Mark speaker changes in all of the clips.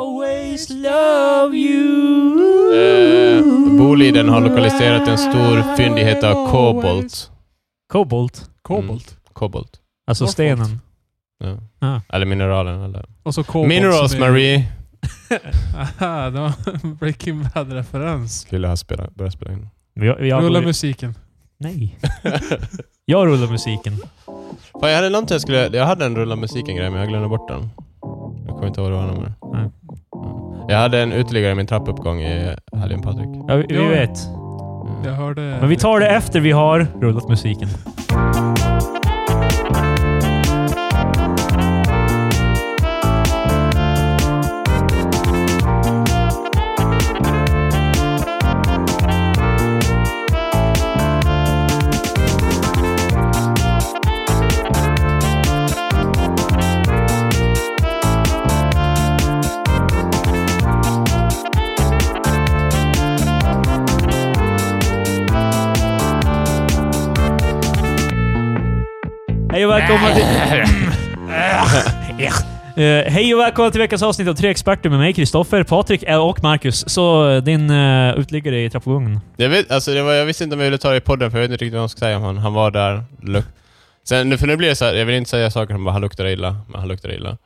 Speaker 1: always love you.
Speaker 2: Eh, Boliden har lokaliserat en stor fyndighet av kobolt.
Speaker 1: Kobolt. Mm.
Speaker 3: Kobolt.
Speaker 2: Kobolt.
Speaker 1: Alltså
Speaker 3: Kobolt.
Speaker 1: stenen.
Speaker 2: Ja.
Speaker 1: Ah.
Speaker 2: Eller mineralen. Eller.
Speaker 3: Och så kobolt
Speaker 2: Minerals
Speaker 3: som är-
Speaker 2: Marie.
Speaker 3: Aha, det var en Breaking Bad-referens.
Speaker 2: Skulle ha spela, börjat spela in.
Speaker 1: Jag, jag
Speaker 3: Rulla
Speaker 1: rullar
Speaker 3: musiken.
Speaker 1: Nej. Jag rullar musiken.
Speaker 2: Fan, jag hade någonting jag skulle... Jag hade en rulla musiken-grej, men jag glömde bort den. Jag kommer inte ihåg vad det var nu.
Speaker 1: Nej.
Speaker 2: Mm. Jag hade en uteliggare i min trappuppgång i helgen, Patrik.
Speaker 1: Ja, vi, vi
Speaker 3: Ja.
Speaker 1: vet.
Speaker 2: Mm.
Speaker 3: Jag hörde...
Speaker 1: Men vi tar det efter vi har rullat musiken. Hej och välkomna till... Eh, hej och välkomna till veckans avsnitt av Tre Experter med mig, Kristoffer, Patrik eh, och Marcus. Så eh, din uh, uteliggare i trappuppgången.
Speaker 2: Jag, vet, alltså det var, jag visste inte om jag ville ta det i podden, för jag vet inte riktigt vad jag ska säga om han. Han var där. Luk- Sen, nu- för nu blir det så här, jag vill inte säga saker som bara han luktar illa, men han luktar illa.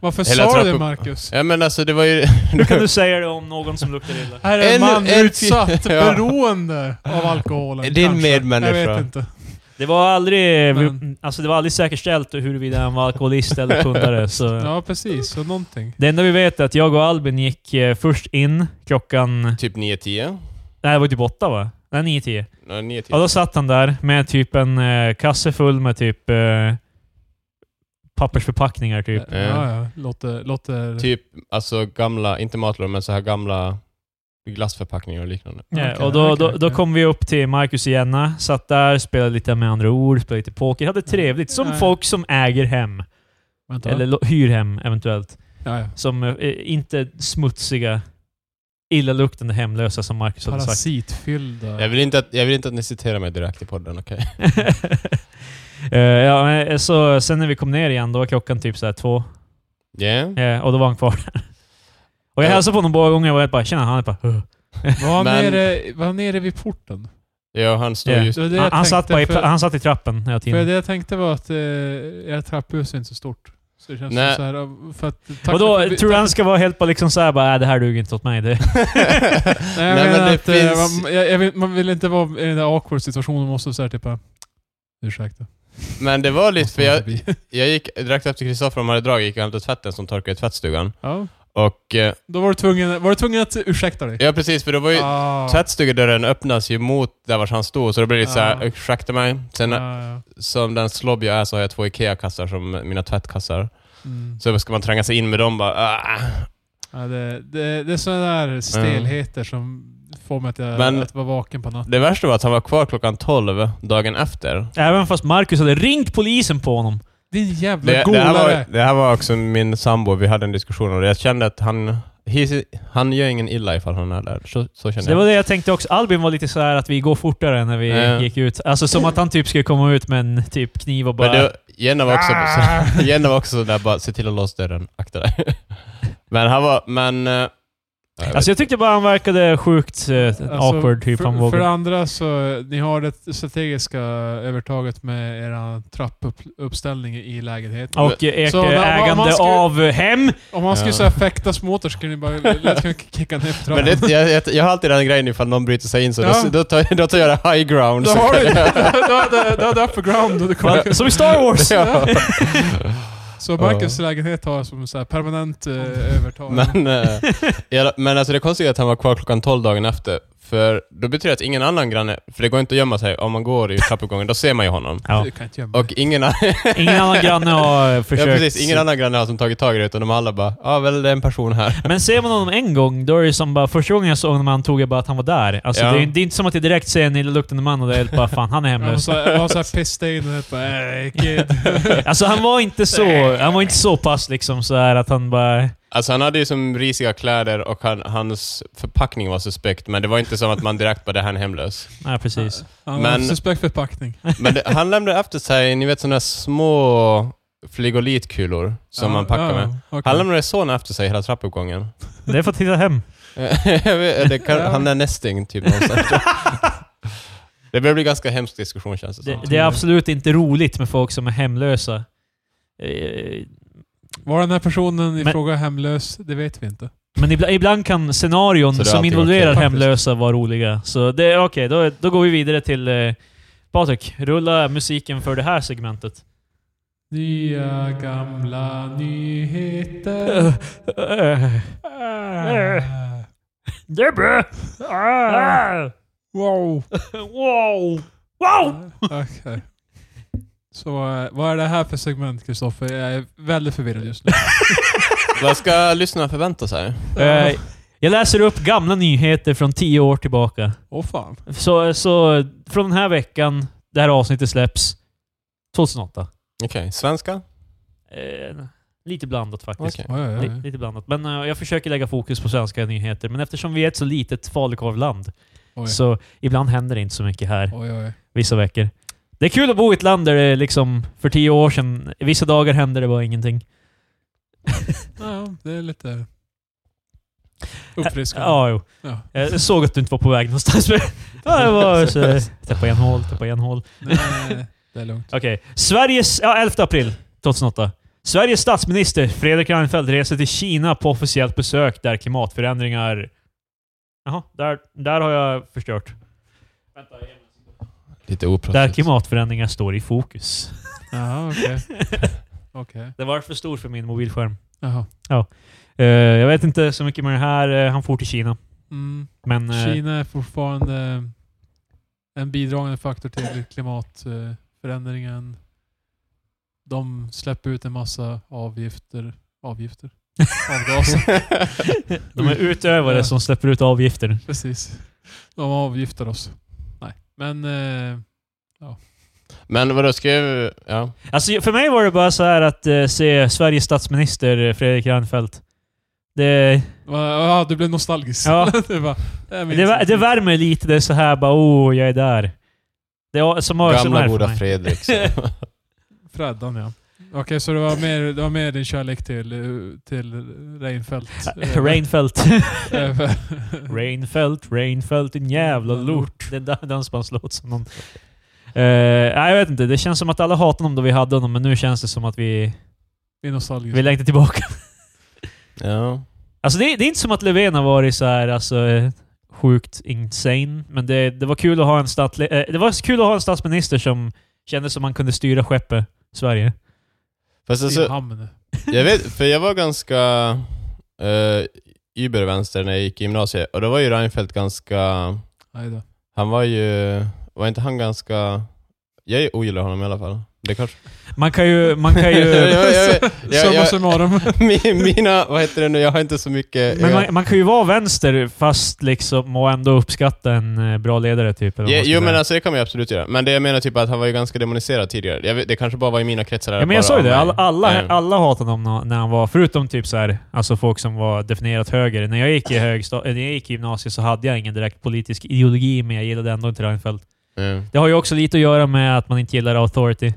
Speaker 3: Varför
Speaker 2: Hela
Speaker 3: sa du det
Speaker 2: trappupp-
Speaker 3: Marcus?
Speaker 2: Ja men alltså det var ju...
Speaker 1: Hur kan du säga det om någon som luktar illa?
Speaker 3: Här är en,
Speaker 2: En-
Speaker 3: man
Speaker 2: en-
Speaker 3: utsatt,
Speaker 2: ja.
Speaker 3: beroende av alkoholen.
Speaker 2: Din
Speaker 3: kanske.
Speaker 2: medmänniska.
Speaker 3: Jag vet inte.
Speaker 1: Det var aldrig,
Speaker 3: Men-
Speaker 1: alltså det var aldrig säkerställt huruvida han var alkoholist eller pundare. Så.
Speaker 3: Ja, precis. Så någonting.
Speaker 1: Det enda vi vet är att jag och Albin gick eh, först in klockan...
Speaker 2: typ 9-10?
Speaker 1: Nej, det var typ åtta va? Nej, nio,
Speaker 3: Typ.
Speaker 1: tio.
Speaker 2: Ja, 9-10.
Speaker 1: Ja, då satt han där med typ en eh, kasse full med typ eh, pappersförpackningar typ.
Speaker 3: Ja, ja. Låter... låter...
Speaker 2: Typ, alltså gamla, inte matlådor, men så här gamla glassförpackningar och liknande.
Speaker 1: Ja,
Speaker 3: Okej,
Speaker 1: Eh, och då,
Speaker 3: okej,
Speaker 1: då, då
Speaker 3: okej.
Speaker 1: kom vi upp till Marcus och Jenna, satt där, spelade lite med andra ord, spelade lite poker, hade trevligt. Som
Speaker 3: Nej.
Speaker 1: folk som äger hem,
Speaker 3: Vänta.
Speaker 1: eller lo- hyr hem eventuellt.
Speaker 3: Ja, ja.
Speaker 1: Som eh, inte smutsiga, illaluktande hemlösa som Marcus hade sagt.
Speaker 3: Parasitfyllda.
Speaker 2: Jag vill, inte att, jag vill inte att ni citerar mig direkt i podden, okej?
Speaker 1: Eh, ja, men, så sen när vi kom ner igen, då var klockan typ så här två.
Speaker 2: Yeah.
Speaker 3: Mm.
Speaker 1: Eh, och då var han kvar där. Och jag
Speaker 2: Ja.
Speaker 1: hälsade på honom båda gånger och jag bara “Tjena”, han är bara "Huh."
Speaker 3: Var han,
Speaker 2: Men-
Speaker 3: nere, var han nere vid porten?
Speaker 2: Ja, han står
Speaker 1: Ja.
Speaker 2: just...
Speaker 3: Det var det jag
Speaker 1: han, han, satt
Speaker 3: tänkte,
Speaker 1: bara i,
Speaker 3: för-
Speaker 1: han satt i trappen hela
Speaker 3: För
Speaker 1: tiden.
Speaker 3: det jag tänkte var att eh, ert trapphus är inte så stort. Så det känns
Speaker 2: Nej.
Speaker 3: som så här, för att... tack-
Speaker 1: Och då
Speaker 3: för-
Speaker 1: tror jag han ska vara helt bara liksom såhär bara “Äh, det här duger inte åt mig”. Det.
Speaker 3: Nej, jag
Speaker 2: Nej, men
Speaker 3: menar
Speaker 2: det
Speaker 3: att eh,
Speaker 2: finns-
Speaker 3: man, jag, jag vill, man vill inte vara i den där awkward situationen. Man måste såhär typ... eh, Ursäkta.
Speaker 2: Men det var lite,
Speaker 3: Måste
Speaker 2: för
Speaker 3: man
Speaker 2: jag,
Speaker 3: förbi.
Speaker 2: jag gick direkt efter Kristoffer och de hade dragit, gick jag och hämtade tvätten som torkade i tvättstugan.
Speaker 3: ja,
Speaker 2: Och, eh,
Speaker 3: då var du tvungen, var du tvungen att ursäkta dig.
Speaker 2: ja precis, för det var ju...
Speaker 3: ah,
Speaker 2: Tvättstugedörren öppnas ju mot där vars han stod, så det blir lite
Speaker 3: Ja.
Speaker 2: såhär, ursäkta mig. Sen
Speaker 3: Ah. ja, ja.
Speaker 2: som den slobb jag är så har jag två IKEA-kassar som mina tvättkassar.
Speaker 3: Mm.
Speaker 2: Så ska man tränga sig in med dem bara... Ah.
Speaker 3: Ja, det, det, det är sådana där stelheter som får mig att, jag,
Speaker 2: Men-
Speaker 3: att vara vaken på natten.
Speaker 2: Det värsta var att han var kvar klockan 12 dagen efter.
Speaker 1: Även fast Marcus hade ringt polisen på honom.
Speaker 3: Din
Speaker 2: Det,
Speaker 3: jävla
Speaker 2: det, här
Speaker 3: golare!
Speaker 2: var, det här var också min sambo, vi hade en diskussion om det. Jag kände att han... he- han gör ingen illa ifall han är där. Så, så
Speaker 1: Så
Speaker 2: kände
Speaker 1: det var
Speaker 2: jag.
Speaker 1: det jag tänkte också. Albin var lite så här att vi går fortare när vi
Speaker 2: Ja.
Speaker 1: gick ut. Alltså som att han typ skulle komma ut med en typ kniv och bara...
Speaker 2: Men det, Jenna var också,
Speaker 3: Ah!
Speaker 2: Jenna var också där bara, se till att låsa dörren, akta dig. men han var... Men... eh, jag
Speaker 1: alltså jag tyckte bara han verkade sjukt eh, awkward. Typ. Han
Speaker 3: Alltså, för, för det
Speaker 1: vågade.
Speaker 3: andra så, ni har det strategiska övertaget med era trappuppställning i lägenheten.
Speaker 1: Och eh, ert
Speaker 3: Så när-
Speaker 1: eh,
Speaker 3: om han
Speaker 1: ägande
Speaker 3: skulle-
Speaker 1: av hem.
Speaker 3: Om man skulle
Speaker 2: Ja.
Speaker 3: så här fäktas mot er skulle ni bara lätt kunna kicka ner för
Speaker 2: Men
Speaker 3: trappan.
Speaker 2: det, jag, jag, jag har alltid den grejen ifall någon bryter sig in, så
Speaker 3: Ja.
Speaker 2: då, då, tar, då tar jag det high ground.
Speaker 3: Då
Speaker 2: så
Speaker 3: har
Speaker 2: kan
Speaker 3: du
Speaker 2: jag-
Speaker 3: då hade- då hade upper ground och du kommer
Speaker 1: Som i Star Wars!
Speaker 2: Ja.
Speaker 3: Så Marcus lägenhet har som så här permanent eh, övertag.
Speaker 2: Men, eh, ja, men alltså det konstiga är att han var kvar klockan 12 dagen efter. För då betyder det att ingen annan granne, för det går inte att gömma sig, om man går i trappuppgången, då ser man ju honom.
Speaker 1: Ja.
Speaker 3: Du kan inte gömma dig.
Speaker 2: Och ingen, annan-
Speaker 1: Ingen annan granne har eh,
Speaker 2: ja,
Speaker 1: försökt.
Speaker 2: precis, ingen annan granne har som tagit tag i det, utan de alla bara ja väl det är en person här.
Speaker 1: Men ser man honom en gång, då är det som bara... Första gången jag såg honom antog jag bara att han var där. Alltså,
Speaker 2: Ja.
Speaker 1: det, är, det är inte som att jag direkt ser en illaluktande man och det är helt bara fan, han är
Speaker 3: Ja, och
Speaker 1: hemlös.
Speaker 3: så var så här pissstenig och bara "Hey, kid.
Speaker 1: Alltså han var inte så, han var inte så pass liksom så här att han bara...
Speaker 2: Alltså han hade ju som risiga kläder och han, hans förpackning var suspekt, men det var inte som att man direkt bara det här är en hemlös.
Speaker 1: Nej precis.
Speaker 3: Han har
Speaker 2: Men-
Speaker 3: suspekt förpackning.
Speaker 2: Men det, han lämnade efter sig, ni vet sådana små frigolitkulor som man packar med.
Speaker 3: ja, okej.
Speaker 2: Han lämnade såna efter sig hela trappuppgången.
Speaker 1: Det är för att hitta hem.
Speaker 2: Jag vet, Eh, det kan, han är nästing typ någonstans. Det börjar bli ganska hemsk diskussion känns det
Speaker 1: Det,
Speaker 2: som.
Speaker 1: det är absolut inte roligt med folk som är hemlösa. Eh,
Speaker 3: Var den här personen i
Speaker 1: Men-
Speaker 3: fråga hemlös? Det vet vi inte.
Speaker 1: Men ibla- ibland kan scenarion
Speaker 2: Så det har
Speaker 1: som
Speaker 2: alltid
Speaker 1: involverar
Speaker 2: varit
Speaker 3: kul.
Speaker 1: hemlösa vara roliga. Så det är okej, då, då går vi vidare till eh, Patrik. Rulla musiken för det här segmentet.
Speaker 3: Nya gamla nyheter. Eh,
Speaker 1: Äh. Det är bra!
Speaker 3: Wow.
Speaker 1: Wow! Wow!
Speaker 3: Okej. Så eh, vad är det här för segment Kristoffer? Jag är väldigt förvirrad just nu.
Speaker 2: Vad ska lyssnarna förvänta sig?
Speaker 1: Eh, jag läser upp gamla nyheter från tio år tillbaka.
Speaker 3: Åh fan.
Speaker 1: Så, så från den här veckan, det här avsnittet släpps, 2008.
Speaker 2: Okej, svenska?
Speaker 1: Eh, lite blandat faktiskt.
Speaker 2: Okej.
Speaker 3: Oj, oj,
Speaker 1: Li-
Speaker 3: oj.
Speaker 1: lite blandat. Men eh, jag försöker lägga fokus på svenska nyheter. Men eftersom vi är ett så litet falukorvland
Speaker 3: Oj.
Speaker 1: så ibland händer det inte så mycket här
Speaker 3: Oj, oj.
Speaker 1: vissa veckor. Det är kul att bo i ett land där det liksom för tio år sedan, vissa dagar hände det bara ingenting.
Speaker 3: Ja, det är lite uppfriskande.
Speaker 1: Ja, jo.
Speaker 3: Ja.
Speaker 1: Jag såg att du inte var på väg någonstans. men- ja, det var så... Täppa igen hål, täppa igen hål.
Speaker 3: Nej, nej, nej. det är lugnt.
Speaker 1: Okej. Sveriges... Ja, 11 april 2008. Sveriges statsminister Fredrik Reinfeldt reser till Kina på officiellt besök där klimatförändringar... Jaha, där, där har jag förstört.
Speaker 2: Lite
Speaker 1: Där
Speaker 2: oproffsigt.
Speaker 1: klimatförändringar står i fokus.
Speaker 3: Jaha, okej. Okej.
Speaker 1: Det var för stor för min mobilskärm.
Speaker 3: Jaha.
Speaker 1: Eh, jag vet inte så mycket med det här. Eh, han for till Kina.
Speaker 3: Mm.
Speaker 1: Men eh,
Speaker 3: Kina är fortfarande en bidragande faktor till klimatförändringen. De släpper ut en massa avgifter. Avgifter? Avgaser.
Speaker 1: de är utövare
Speaker 3: Ja.
Speaker 1: som släpper ut avgifter.
Speaker 3: Precis. De avgifter oss. Nej. Men... Eh,
Speaker 2: Men vadå, skrev... Ja.
Speaker 1: Alltså, för mig var det bara så här att eh, se Sveriges statsminister eh, Fredrik Reinfeldt. Det,
Speaker 3: va- ja, du blev nostalgisk.
Speaker 1: Ja.
Speaker 3: det, var, det, är min
Speaker 1: det, vär-
Speaker 3: tid.
Speaker 1: det värmer lite. Det är så här bara oh, jag är där. Det är som har som är
Speaker 2: Gamla
Speaker 1: för
Speaker 2: goda
Speaker 1: mig.
Speaker 2: Fredrik. så.
Speaker 3: Freddan ja. Okej, så det var, mer, det var mer din kärlek till, eh, till Reinfeldt. Eh,
Speaker 1: Reinfeldt.
Speaker 3: eh,
Speaker 1: Reinfeldt, Reinfeldt, din jävla lort. Det är da- dansbandslåt som någon... Eh, nej, jag vet inte. Det känns som att alla hatade honom då vi hade honom, men nu känns det som att vi,
Speaker 3: Vi är nostalgiska.
Speaker 1: vi längtar tillbaka.
Speaker 2: ja.
Speaker 1: Alltså det, det är inte som att Löfven har varit så här, alltså, eh, sjukt insane, men det, det, var kul att ha en statli, eh, det var kul att ha en statsminister som kände som man kunde styra skeppet Sverige.
Speaker 2: Fast
Speaker 3: I
Speaker 2: alltså,
Speaker 3: hamn.
Speaker 2: jag vet, för jag var ganska uh, ybervänster när jag gick i gymnasiet. Och då var ju Reinfeldt ganska...
Speaker 3: Aj då.
Speaker 2: Han var ju... Var inte han ganska... Jag ogillar honom i alla fall. Det kanske...
Speaker 1: Man kan ju... Man kan ju
Speaker 2: jag, jag, jag,
Speaker 3: Summa
Speaker 2: jag,
Speaker 3: summarum.
Speaker 2: mi- mina... Vad heter det nu? Jag har inte så mycket...
Speaker 1: men
Speaker 2: jag,
Speaker 1: man, man kan ju vara vänster fast liksom och ändå uppskatta en eh, bra ledare typ. eller vad
Speaker 2: Ja,
Speaker 1: man ska
Speaker 2: jo men
Speaker 1: säga.
Speaker 2: alltså det kan man ju absolut göra. Men det jag menar typ att han var ju ganska demoniserad tidigare. Jag vet, det kanske bara var i mina kretsar.
Speaker 1: Ja, men jag
Speaker 2: bara
Speaker 1: sa ju
Speaker 2: av
Speaker 1: det. Alla,
Speaker 2: mig.
Speaker 1: alla,
Speaker 2: Mm.
Speaker 1: alla hatade honom när han var... Förutom typ så här, alltså folk som var definierat höger. När jag gick i, högsta, eh, när jag gick i gymnasiet så hade jag ingen direkt politisk ideologi, men jag gillade ändå inte Reinfeldt.
Speaker 2: Mm.
Speaker 1: Det har ju också lite att göra med att man inte gillar authority.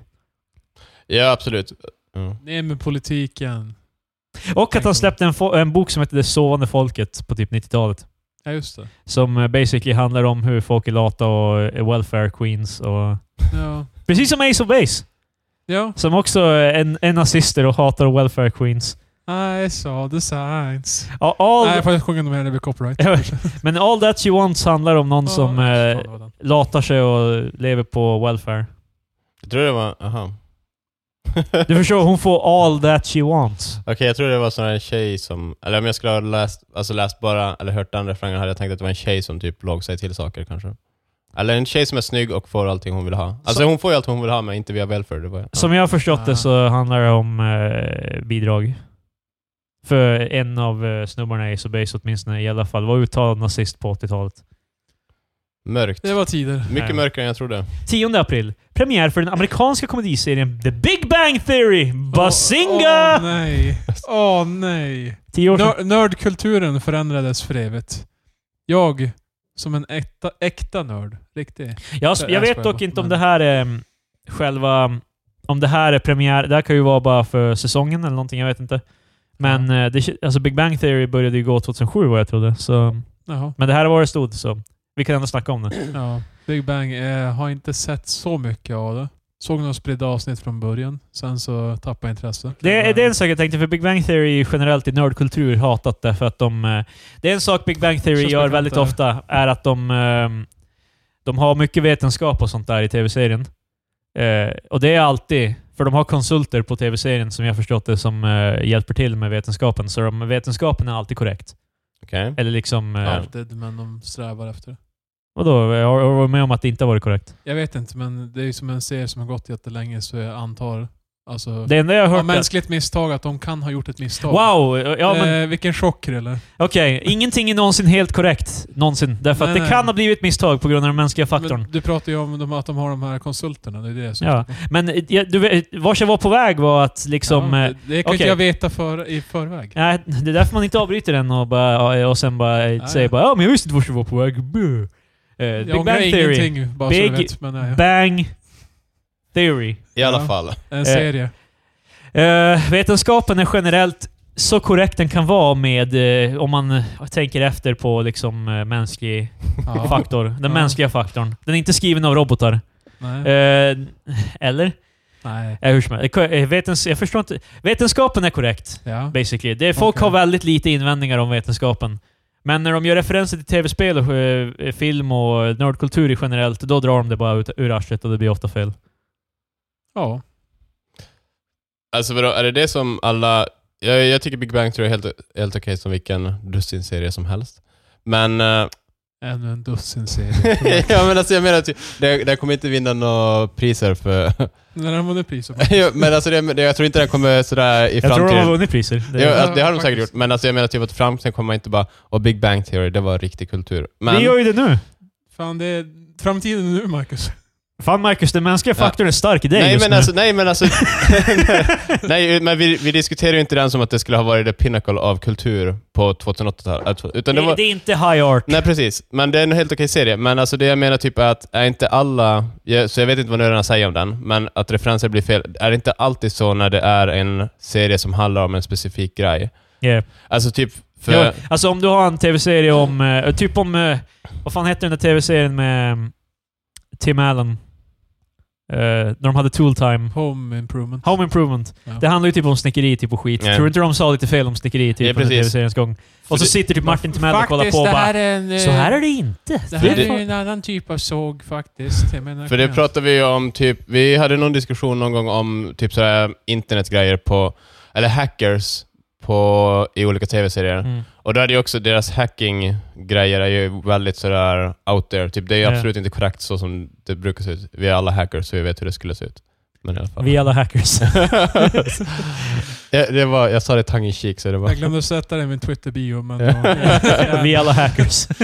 Speaker 2: Ja, absolut. Mm.
Speaker 3: Ner med politiken.
Speaker 1: Och att han släppte en, fo- en bok som hette Det sovande folket på typ 90-talet.
Speaker 3: Ja, just det.
Speaker 1: Som eh, basically handlar om hur folk är lata och eh, welfare queens och...
Speaker 3: Ja.
Speaker 1: Precis som Ace of Base,
Speaker 3: Ja,
Speaker 1: som också är en, en nazister och hatar welfare queens.
Speaker 3: I saw the signs.
Speaker 1: Ja, All,
Speaker 3: Nej, jag får inte sjunga mer, det blir copyright.
Speaker 1: Ja, men All That You Want handlar om någon som
Speaker 3: Ja,
Speaker 1: eh,
Speaker 3: fan, det var den.
Speaker 1: latar sig och lever på welfare.
Speaker 2: Jag tror det var... Aha.
Speaker 1: Du förstår, hon får all that she wants.
Speaker 2: Okej, jag tror det var snarare en tjej som... Eller om jag skulle ha läst, alltså läst bara, eller hört den refrängen hade jag tänkt att det var en tjej som typ låg sig till saker kanske. Eller en tjej som är snygg och får allting hon vill ha. Alltså hon får ju allt hon vill ha men inte via welfare. Det var, ja.
Speaker 1: Som jag har förstått
Speaker 3: Ah.
Speaker 1: det så handlar det om eh, bidrag. För en av eh, snubbarna i Ace of Base åtminstone i alla fall var uttalad nazist på 80-talet.
Speaker 2: Mörkt.
Speaker 3: Det var tider.
Speaker 2: Mycket
Speaker 1: Ja.
Speaker 2: mörkare än jag trodde.
Speaker 1: 10 april. Premiär för den amerikanska komediserien The Big Bang Theory!
Speaker 3: Åh
Speaker 1: Bazinga!
Speaker 3: åh, nej. Åh nej.
Speaker 1: Tio år sedan.
Speaker 3: Nör- nördkulturen förändrades för evigt. Jag, som en äkta, äkta nörd. Riktig.
Speaker 1: Jag, jag
Speaker 3: jag
Speaker 1: vet
Speaker 3: skojar
Speaker 1: dock
Speaker 3: bara,
Speaker 1: inte om
Speaker 3: men-
Speaker 1: det här är mm, själva... Om det här är premiär. Det här kan ju vara bara för säsongen eller någonting, jag vet inte. Men eh, det, alltså Big Bang Theory började ju gå 2007 vad jag trodde. Så, mm.
Speaker 3: Jaha.
Speaker 1: men det här var det stod, så vi kan ändå snacka om det.
Speaker 3: Ja. Big Bang eh, har inte sett så mycket av det. Såg några spridda avsnitt från början, sen så tappade jag intresse.
Speaker 1: Det är, det är en sak jag tänkte, för Big Bang Theory är generellt i nördkultur hatat därför att de... eh, Det är en sak Big Bang Theory
Speaker 3: Känns
Speaker 1: gör
Speaker 3: bekant
Speaker 1: väldigt
Speaker 3: där.
Speaker 1: ofta, är att de... ehm, De har mycket vetenskap och sånt där i tv-serien. Eh, Och det är alltid... För de har konsulter på tv-serien som jag förstått det som eh, hjälper till med vetenskapen. Så de, vetenskapen är alltid korrekt.
Speaker 2: Okej.
Speaker 1: Eller liksom... eh,
Speaker 3: Alltid, men de strävar efter det.
Speaker 1: Vadå? Jag har jag har varit med om att det inte har varit korrekt.
Speaker 3: Jag vet inte, men det är ju som en serie som har gått jättelänge, så jag antar... Alltså,
Speaker 1: Det enda jag har
Speaker 3: av
Speaker 1: hört... är-
Speaker 3: mänskligt misstag att de kan ha gjort ett misstag.
Speaker 1: Wow! Ja, men
Speaker 3: eh, vilken chock eller?
Speaker 1: Okej, ingenting är någonsin helt korrekt. Någonsin. Därför att
Speaker 3: Nej,
Speaker 1: det
Speaker 3: nej.
Speaker 1: kan ha blivit misstag på grund av den mänskliga faktorn.
Speaker 3: Men du pratar ju om de, att de har de här konsulterna, det är det jag syftar
Speaker 1: Ja.
Speaker 3: på.
Speaker 1: Men eh, jag- du, vet- vart jag var på väg var att liksom...
Speaker 3: Ja,
Speaker 1: eh,
Speaker 3: det, det
Speaker 1: okej.
Speaker 3: kan
Speaker 1: Eh,
Speaker 3: inte jag veta för, i förväg.
Speaker 1: Nej, det är därför man inte avbryter den och, bara, eh, och sen bara
Speaker 3: Ja,
Speaker 1: säger
Speaker 3: ja.
Speaker 1: bara ja, men jag visste inte vart jag var på väg. Buh. Eh,
Speaker 3: Jag
Speaker 1: Big
Speaker 3: ångrar
Speaker 1: Bang Theory.
Speaker 3: ingenting, bara
Speaker 1: Big
Speaker 3: så du vet. Men, eh, nej,
Speaker 1: Bang Theory.
Speaker 2: I alla
Speaker 3: Ja.
Speaker 2: fall.
Speaker 3: en serie.
Speaker 1: Eh, vetenskapen är generellt så korrekt den kan vara med, eh, om man eh, tänker efter på liksom eh, mänsklig
Speaker 3: Ja.
Speaker 1: faktor. Den
Speaker 3: Ja.
Speaker 1: mänskliga faktorn. Den är inte skriven av robotar.
Speaker 3: Nej.
Speaker 1: Eh, eller?
Speaker 3: nej.
Speaker 1: Eh, hur som helst. Eh, Vetens, jag förstår inte. Vetenskapen är korrekt,
Speaker 3: Ja.
Speaker 1: basically. Det, folk
Speaker 3: Okej.
Speaker 1: har väldigt lite invändningar om vetenskapen. Men när de gör referenser till tv-spel, och, eh, film och eh, nördkultur i generellt, då drar de det bara ut, ur arslet och det blir ofta fel.
Speaker 3: ja.
Speaker 2: Alltså vadå, är det det som alla... Jag, jag tycker Big Bang Theory är helt, helt okej som vilken dussinserie som helst. Men... eh,
Speaker 3: Ännu en dussin serier.
Speaker 2: ja, men alltså jag menar att det- den kommer inte vinna några priser för...
Speaker 3: När de vann pris och
Speaker 2: Ja, men alltså det, det, jag tror inte den kommer sådär i
Speaker 1: Jag tror de har
Speaker 2: framtiden...
Speaker 1: vunnit priser. Det,
Speaker 2: Ja, alltså, det har de säkert
Speaker 3: Faktiskt.
Speaker 2: gjort, men alltså jag menar typ att i framtiden kommer man inte bara och Big Bang Theory, det var riktig kultur. Men,
Speaker 1: Vi gör ju det nu.
Speaker 3: Fan, det är framtiden nu Marcus.
Speaker 1: Fan Marcus, den mänskliga
Speaker 2: Ja.
Speaker 1: faktorn är stark i dig
Speaker 2: nej,
Speaker 1: just
Speaker 2: men
Speaker 1: nu.
Speaker 2: alltså, nej men alltså... nej, men vi, vi diskuterar ju inte den som att det skulle ha varit the pinnacle av kultur på 2008-talet. Utan det var,
Speaker 1: det, det är inte high art.
Speaker 2: Nej, precis. Men det är en helt okej serie. Men alltså det jag menar typ är att, är inte alla... Jag, så jag vet inte vad nördarna säger om den, men att referenser blir fel. Är det inte alltid så när det är en serie som handlar om en specifik grej?
Speaker 1: Yeah.
Speaker 2: Alltså typ... För,
Speaker 1: Ja, alltså om du har en tv-serie om... eh, typ om... eh, vad fan hette den där tv-serien med mm, Tim Allen? Eh, när de hade Tool Time.
Speaker 3: Home improvement.
Speaker 1: Home Improvement.
Speaker 3: Ja.
Speaker 1: Det handlar ju typ om snickeri typ och skit.
Speaker 2: Ja.
Speaker 1: Tror inte de sa lite fel om snickeri typ
Speaker 2: Ja,
Speaker 1: under
Speaker 2: precis.
Speaker 1: tv-seriens gång? Och så
Speaker 2: det-
Speaker 1: sitter typ Martin Timell och kollar på
Speaker 3: Faktiskt,
Speaker 1: och
Speaker 3: det
Speaker 1: bara
Speaker 3: här är en... eh,
Speaker 1: Så här är det inte.
Speaker 3: Det här
Speaker 2: För
Speaker 3: är
Speaker 2: det-
Speaker 3: ju en annan typ av såg faktiskt. Jag menar,
Speaker 2: för det
Speaker 3: kan-
Speaker 2: pratade vi ju om typ... Vi hade någon diskussion någon gång om typ sådär internetgrejer på... Eller hackers på, i olika tv-serier.
Speaker 1: Mm.
Speaker 2: Och där är det ju också, deras hacking-grejer är ju väldigt sådär out there. Typ, det är ju
Speaker 1: Ja.
Speaker 2: absolut inte korrekt så som det brukar se ut. Vi är alla hackers, så vi vet hur det skulle se ut. Men i alla fall.
Speaker 1: Vi är alla hackers.
Speaker 2: jag, det var, jag sa det tongue in cheek, så det var...
Speaker 3: Jag glömde sätta det i min Twitter-bio, men...
Speaker 1: Vi är alla hackers. Eh,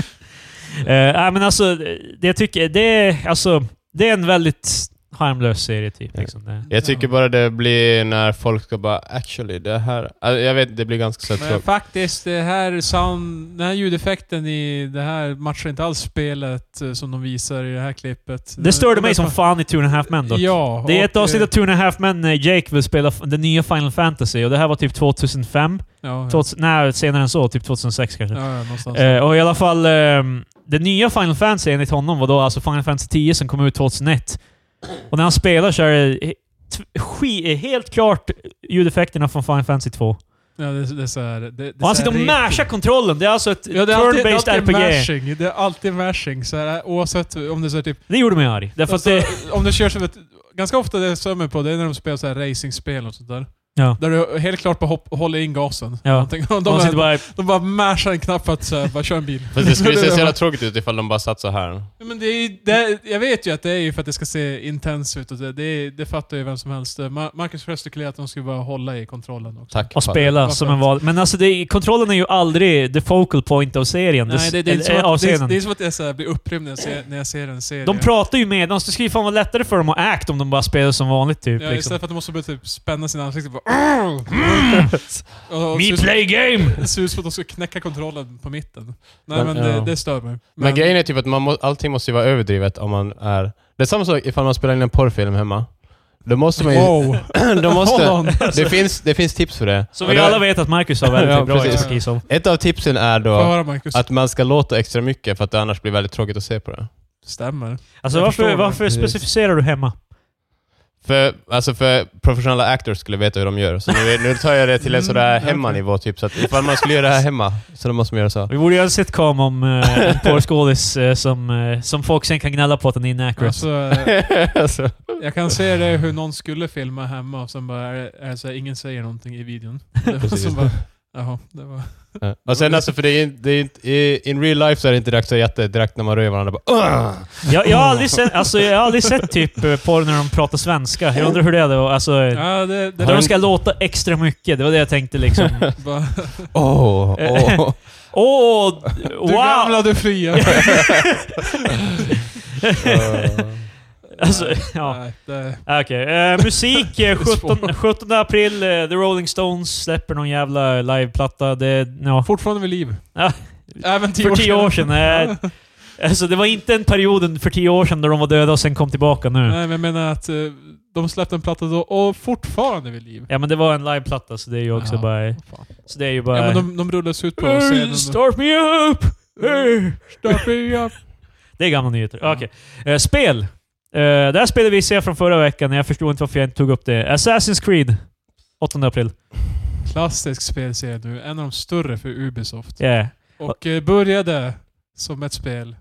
Speaker 1: nej, men alltså, det jag tycker... Det är, alltså, det är en väldigt harmlös serie typ.
Speaker 2: Ja.
Speaker 1: Liksom. Det-
Speaker 2: Jag tycker bara det blir när folk ska bara actually, det här... Alltså, jag vet, det blir ganska så här
Speaker 3: Men
Speaker 2: tråkigt.
Speaker 3: faktiskt, det här sound, den här ljudeffekten i det här matchar inte alls spelet eh, som de visar i det här klippet.
Speaker 1: Det störde mig som fan i Two and a Half Men dock.
Speaker 3: Ja.
Speaker 1: Det är
Speaker 3: och,
Speaker 1: ett avsnitt
Speaker 3: eh,
Speaker 1: av Two and a Half Men när Jake vill spela f- den nya Final Fantasy och det här var typ 2005.
Speaker 3: Ja, ja.
Speaker 1: 2000, nej, senare än så. Typ 2006 kanske.
Speaker 3: ja, ja, någonstans.
Speaker 1: Eh, och i alla fall, ehm, det nya Final Fantasy enligt honom var då alltså Final Fantasy 10 som kom ut 2001. Och när han spelar så är det he- t- ski- helt klart ljudeffekterna från Final Fantasy 2.
Speaker 3: ja, det, det är så här, det, det är så
Speaker 1: Och han sitter och
Speaker 3: här
Speaker 1: mashar kontrollen. Det är alltså ett
Speaker 3: Ja, det är alltid, det är
Speaker 1: turn-based
Speaker 3: alltid
Speaker 1: RPG.
Speaker 3: mashing. Det är alltid mashing. Så här, oavsett om det är så här, typ...
Speaker 1: Det gjorde mig arg. Därför
Speaker 3: Alltså,
Speaker 1: att det...
Speaker 3: Om du kör som ett... Ganska ofta det jag stör mig på, det är när de spelar så här racingspel och sånt där.
Speaker 1: Ja.
Speaker 3: Där du helt klart bara hopp, håller in gasen.
Speaker 1: Ja.
Speaker 3: Någonting. De,
Speaker 1: man sitter
Speaker 3: bara,
Speaker 1: bara...
Speaker 3: de bara mashar en knapp för att så här, bara köra en bil.
Speaker 2: Fast det skulle se så jävla tråkigt ut ifall de bara satt så här.
Speaker 3: Ja, Men det är, ju- det, jag vet ju att det är ju för att det ska se intens ut och det, det, är- det fattar ju vem som helst. Eh, Ma- Marcus gestikulerade att de skulle bara hålla i kontrollen också.
Speaker 2: Tack.
Speaker 1: Och
Speaker 2: fan.
Speaker 1: spela
Speaker 3: Vad
Speaker 1: som
Speaker 3: skönt.
Speaker 1: en val. Men alltså, det, är- kontrollen är ju aldrig the focal point av serien.
Speaker 3: Nej, det, det, är inte
Speaker 1: eller, eh,
Speaker 3: som
Speaker 1: av
Speaker 3: att, det, är-
Speaker 1: scenen.
Speaker 3: det är som att jag så här blir upprymd när jag ser, när jag ser en serie.
Speaker 1: De pratar ju med oss. Det skulle ju fan vara lättare för dem att act om de bara spelar som vanligt typ.
Speaker 3: ja,
Speaker 1: liksom. Mm.
Speaker 3: Istället för att de måste börja typ spänna sina ansikten. Bara, och,
Speaker 1: Me
Speaker 3: och det ser ut-
Speaker 1: play game!
Speaker 3: det ser ut som att de ska knäcka kontrollen på mitten. Nej
Speaker 2: Men-
Speaker 3: men,
Speaker 2: ja.
Speaker 3: det, det stör mig.
Speaker 2: Men, grejen är typ att man må, allting måste ju vara överdrivet om man är... Det är samma sak ifall man spelar in en porrfilm hemma. Då måste man ju...
Speaker 3: Wow!
Speaker 2: Då
Speaker 3: Hold
Speaker 2: måste,
Speaker 3: on.
Speaker 2: det, finns, det finns tips för det.
Speaker 1: Så
Speaker 2: Och
Speaker 1: vi
Speaker 2: då-
Speaker 1: alla vet att Marcus har väldigt
Speaker 2: Ja,
Speaker 1: bra
Speaker 2: precis.
Speaker 1: expertis om.
Speaker 2: Ett av tipsen är då...
Speaker 3: Får jag höra Marcus?
Speaker 2: Att man ska låta extra mycket för att det annars blir väldigt tråkigt att se på det.
Speaker 3: Stämmer.
Speaker 1: Alltså
Speaker 3: Jag
Speaker 1: varför,
Speaker 3: förstår det.
Speaker 1: varför
Speaker 2: Precis.
Speaker 1: specificerar du hemma?
Speaker 2: För, alltså för professionella actors skulle veta hur de gör, så nu, nu tar jag det till en
Speaker 3: Mm,
Speaker 2: sådär
Speaker 3: okej.
Speaker 2: hemmanivå typ. Så att ifall man skulle göra det här hemma, så då måste man göra så.
Speaker 1: Vi borde göra en sitcom om eh, en porrskådis eh, som, eh, som folk sen kan gnälla på att den är inaccurate.
Speaker 3: Alltså, eh,
Speaker 2: alltså,
Speaker 3: jag kan se det hur någon skulle filma hemma och sen bara, är, det- är det så här, ingen säger någonting i videon. Och
Speaker 2: precis.
Speaker 3: sen bara, jaha, det var...
Speaker 2: Ja. Och sen alltså, för det är, det är inte, i, in real life så är det inte dags så jätte direkt när man rör varandra. Bara, "Ugh!"
Speaker 1: Jag, jag, har aldrig sett, alltså, jag har aldrig sett typ eh, porr när de pratar svenska. Jag undrar hur det är då. Alltså, när
Speaker 3: Ja, det, det
Speaker 1: de
Speaker 3: där
Speaker 1: ska låta extra mycket. Det var det jag tänkte liksom.
Speaker 3: bara...
Speaker 2: Åh, åh.
Speaker 1: Eh. Åh!
Speaker 3: Du
Speaker 1: wow!
Speaker 3: gamla, du fria!
Speaker 2: Eh,
Speaker 1: Alltså, ja.
Speaker 3: Nej, det,
Speaker 1: Ah, Okej. Eh, musik, eh,
Speaker 3: Det är svårt.
Speaker 1: 17, 17 april. eh, The Rolling Stones släpper någon jävla liveplatta. Det, ja.
Speaker 3: fortfarande vid liv.
Speaker 1: Ja.
Speaker 3: Även tio
Speaker 1: För
Speaker 3: år
Speaker 1: tio år
Speaker 3: sedan.
Speaker 1: sedan. eh, alltså, det var inte en perioden för tio år sedan då de var döda och sen kom tillbaka nu.
Speaker 3: Nej, men jag menar att eh, de släppte en platta då och fortfarande vid liv.
Speaker 1: Ja men det var en liveplatta så det är ju också
Speaker 3: Ja.
Speaker 1: bara...
Speaker 3: Fan.
Speaker 1: Så det är ju bara...
Speaker 3: Ja, men de, de rullades ut på scenen.
Speaker 1: Hey,
Speaker 3: och-
Speaker 1: Start me up! Hey.
Speaker 3: Stop me up.
Speaker 1: Det är gamla nyheter.
Speaker 3: Ja.
Speaker 1: Okej. Eh, spel. Uh, det här spelet visade jag från förra veckan. Jag förstod inte varför jag inte tog upp det. Assassin's Creed. 8 april.
Speaker 3: Klassisk spelserie nu. En av de större för Ubisoft.
Speaker 1: Yeah.
Speaker 3: Och eh, började som ett spel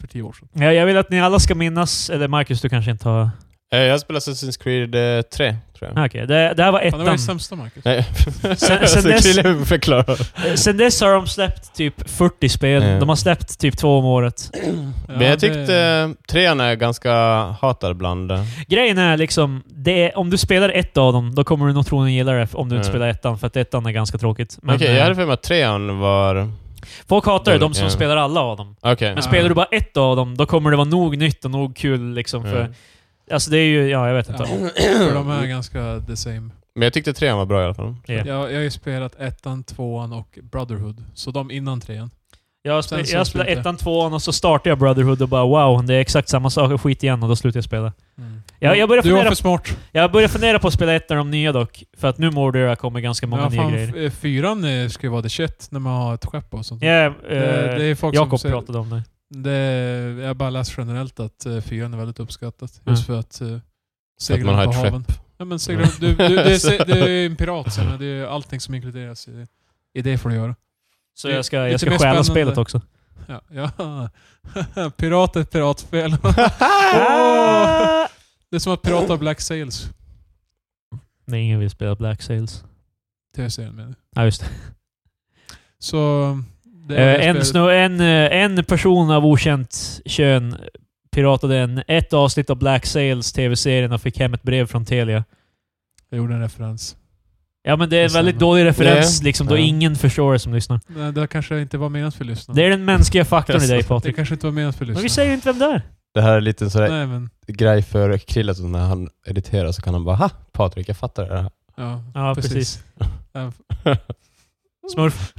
Speaker 3: för tio år sedan.
Speaker 1: Ja, jag vill att ni alla ska minnas... Eller Marcus, du kanske inte har...
Speaker 2: jag spelar Assassin's Creed eh, 3, tror jag.
Speaker 1: Ah, Okej, det, det här var
Speaker 3: Fan, det var
Speaker 1: ettan.
Speaker 3: det sämsta Marcus.
Speaker 2: Nej.
Speaker 1: sen
Speaker 2: Så
Speaker 1: dess-
Speaker 2: killen förklarar.
Speaker 1: Eh, Sen dess har de släppt typ 40 spel.
Speaker 2: Ja.
Speaker 1: De har släppt typ två om året.
Speaker 2: Men jag tyckte
Speaker 3: Det,
Speaker 2: eh, trean är ganska hatad bland... eh,
Speaker 1: Grejen är liksom, det är, om du spelar ett av dem, då kommer du nog troligen gilla det om du inte
Speaker 2: Ja.
Speaker 1: spelar ettan, för att ettan är ganska tråkigt. Men,
Speaker 2: Okej,
Speaker 1: eh,
Speaker 2: jag hade för mig att trean var...
Speaker 1: Folk hatar ju de som
Speaker 2: Ja.
Speaker 1: spelar alla av dem.
Speaker 2: Okej.
Speaker 1: Men
Speaker 3: Ja.
Speaker 1: spelar du bara ett av dem, då kommer det vara nog nytt och nog kul liksom. För,
Speaker 2: Mm.
Speaker 1: Alltså det är ju, ja jag vet inte.
Speaker 3: ja, för de är ganska the same.
Speaker 2: Men jag tyckte trean var bra i alla fall.
Speaker 1: Ja.
Speaker 3: Jag, jag har ju spelat ettan, tvåan och Brotherhood. Så de innan trean.
Speaker 1: Jag,
Speaker 3: Sen
Speaker 1: spe-
Speaker 3: så
Speaker 1: jag spelar
Speaker 3: slutar.
Speaker 1: ettan, tvåan och så startar jag Brotherhood och bara wow, det är exakt samma sak och skit igen och då slutar jag spela. Ja, jag börjar
Speaker 3: du var
Speaker 1: fundera-
Speaker 3: för smart.
Speaker 1: Jag börjar fundera på att spela ett av de nya dock, för att nu Mordor kommer ganska många
Speaker 3: ja,
Speaker 1: nya
Speaker 3: fan,
Speaker 1: grejer.
Speaker 3: f- eh, fyran eh, ska ju vara the shit när man har ett skepp och sånt.
Speaker 1: Ja, eh,
Speaker 3: Det, det är folk som
Speaker 1: Jakob
Speaker 3: säger,
Speaker 1: pratade om det.
Speaker 3: det, Jag har bara läst generellt att eh, fyran är väldigt uppskattat.
Speaker 1: Mm.
Speaker 3: Just för att eh,
Speaker 2: att man
Speaker 3: segla
Speaker 2: har
Speaker 3: på
Speaker 2: ett
Speaker 3: haven. Ja, men segla, du,
Speaker 1: Mm.
Speaker 3: du, det, är, se- det är en pirat, så jag menar, det är allting som inkluderas i, i det får du göra.
Speaker 1: Så
Speaker 3: Det-
Speaker 1: jag ska, jag
Speaker 3: lite
Speaker 1: ska
Speaker 3: mer
Speaker 1: stjäla
Speaker 3: spännande.
Speaker 1: spelet också.
Speaker 3: Ja, ja. pirat är ett piratspel.
Speaker 1: Ah!
Speaker 3: det är som att pirata Black Sails.
Speaker 1: Nej, ingen vill spela Black Sails.
Speaker 3: TV-serien menar jag.
Speaker 1: Ja, just det.
Speaker 3: Så... Det är det
Speaker 1: Eh, en,
Speaker 3: spelet.
Speaker 1: snö, en, eh, en person av okänt kön piratade en, ett avsnitt av Black Sails tv-serien och fick hem ett brev från Telia.
Speaker 3: Jag gjorde en referens.
Speaker 1: Ja men det är en
Speaker 3: Det stämmer.
Speaker 1: väldigt dålig referens
Speaker 2: Nej.
Speaker 1: liksom, då
Speaker 2: Ja.
Speaker 1: ingen förstår det som lyssnar.
Speaker 3: Nej, det kanske inte var menat för lyssnarna.
Speaker 1: Det är den mänskliga faktorn i dig
Speaker 3: Det
Speaker 1: Patrik.
Speaker 3: kanske inte var menat för
Speaker 1: Men vi
Speaker 3: lyssnarna.
Speaker 1: säger ju inte vem det är.
Speaker 2: Det här är lite en sån
Speaker 1: Mm.
Speaker 2: där
Speaker 3: Nej men,
Speaker 2: grej för Krille, så när han editerar så kan han bara ha Patrik, jag fattar det här.
Speaker 3: ja. Eh,
Speaker 1: Ja, precis.
Speaker 3: Även-
Speaker 1: Smurf.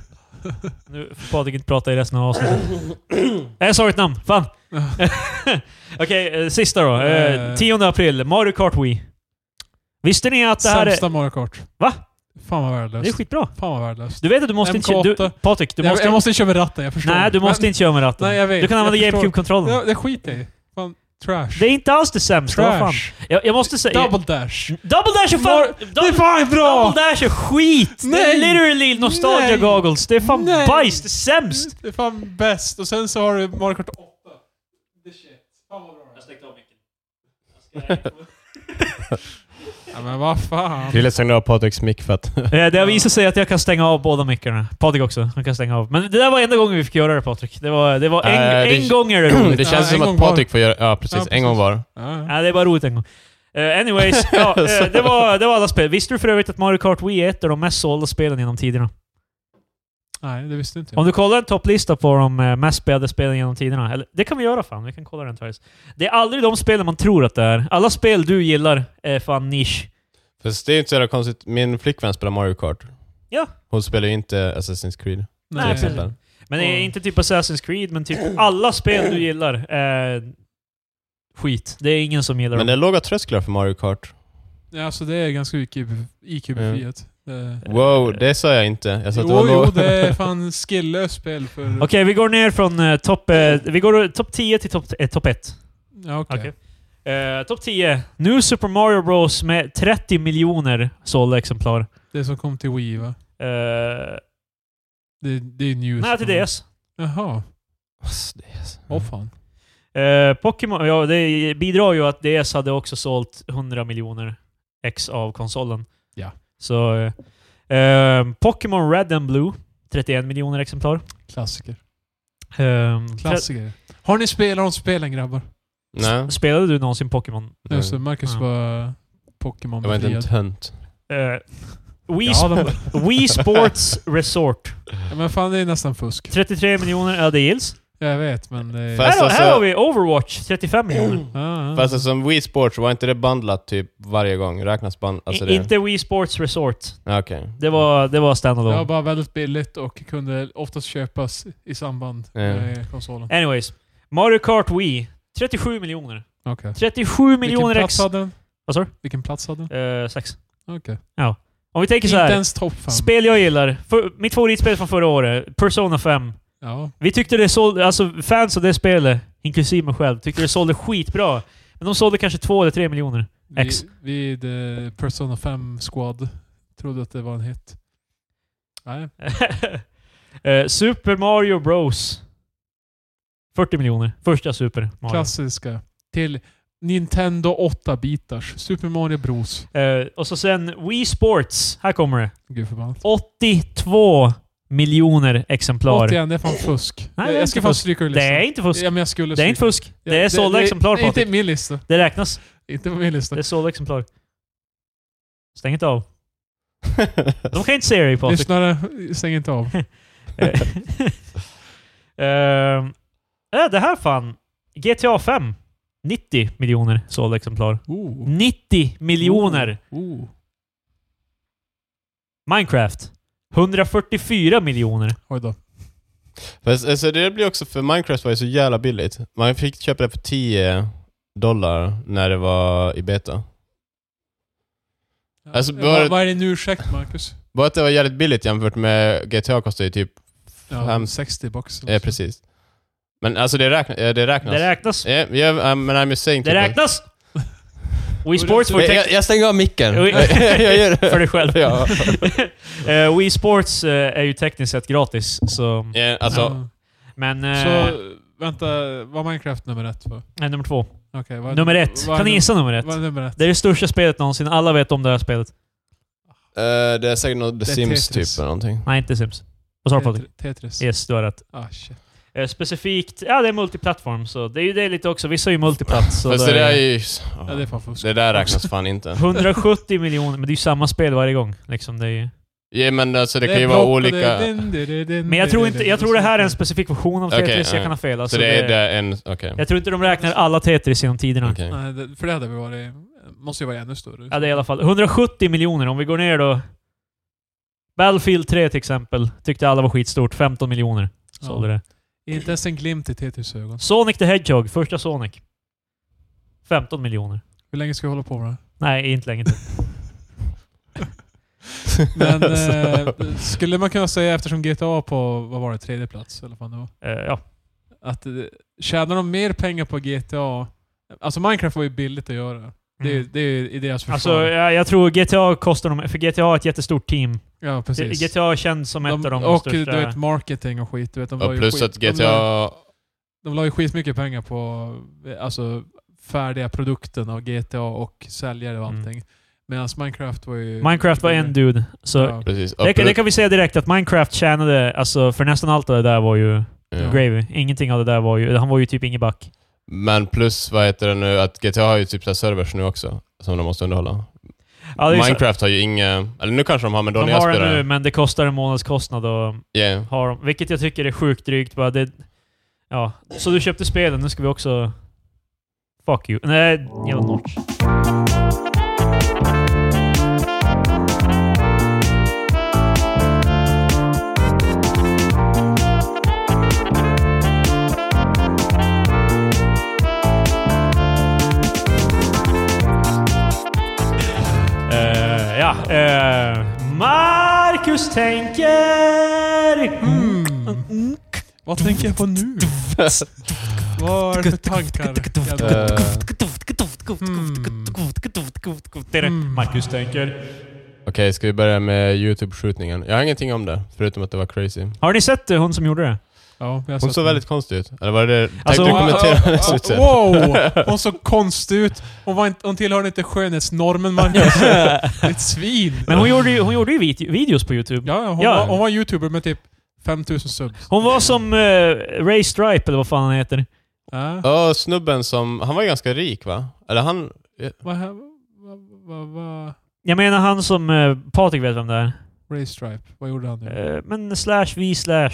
Speaker 1: Nu får Patrik inte prata i resten av avsnittet. Nej, jag sa ditt namn. Fan! Okej, eh, sista då. Eh,
Speaker 3: Eh.
Speaker 1: 10 april, Mario Kart Wii. Visste ni att det här är...
Speaker 3: Sämsta Mario Kart.
Speaker 1: Va?
Speaker 3: Fan vad
Speaker 1: Det är
Speaker 3: värdelöst.
Speaker 1: skitbra.
Speaker 3: Fan vad värdelöst.
Speaker 1: Du vet att du måste inte... Du,
Speaker 3: MK8.
Speaker 1: Patrik, du
Speaker 3: jag,
Speaker 1: måste...
Speaker 3: jag måste köra med ratten, jag förstår.
Speaker 1: nej, du måste inte köra med ratten.
Speaker 3: Nej, jag vet.
Speaker 1: du kan
Speaker 3: Jag
Speaker 1: använda
Speaker 3: förstår.
Speaker 1: GameCube-kontrollen.
Speaker 3: Det, det skiter jag i. Fan, trash.
Speaker 1: Det är inte alls det sämsta. Vad fan.
Speaker 3: trash.
Speaker 1: Jag, jag måste säga...
Speaker 3: Double dash.
Speaker 1: Double Dash är fan...
Speaker 3: Mar-
Speaker 1: Double,
Speaker 3: Det är fan bra!
Speaker 1: Double Dash är skit! Nej. Det är
Speaker 3: Nej.
Speaker 1: literally nostalgia
Speaker 3: Nej.
Speaker 1: goggles. Det är fan
Speaker 3: Nej.
Speaker 1: bajs. Det är sämst!
Speaker 3: Det är fan bäst. Och sen så har du Mario Kart 8. The shit. Fan vad bra det är. Ja, men vad fan.
Speaker 2: Krille stängde av Patriks mick för att...
Speaker 1: Eh, Det har visat sig att jag kan stänga av båda mickarna. Patrik också. Han kan stänga av. Men det där var enda gången vi fick göra det Patrik. Det var, det var en,
Speaker 2: Eh, det-
Speaker 1: en gång är det roligt.
Speaker 2: det känns
Speaker 3: en
Speaker 2: som
Speaker 3: gång
Speaker 2: att
Speaker 3: var.
Speaker 2: Patrik får göra... Ja, precis.
Speaker 3: Ja,
Speaker 2: En
Speaker 3: precis.
Speaker 2: gång var.
Speaker 3: Ja, ja.
Speaker 1: Nej, det är bara roligt en gång. Eh, anyways, ja, eh, det, var, det var alla spel. Visste du för övrigt att Mario Kart Wii är ett av de mest sålda spelen genom tiderna?
Speaker 3: Nej, det visste inte jag.
Speaker 1: Om du kollar en topplista på de eh, mest spelade spelen genom tiderna, eller det kan vi göra fan, vi kan kolla den twice. Det är aldrig de spelen man tror att det är. Alla spel du gillar är fan nisch.
Speaker 2: Fast det är ju inte så jävla konstigt. Min flickvän spelar Mario Kart.
Speaker 1: Ja.
Speaker 2: Hon spelar ju inte Assassin's Creed.
Speaker 1: Nej,
Speaker 2: till
Speaker 1: precis.
Speaker 2: exempel.
Speaker 1: Men det är
Speaker 3: Mm.
Speaker 1: inte typ Assassin's Creed, men typ alla spel du gillar är skit. Det är ingen som gillar
Speaker 2: Men det
Speaker 1: dem.
Speaker 2: är låga trösklar för Mario Kart.
Speaker 3: Ja, alltså det är ganska IQ- IQ-befriat. Det-
Speaker 2: Wow, det sa jag inte. Jag sa att det
Speaker 3: Jo,
Speaker 2: var
Speaker 3: jo,
Speaker 2: låg-
Speaker 3: det är fan skillöst spel för...
Speaker 1: Okej, vi går ner från eh, topp eh, vi går topp 10 till topp eh, topp 1.
Speaker 3: Ja, okej.
Speaker 1: Okej. Eh, topp 10. New Super Mario Bros med 30 miljoner sålda exemplar.
Speaker 3: Det som kom till Wii, va?
Speaker 1: Eh,
Speaker 3: Det, det är news.
Speaker 1: nej, till Mm. DS.
Speaker 3: Jaha.
Speaker 2: Asså, det är så-
Speaker 3: Åh fan.
Speaker 1: Eh, Pokémon, ja det bidrar ju att DS hade också sålt 100 miljoner ex av konsolen.
Speaker 3: Ja.
Speaker 1: Så... eh, eh, Pokémon Red and Blue, 31 miljoner exemplar.
Speaker 3: Klassiker.
Speaker 1: Ehm,
Speaker 3: Klassiker. Har ni spelat de spelen, grabbar?
Speaker 2: Nej.
Speaker 1: tre- Spelade du någonsin Pokémon?
Speaker 3: Nej. Så Marcus
Speaker 1: Mm. Ja.
Speaker 3: var eh, Pokémon
Speaker 2: Jag var inte en
Speaker 3: befriad.
Speaker 2: tönt.
Speaker 1: Eh, Wii,
Speaker 3: Ja, de,
Speaker 1: Wii Sports Resort,
Speaker 3: ja, men fan det är nästan fusk.
Speaker 1: 33 miljoner. Ja, det gills.
Speaker 3: Jag vet, men eh, det är...
Speaker 2: Fast-
Speaker 1: här, har-
Speaker 2: alltså-
Speaker 1: här har vi Overwatch, 35 miljoner.
Speaker 3: Ah, ah.
Speaker 2: Fast alltså, som Wii Sports, var inte det bandlat typ varje gång? Räknas band... Alltså det...
Speaker 1: I- Inte Wii Sports Resort.
Speaker 2: Ja, Okej.
Speaker 1: Det var, det var
Speaker 3: det
Speaker 1: standalone.
Speaker 3: var bara väldigt billigt och kunde oftast köpas i samband
Speaker 2: Ja.
Speaker 3: med konsolen.
Speaker 1: Anyways. Mario Kart Wii, 37 miljoner.
Speaker 3: Okej.
Speaker 1: 37 miljoner
Speaker 3: Vilken
Speaker 1: ex...
Speaker 3: plats hade den?
Speaker 1: Vad sa du?
Speaker 3: Vilken plats hade den?
Speaker 1: Eh, sex.
Speaker 3: Okej.
Speaker 1: Om vi tänker så
Speaker 3: Inte
Speaker 1: här.
Speaker 3: ens topp fem.
Speaker 1: Spel jag gillar. För, mitt favoritspel från förra året, Persona 5.
Speaker 3: ja.
Speaker 1: Vi tyckte det sålde, alltså fans av det spelet, inklusive mig själv, tyckte det sålde skitbra. Men de sålde kanske två eller tre miljoner. X.
Speaker 3: Vi, vid eh, Persona 5 Squad trodde att det var en hit. Nej.
Speaker 1: Eh, Super Mario Bros. 40 miljoner. Första Super Mario.
Speaker 3: Klassiska. Till Nintendo 8-bitars. Super Mario Bros.
Speaker 1: Eh, och så sen Wii Sports. Här kommer det.
Speaker 3: Gud förbannat.
Speaker 1: 82 miljoner exemplar.
Speaker 3: Återigen, det är fan fusk.
Speaker 1: Nej,
Speaker 3: jag,
Speaker 1: det är
Speaker 3: jag ska
Speaker 1: inte
Speaker 3: fan
Speaker 1: fusk.
Speaker 3: stryka ur
Speaker 1: Det
Speaker 3: listan.
Speaker 1: är inte fusk.
Speaker 3: Ja, men jag skulle
Speaker 1: Det är inte
Speaker 3: stryka-
Speaker 1: fusk. Det är sålda exemplar,
Speaker 3: det, Inte
Speaker 1: Patrik.
Speaker 3: i min lista.
Speaker 1: Det räknas.
Speaker 3: Inte på min lista.
Speaker 1: Det är sålda exemplar. Stäng inte av. De kan inte se dig Patrik.
Speaker 3: Lyssnare, stäng inte av.
Speaker 1: Ehm, äh, det här fan. GTA 5. 90 miljoner sålda exemplar.
Speaker 3: Oh.
Speaker 1: 90 miljoner!
Speaker 3: Oh.
Speaker 1: Minecraft. 144 miljoner.
Speaker 3: Oj då.
Speaker 2: Fast alltså, det blir också, för Minecraft var ju så jävla billigt. Man fick köpa det för 10 dollar när det var i beta. Alltså,
Speaker 3: Ja,
Speaker 2: bara-
Speaker 3: vad, vad är din ursäkt, Marcus?
Speaker 2: Bara att det var jävligt billigt jämfört med GTA kostar ju typ...
Speaker 3: Ja,
Speaker 2: Fem-
Speaker 3: 60 bucks.
Speaker 2: Ja, precis. Men alltså det, räkna, eh, det räknas.
Speaker 1: Det räknas.
Speaker 2: Ja, ja, men I'm just saying
Speaker 1: Det
Speaker 2: typ att-
Speaker 1: räknas! Wii Sports får
Speaker 2: Jag,
Speaker 1: text-
Speaker 2: jag, jag stänger av micken.
Speaker 1: Oj.
Speaker 2: jag gör det.
Speaker 1: För dig själv.
Speaker 2: Ja.
Speaker 1: Eh, Wii Sports eh, är ju tekniskt sett gratis, så...
Speaker 2: Ja, alltså,
Speaker 3: Ja.
Speaker 1: Men... eh,
Speaker 3: Så vänta, var Minecraft nummer ett? Va?
Speaker 1: nej, nummer två.
Speaker 3: Okej, vad-
Speaker 1: nummer ett.
Speaker 3: vad är
Speaker 1: Kan ni
Speaker 3: num-
Speaker 1: gissa nummer ett?
Speaker 3: Vad är nummer ett?
Speaker 1: Det är det största spelet någonsin. Alla vet om det här spelet.
Speaker 2: eh, det är säkert något The
Speaker 3: Det är
Speaker 2: Sims
Speaker 3: Tetris.
Speaker 2: typ eller någonting.
Speaker 1: Nej, inte Sims. Vad sa du Patrik?
Speaker 3: Tetri- Tetris.
Speaker 1: Yes, du har rätt.
Speaker 3: Ah, shit.
Speaker 1: Eh, specifikt... Ja, det är multiplattform, så det är ju det lite också. Vissa är ju multiplatt, så...
Speaker 2: Fast
Speaker 1: då
Speaker 2: det där
Speaker 1: är
Speaker 2: är ju...
Speaker 3: Ja, det är fan fusk.
Speaker 2: Det där räknas fan inte.
Speaker 1: 170 miljoner, men det är ju samma spel varje gång. Liksom, det är ju...
Speaker 2: Ja, men alltså det,
Speaker 3: är
Speaker 2: kan ju vara
Speaker 3: block och det
Speaker 2: olika...
Speaker 3: är din, din, din, din,
Speaker 1: Men jag tror, inte, jag tror det här är en
Speaker 3: din.
Speaker 1: specifik version av
Speaker 2: Okej,
Speaker 1: Tetris, jag
Speaker 2: ja.
Speaker 1: kan ha fel. Alltså,
Speaker 2: så det är
Speaker 1: det,
Speaker 2: det en... Okej.
Speaker 1: jag tror inte de räknar alla Tetris genom tiderna.
Speaker 2: Okej.
Speaker 3: Nej, det, för det hade väl varit... Måste ju vara ännu större.
Speaker 1: Ja, det är i alla fall 170 miljoner. Om vi går ner då. Battlefield 3 till exempel, tyckte alla var skitstort. 15 miljoner sålde det.
Speaker 3: Inte ens en glimt i Tetris ögon.
Speaker 1: Sonic the Hedgehog, första Sonic. 15 miljoner.
Speaker 3: Hur länge ska vi hålla på med det?
Speaker 1: Nej, inte länge till.
Speaker 3: Men
Speaker 2: Så-
Speaker 3: eh, skulle man kunna säga, eftersom GTA på, vad var det, tredje plats eller vad det var?
Speaker 1: Eh, ja.
Speaker 3: Att eh, tjänar de mer pengar på GTA... Alltså Minecraft var ju billigt att göra. Det, är-
Speaker 1: Mm.
Speaker 3: det är ju i deras försvar.
Speaker 1: Alltså, jag, jag tror GTA kostar dem... För GTA har ett jättestort team.
Speaker 3: ja, precis.
Speaker 1: GTA känns som ett av de
Speaker 3: och
Speaker 1: största...
Speaker 3: du vet, marketing och skit. Du vet, de la
Speaker 2: Och
Speaker 3: ju
Speaker 2: plus
Speaker 3: skit,
Speaker 2: att
Speaker 3: De la,
Speaker 2: GTA...
Speaker 3: de la ju skitmycket pengar på eh, alltså, färdiga produkten av GTA och säljare och
Speaker 1: Mm.
Speaker 3: allting. Medan Minecraft var ju...
Speaker 1: Minecraft var en dude. Så
Speaker 3: Mm. Ja.
Speaker 2: Precis. Och
Speaker 1: det, kan- det
Speaker 2: plus-
Speaker 1: kan vi säga direkt att Minecraft tjänade... Alltså, för nästan allt av det där var ju
Speaker 2: ja.
Speaker 1: gravy. Ingenting av det där var ju... Han var ju typ ingen back.
Speaker 2: Men plus, vad heter det nu, att GTA har ju typ så här servers nu också, som de måste underhålla.
Speaker 1: Ja, det är ju så-
Speaker 2: Minecraft har ju inga... Eller nu kanske de har, men då
Speaker 1: De
Speaker 2: när jag
Speaker 1: har den
Speaker 2: spelade...
Speaker 1: nu, men det kostar en månadskostnad och
Speaker 2: Yeah.
Speaker 1: har dem. Vilket jag tycker är sjukt drygt. Bara det, ja. Så du köpte spelen, nu ska vi också... Fuck you. Nej, jävla notch. Marcus tänker. Mm. Mm.
Speaker 3: Vad tänker jag på nu? Vad är det för tankar? jävlar?
Speaker 2: Eh,
Speaker 3: Mm.
Speaker 1: Marcus tänker.
Speaker 2: Okej, ska vi börja med YouTube-skjutningen? Jag har ingenting om det, förutom att det var crazy.
Speaker 1: Har ni sett det, hon som gjorde det?
Speaker 3: Ja, jag har
Speaker 2: Hon
Speaker 3: sett
Speaker 2: såg
Speaker 3: den.
Speaker 2: väldigt konstig ut. Eller var det det?
Speaker 1: Alltså,
Speaker 2: Tänkte du
Speaker 1: hon-
Speaker 2: kommentera det?
Speaker 3: Ah,
Speaker 2: Sutsen?
Speaker 3: Wow! Hon såg konstig ut. Hon, var inte, hon tillhörde inte skönhetsnormen Marcus. Ett svin.
Speaker 1: Men hon gjorde ju, hon gjorde ju vid- videos på YouTube.
Speaker 3: Ja, ja, hon,
Speaker 1: Ja.
Speaker 3: Var, hon var youtuber med typ 5000 subs.
Speaker 1: Hon var som eh, Ray Stripe, eller vad fan han heter.
Speaker 3: Äh,
Speaker 2: Ja, snubben som... Han var ju ganska rik va? Eller han...
Speaker 3: vad hä- vad- vad- vad-
Speaker 1: Jag menar han som... Eh, Patrik vet vem det är.
Speaker 3: Ray Stripe, vad gjorde han nu?
Speaker 1: Eh, men slash, vi slash.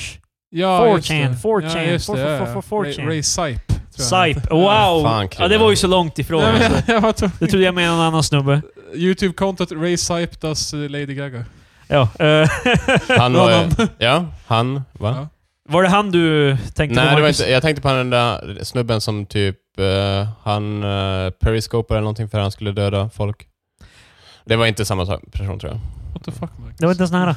Speaker 3: Ja, just
Speaker 1: 4chan,
Speaker 3: det.
Speaker 1: 4chan,
Speaker 3: ja, just det.
Speaker 1: 4-
Speaker 3: ja,
Speaker 1: 4-
Speaker 3: ja.
Speaker 1: 4chan.
Speaker 3: Ray, Ray Sype. tror jag han
Speaker 1: Sype.
Speaker 3: heter.
Speaker 1: Wow!
Speaker 2: Fan,
Speaker 1: ja, det var ju så långt ifrån.
Speaker 3: Nej,
Speaker 1: alltså.
Speaker 3: men, jag var tvungen-
Speaker 1: Jag trodde jag menade en annan snubbe.
Speaker 3: Youtube-kontot Ray Sype does eh, Lady Gaga.
Speaker 1: Ja. eh,
Speaker 2: Han var
Speaker 3: Bra namn.
Speaker 2: ju... Ja, han va?
Speaker 3: Ja.
Speaker 1: var det han du tänkte på,
Speaker 2: Nej, det var
Speaker 1: Marcus?
Speaker 2: inte, jag tänkte på den där snubben som typ... eh, han uh, periscopade eller någonting för att han skulle döda folk. Det var inte samma sak- person tror jag.
Speaker 3: What the fuck Marcus?
Speaker 1: Det var inte ens nära.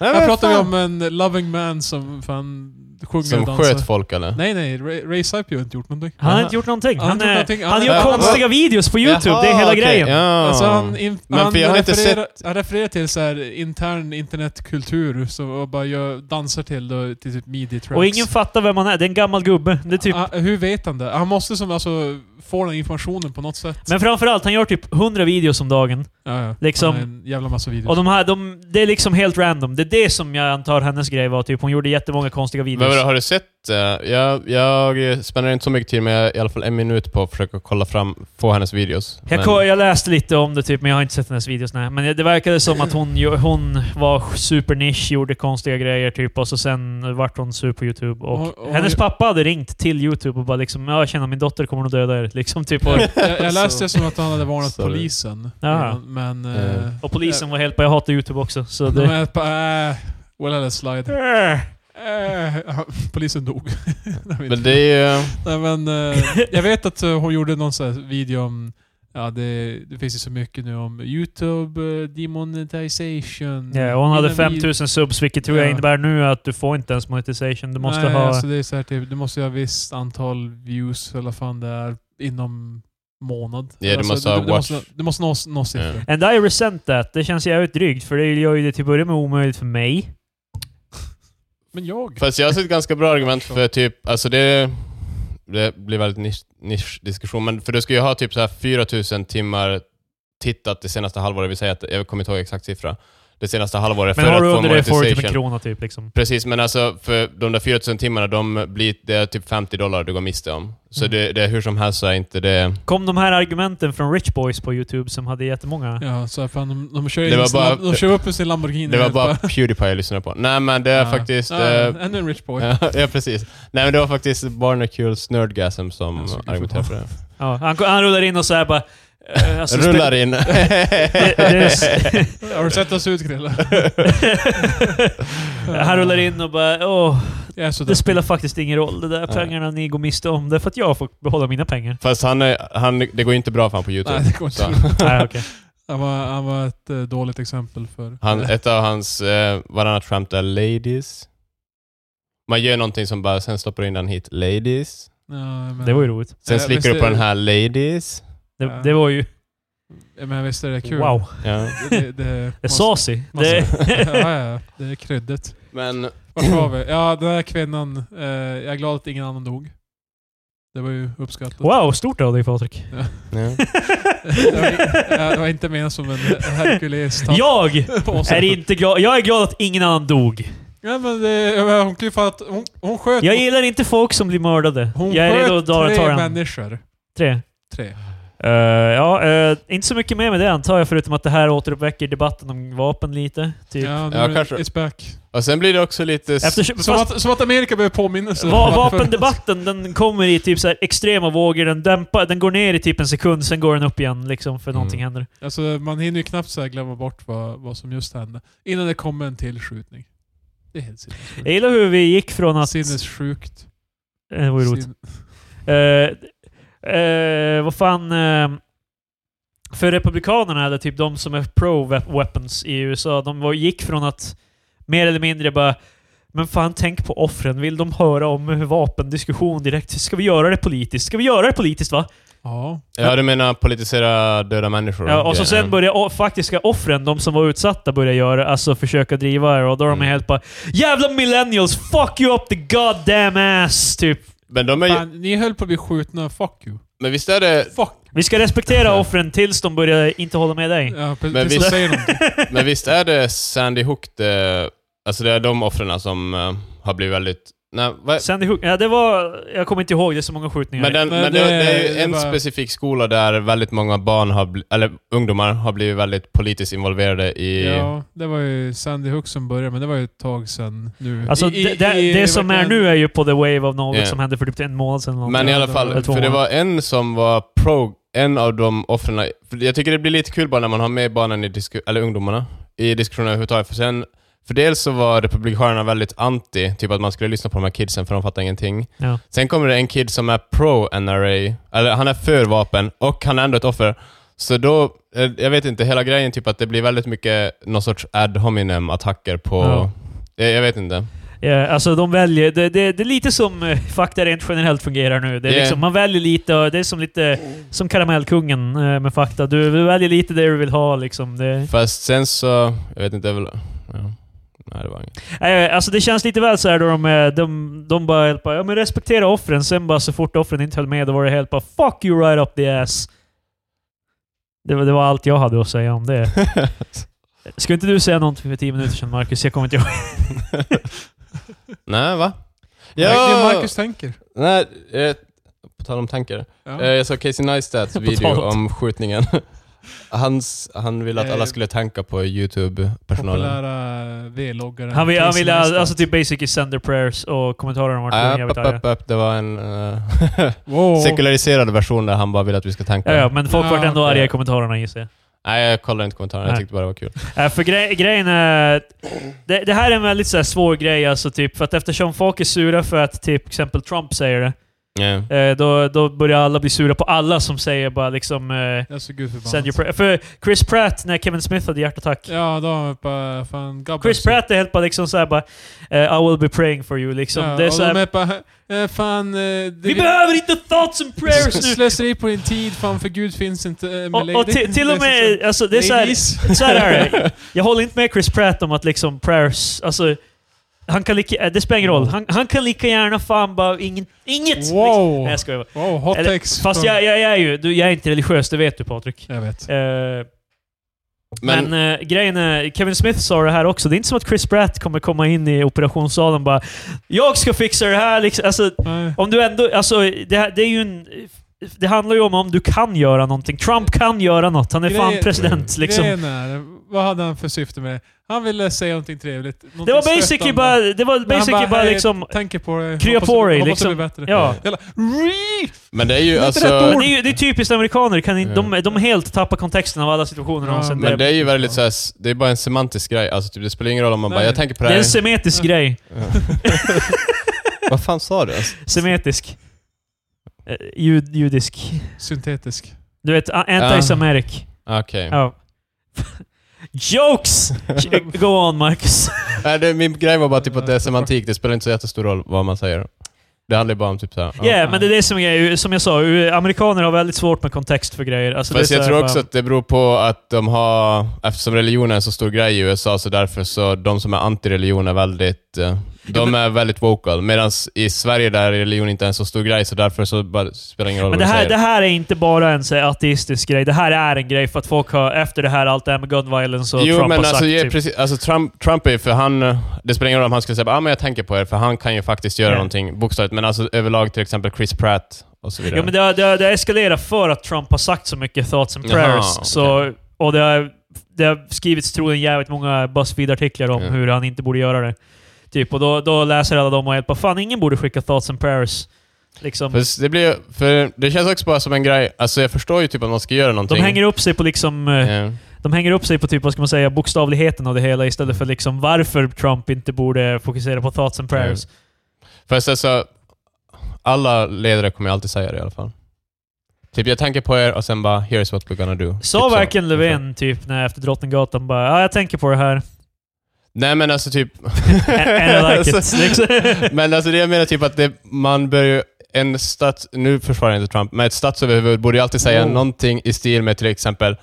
Speaker 2: Nej,
Speaker 3: Här
Speaker 2: men
Speaker 3: pratar vi
Speaker 2: fan.
Speaker 3: om en loving man som fan sjunger och
Speaker 2: Som
Speaker 3: dansar.
Speaker 2: sköt folk eller?
Speaker 3: Nej, nej. Ray, Ray Sype har inte gjort någonting.
Speaker 1: Han har
Speaker 2: Aha.
Speaker 1: inte gjort någonting.
Speaker 3: Han har
Speaker 1: Han,
Speaker 3: inte gjort
Speaker 1: eh,
Speaker 3: någonting.
Speaker 1: han gör
Speaker 3: Han-
Speaker 1: konstiga videos på YouTube. det är hela
Speaker 2: okej,
Speaker 1: grejen.
Speaker 2: Ja.
Speaker 3: Alltså han, in,
Speaker 2: Ah. Men
Speaker 3: han,
Speaker 2: för jag har inte
Speaker 3: refererar, han refererar till så här intern internetkultur så, och bara gör, dansar till, då, till typ midi-tracks.
Speaker 1: Och ingen fattar vem han är. Det är en gammal gubbe. Det är typ...
Speaker 3: Ah, hur vet han det? Han måste som alltså få den informationen på något sätt.
Speaker 1: Men framförallt, han gör typ 100 videos om dagen.
Speaker 3: ja, ja.
Speaker 1: liksom-
Speaker 3: Han har en jävla massa videos.
Speaker 1: Och de här, de, det är liksom helt random. Det är det som jag antar hennes grej var. Typ, hon gjorde jättemånga konstiga
Speaker 2: Men vadå,
Speaker 1: videos.
Speaker 2: har du sett? eh, jag, jag spenderar inte så mycket tid, men jag har i alla fall en minut på att försöka kolla fram, få hennes videos.
Speaker 1: Jag,
Speaker 2: Men-
Speaker 1: ko- jag läste lite om det typ, men jag har inte sett hennes videos. Nej. Men det verkade som att hon, ju- hon var supernisch, gjorde konstiga grejer typ, och så sen vart hon sur på YouTube. Och
Speaker 3: Och- och-
Speaker 1: hennes pappa hade ringt till YouTube och bara liksom “Jag känner min dotter kommer nog döda er”. Liksom, typ. och,
Speaker 3: jag, jag läste det som att han hade varnat
Speaker 2: Alltså, Sorry.
Speaker 3: polisen.
Speaker 1: Jaha.
Speaker 3: Men...
Speaker 2: Eh.
Speaker 3: eh,
Speaker 1: och polisen var helt bara “Jag hatar YouTube också”. Så
Speaker 3: De
Speaker 1: det,
Speaker 3: är på... Äh, well, eller slide. Eh, polisen dog. Nej, men-
Speaker 2: Men det är ju...
Speaker 3: Nej, men, eh, jag vet att eh, hon gjorde någon sån här video om... Ja, det, det finns ju så mycket nu om YouTube eh, demonetization.
Speaker 1: Ja, och hon hade
Speaker 3: Innan
Speaker 1: 5000 subs, vilket tror jag
Speaker 3: Ja.
Speaker 1: innebär nu att du får inte ens monetization. Du måste
Speaker 3: Nej,
Speaker 1: ha...
Speaker 3: Alltså det är så här, typ, du måste ha visst antal views eller vad fan det är inom månad. Alltså,
Speaker 2: Ja, du måste ha
Speaker 3: du, du,
Speaker 2: watch.
Speaker 3: måste, du måste nå, nå siffror.
Speaker 2: Ja.
Speaker 1: And I resent that. Det känns jävligt drygt, för det gör ju det till att börja med omöjligt för mig.
Speaker 3: Men jag...
Speaker 2: Fast jag har sett ganska bra argument för typ, alltså det... Det blir väldigt nisch, nischdiskussion, men för du ska ju ha typ så här 4000 timmar tittat det senaste halvåret, vi säger att, jag kommer inte ihåg exakt siffra, det senaste halvåret
Speaker 1: Men
Speaker 2: för
Speaker 1: har du
Speaker 2: att få
Speaker 1: under det får du typ en
Speaker 2: monetization.
Speaker 1: krona typ. Liksom.
Speaker 2: Precis, men alltså för de där 4000 timmarna, de blir, det är typ 50 dollar du går miste om. Så
Speaker 1: Mm.
Speaker 2: det, det är hur som helst så är inte det...
Speaker 1: Kom de här argumenten från Rich Boys på YouTube som hade jättemånga...
Speaker 3: Ja, så här, fan, de, de, kör
Speaker 2: Det
Speaker 3: in
Speaker 2: var
Speaker 3: sin
Speaker 2: bara-
Speaker 3: lam- de kör upp med sin Lamborghini.
Speaker 2: Det var bara Pewdiepie jag lyssnade på. Nej men det är
Speaker 3: Ja.
Speaker 2: faktiskt...
Speaker 3: Ja,
Speaker 2: eh,
Speaker 3: Ännu en rich boy.
Speaker 2: ja, precis. Nej men det var faktiskt Barnacules Nerdgasm som
Speaker 3: Jag såg det
Speaker 2: argumenterade för det.
Speaker 1: Ja, han, han rullar in och så här bara... eh, alltså,
Speaker 2: Rullar in.
Speaker 1: Det, det,
Speaker 3: Har du sett oss ut Krille?
Speaker 1: han rullar in och bara åh,
Speaker 3: Jag är så
Speaker 1: det
Speaker 3: dum.
Speaker 1: spelar faktiskt ingen roll. De där
Speaker 2: Nej.
Speaker 1: pengarna ni går miste om, det är för att jag får behålla mina pengar.
Speaker 2: Fast han, är, han, det går ju inte bra för han på YouTube.
Speaker 3: Nej, det går inte.
Speaker 2: Så.
Speaker 1: Nej, okej.
Speaker 3: Han var, han var ett eh, dåligt exempel för...
Speaker 2: Han, ett av hans eh, varannat skämt är ladies. Man gör någonting som bara, sen stoppar du in den hit, ladies.
Speaker 3: Ja, men,
Speaker 1: Det var ju roligt.
Speaker 2: Sen
Speaker 3: Eh,
Speaker 2: slickar
Speaker 3: visst
Speaker 2: du på
Speaker 3: är-
Speaker 2: den här, ladies.
Speaker 1: Det, det var ju...
Speaker 3: Ja, Men visst är det kul?
Speaker 1: Wow.
Speaker 2: Ja.
Speaker 3: Det, det,
Speaker 1: Det är saucy. Det,
Speaker 3: Massa- ja, ja, det är kryddet.
Speaker 2: Men
Speaker 3: Vart var vi? Ja, den här kvinnan. Eh, jag är glad att ingen annan dog. Det var ju uppskattat.
Speaker 1: wow, stort av dig Patrik.
Speaker 3: Ja.
Speaker 2: Ja.
Speaker 3: Det, var, ja, det var inte menat som en herkules
Speaker 1: Jag är inte glad. Jag är glad att ingen annan dog.
Speaker 3: ja, men det, jag menar, hon kan ju fan att... Hon, hon sköt...
Speaker 1: Jag gillar inte folk som blir mördade.
Speaker 3: hon
Speaker 1: jag är redo att
Speaker 3: sköt
Speaker 1: dra- ta
Speaker 3: tre
Speaker 1: den.
Speaker 3: människor.
Speaker 1: Tre.
Speaker 3: Tre.
Speaker 1: Eh, ja, eh, inte så mycket mer med det antar jag, förutom att det här återuppväcker debatten om vapen lite. Typ.
Speaker 3: Ja, nu
Speaker 2: Ja,
Speaker 3: är det-
Speaker 2: kanske.
Speaker 3: It's back.
Speaker 2: och sen blir det också lite... s-
Speaker 1: Eftersom,
Speaker 3: Som
Speaker 1: fast,
Speaker 3: att, som att Amerika behöver påminnelse.
Speaker 1: va, vapendebatten den kommer i typ så här extrema vågor, den dämpar, den går ner i typ en sekund, sen går den upp igen liksom för
Speaker 2: Mm.
Speaker 1: någonting händer.
Speaker 3: Alltså, man hinner ju knappt så här glömma bort vad, vad som just hände. Innan det kommer en till skjutning. Det är helt sinnessjukt.
Speaker 1: Jag gillar hur vi gick från att...
Speaker 3: Sinnessjukt.
Speaker 1: Eh, det var ju roligt.
Speaker 3: Sin-
Speaker 1: Eh, eh, vad fan... eh, för republikanerna, eller typ de som är pro-weapons i USA, de var, gick från att mer eller mindre bara men fan, tänk på offren. Vill de höra om vapendiskussion direkt? Ska vi göra det politiskt? Ska vi göra det politiskt va?
Speaker 3: Ja.
Speaker 2: Ja, du menar politisera döda människor?
Speaker 1: Ja, och så
Speaker 2: grejer.
Speaker 1: sen börjar o- faktiska offren, de som var utsatta, börja göra, alltså försöka driva det. Och då är de
Speaker 2: Mm.
Speaker 1: helt bara Jävla millennials! Fuck you up the goddamn ass! Typ.
Speaker 2: Men de är ju,
Speaker 3: Fan, ni höll på att bli skjutna. Fuck you.
Speaker 2: Men visst är det...
Speaker 3: Fuck.
Speaker 1: Vi ska respektera offren tills de börjar inte hålla med dig.
Speaker 3: Ja,
Speaker 2: Men
Speaker 3: men
Speaker 2: vi-
Speaker 3: vi säger någonting.
Speaker 2: Men visst är det Sandy Hook det... Alltså det är de offren som eh, har blivit väldigt... Nej, vad,
Speaker 1: Sandy Hook, ja det var... Jag kommer inte ihåg, det är så många skjutningar.
Speaker 2: men den, men
Speaker 3: Men
Speaker 2: det,
Speaker 3: det-
Speaker 2: det är ju
Speaker 3: det
Speaker 2: en
Speaker 3: var-
Speaker 2: specifik skola där väldigt många barn har bli, eller ungdomar har blivit väldigt politiskt involverade i...
Speaker 3: Ja, det var ju Sandy Hook som började, men det var ju ett tag sedan nu.
Speaker 1: Alltså
Speaker 3: I- i-
Speaker 1: det, det,
Speaker 3: i-
Speaker 1: det som är
Speaker 3: verkligen-
Speaker 1: nu är ju på the wave of knowledge
Speaker 2: Ja.
Speaker 1: som hände för typ en månad sedan. eller någonting.
Speaker 2: Men i alla
Speaker 3: det
Speaker 2: fall,
Speaker 1: var två
Speaker 2: för det
Speaker 1: år.
Speaker 2: var en som var pro, en av de offren. för Jag tycker det blir lite kul bara när man har med barnen, i disku, eller ungdomarna, i diskussionen överhuvudtaget. För sen, för dels så var republikanerna väldigt anti, typ att man skulle lyssna på de här kidsen för de fattar ingenting.
Speaker 1: Ja.
Speaker 2: Sen kommer det en kid som är pro NRA, eller han är för vapen och han är ändå ett offer. Så då, eh, jag vet inte, hela grejen typ att det blir väldigt mycket någon sorts ad hominem attacker på...
Speaker 1: Ja.
Speaker 2: Eh, Jag vet inte.
Speaker 1: Ja, alltså de väljer... Det, det, det är lite som eh, fakta rent generellt fungerar nu. Det är
Speaker 2: Ja.
Speaker 1: liksom, man väljer lite och det är som lite... Som Karamellkungen eh, med fakta. Du, du väljer lite det du vill ha liksom. Det,
Speaker 2: Fast sen så, jag vet inte, jag vill, ja. Nej, det var inget.
Speaker 1: nej, alltså det känns lite väl så här då de, eh, de, de bara helt bara, ja men respektera offren. Sen bara så fort offren inte höll med, då var det helt bara fuck you right up the ass. Det, var- det var allt jag hade att säga om det. Ska inte du säga någonting för tio minuter sedan Marcus? Jag kommer inte ihåg.
Speaker 2: Nej, va?
Speaker 3: Verkligen
Speaker 2: Ja!
Speaker 3: Marcus tänker.
Speaker 2: Nej, eh, på tal om tankar.
Speaker 3: Ja.
Speaker 2: Eh, jag såg Casey Neistats
Speaker 1: På
Speaker 2: video
Speaker 1: tal om-
Speaker 2: om skjutningen. Hans, han ville att alla
Speaker 3: Eh,
Speaker 2: skulle tanka på YouTube-personalen.
Speaker 3: Populära V-loggaren.
Speaker 1: Han ville, han
Speaker 3: Casey
Speaker 1: ville
Speaker 3: Neistat.
Speaker 1: alltså typ basic is sender prayers och kommentarer om vart
Speaker 2: Ah,
Speaker 1: jag
Speaker 2: upp,
Speaker 1: vet
Speaker 2: upp, upp, upp. Det var en eh,
Speaker 3: Wow.
Speaker 2: sekulariserad version där han bara ville att vi ska tanka.
Speaker 1: Ja, ja, men folk
Speaker 3: Ja,
Speaker 1: vart ändå
Speaker 2: okej.
Speaker 1: arga i kommentarerna gissar jag.
Speaker 2: Nej, jag kollade inte kommentarerna. Jag
Speaker 1: Nej.
Speaker 2: tyckte bara det var kul.
Speaker 1: Eh, För gre grejen är... Det, det här är en väldigt så här, svår grej alltså, typ, för att eftersom folk är sura för att typ exempel Trump säger det,
Speaker 2: Yeah.
Speaker 1: eh, då, då börjar alla bli sura på alla som säger bara liksom... Eh,
Speaker 3: Jag är så Alltså, gud
Speaker 1: send your
Speaker 3: förbannad.
Speaker 1: pra- för Chris Pratt, när Kevin Smith hade hjärtattack,
Speaker 3: Ja, då har vi bara fan gabbar.
Speaker 1: Chris Pratt är helt bara liksom såhär bara eh, I will be praying for you liksom.
Speaker 3: Ja,
Speaker 1: det är
Speaker 3: och
Speaker 1: så här,
Speaker 3: de är bara, eh, fan... eh, det-
Speaker 1: vi behöver inte thoughts and prayers nu!
Speaker 3: Slöseri på din tid, fan för gud finns inte. eh, med
Speaker 1: Och, och
Speaker 3: lady-
Speaker 1: till, till och med, alltså det är såhär...
Speaker 3: ladies.
Speaker 1: Så här är det. Jag håller inte med Chris Pratt om att liksom prayers, alltså... Han kan lika, eh, det spelar ingen roll. Han, han kan lika gärna fan bara ingen, inget! Liksom.
Speaker 3: Wow!
Speaker 1: Nej jag skojar bara.
Speaker 3: Wow, hot
Speaker 1: Eller-
Speaker 3: takes.
Speaker 1: Fast
Speaker 3: från-
Speaker 1: jag, jag, jag är ju, du, jag är inte religiös, det vet du Patrik.
Speaker 3: Jag vet.
Speaker 1: Eh,
Speaker 2: Men,
Speaker 1: men eh, grejen är, Kevin Smith sa det här också, det är inte som att Chris Pratt kommer komma in i operationssalen och bara “Jag ska fixa det här” liksom. Alltså,
Speaker 3: Nej.
Speaker 1: om du ändå, alltså det, här- det är ju en... Det handlar ju om om du kan göra någonting. Trump kan göra något. Han är fan
Speaker 3: Grejen- Mm.
Speaker 1: president liksom.
Speaker 3: Grejen är, vad hade han för syfte med det? Han ville säga någonting trevligt. Någonting
Speaker 1: Det var basically
Speaker 3: stöttande.
Speaker 1: bara, det var
Speaker 3: Men han
Speaker 1: basically bara
Speaker 3: "Hej,
Speaker 1: liksom...
Speaker 3: Tänker på det.
Speaker 1: krya
Speaker 3: hoppas-
Speaker 1: på dig",
Speaker 3: hoppas
Speaker 1: liksom.
Speaker 3: det blir bättre.
Speaker 1: Ja.
Speaker 3: Jävla, "Ree!"
Speaker 2: men det är ju
Speaker 3: Men det är
Speaker 1: Men
Speaker 2: alltså...
Speaker 3: rätt
Speaker 1: Det är, ju- det är typiskt amerikaner. Kan inte, de,
Speaker 2: Ja.
Speaker 1: de helt tappar kontexten av alla situationer
Speaker 3: Ja,
Speaker 1: någonsin.
Speaker 2: Men
Speaker 1: det,
Speaker 2: det är ju väldigt såhär, s- det är bara en semantisk grej. Alltså typ, det spelar ingen roll om man bara,
Speaker 3: Nej.
Speaker 2: jag tänker på
Speaker 1: det
Speaker 2: det
Speaker 1: är
Speaker 2: här.
Speaker 1: en semetisk grej.
Speaker 2: Vad fan sa du? Alltså?
Speaker 1: Semetisk. Eh, Jud, judisk.
Speaker 3: Syntetisk.
Speaker 1: Du vet, a- anti-semitic.
Speaker 2: Okej.
Speaker 1: Ja. Jokes! Go on, Marcus.
Speaker 2: Nej, det, min grej var bara typ att det är semantik, det spelar inte så jättestor roll vad man säger. Det handlar ju bara om typ såhär...
Speaker 1: Ja, yeah, men det är det som är Som jag sa, u- amerikaner har väldigt svårt med kontext för grejer. Alltså, det är
Speaker 2: Fast
Speaker 1: så
Speaker 2: jag
Speaker 1: här
Speaker 2: tror
Speaker 1: bara-
Speaker 2: också att det beror på att de har, eftersom religion är en så stor grej i USA, så därför så de som är anti-religion är väldigt, eh, de är väldigt vocal. Medan i Sverige där religion inte är en så stor grej, så därför så bara, spelar det ingen roll
Speaker 1: Men det
Speaker 2: vad du
Speaker 1: här, det
Speaker 2: säger.
Speaker 1: här är inte bara en så här, ateistisk grej. Det här är en grej för att folk har, efter det här, allt det här med gun violence och
Speaker 2: jo,
Speaker 1: Trump
Speaker 2: men
Speaker 1: har
Speaker 2: alltså,
Speaker 1: sagt,
Speaker 2: ja,
Speaker 1: typ.
Speaker 2: precis, alltså Trump, Trump är ju för han... eh, Det spelar ingen roll om han skulle säga ah, men jag tänker på er, för han kan ju faktiskt göra
Speaker 1: Ja.
Speaker 2: någonting bokstavligt. Men alltså överlag till exempel Chris Pratt och så vidare.
Speaker 1: Ja, men det, har- det, har- det har eskalerat för att Trump har sagt så mycket thoughts and
Speaker 2: Jaha,
Speaker 1: prayers.
Speaker 2: okej.
Speaker 1: så, och det har, det har skrivits troligen jävligt många Buzzfeed-artiklar om
Speaker 2: Ja.
Speaker 1: hur han inte borde göra det. Typ, och då, då läser alla dem och helt bara “Fan, ingen borde skicka thoughts and prayers”. Liksom.
Speaker 2: Fast det, blir, för det känns också bara som en grej, alltså jag förstår ju typ att man ska göra någonting.
Speaker 1: De hänger upp sig på liksom... eh,
Speaker 2: Ja.
Speaker 1: De hänger upp sig på typ, vad ska man säga, bokstavligheten av det hela istället för liksom varför Trump inte borde fokusera på thoughts and prayers.
Speaker 2: Fast alltså, alla ledare kommer ju alltid säga det i alla fall. Typ jag tänker på er och sen bara “Here's what we're gonna do”.
Speaker 1: Sa
Speaker 2: typ så.
Speaker 1: verkligen Löfven typ när, efter Drottninggatan bara “Ja, jag tänker på det här”?
Speaker 2: Nej men alltså typ...
Speaker 1: And I like it.
Speaker 2: Så-
Speaker 1: Liksom.
Speaker 2: Men alltså det jag menar typ att det, man bör ju... En stats... Nu försvarar jag inte Trump, men ett statsöverhuvud borde ju alltid säga
Speaker 3: Oh.
Speaker 2: någonting i stil med till exempel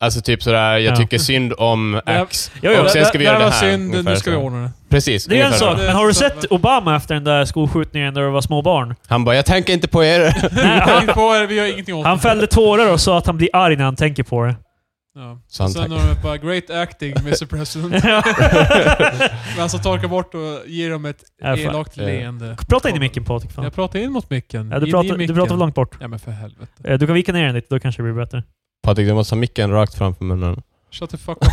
Speaker 2: Alltså typ sådär, jag
Speaker 1: Ja.
Speaker 2: tycker synd om X.
Speaker 1: Jo, jo.
Speaker 2: Och sen ska vi göra
Speaker 3: var
Speaker 2: det här,
Speaker 3: synd, nu
Speaker 2: ungefär
Speaker 3: ska vi
Speaker 2: så.
Speaker 3: ordna det.
Speaker 2: Precis.
Speaker 1: Det är en
Speaker 2: ungefär
Speaker 1: sak,
Speaker 2: så.
Speaker 1: men har du sett Obama efter den där skolskjutningen där det var små barn?
Speaker 2: Han bara, jag tänker inte på er.
Speaker 1: Nej, han,
Speaker 3: Tänk på er, vi gör ingenting åt
Speaker 1: han
Speaker 3: det.
Speaker 1: fällde tårar och sa att han blir arg när han tänker på det.
Speaker 3: Ja.
Speaker 2: Så han
Speaker 3: Sen
Speaker 2: tack.
Speaker 3: har de bara “Great acting, Mr President”. Men alltså torkar bort och ger dem ett
Speaker 1: Ja, Äh, fan.
Speaker 3: elakt
Speaker 2: Ja.
Speaker 3: leende.
Speaker 1: Prata in i micken Patrik. Fan.
Speaker 3: Jag pratar in mot micken.
Speaker 1: Ja, du,
Speaker 3: In i
Speaker 1: pratar, du
Speaker 3: micken.
Speaker 1: pratar för långt bort.
Speaker 3: Ja men för helvete.
Speaker 1: Eh, Du kan vika ner den lite, då kanske det blir bättre.
Speaker 2: Patrik, du måste ha micken rakt framför munnen.
Speaker 3: Shut the fuck up.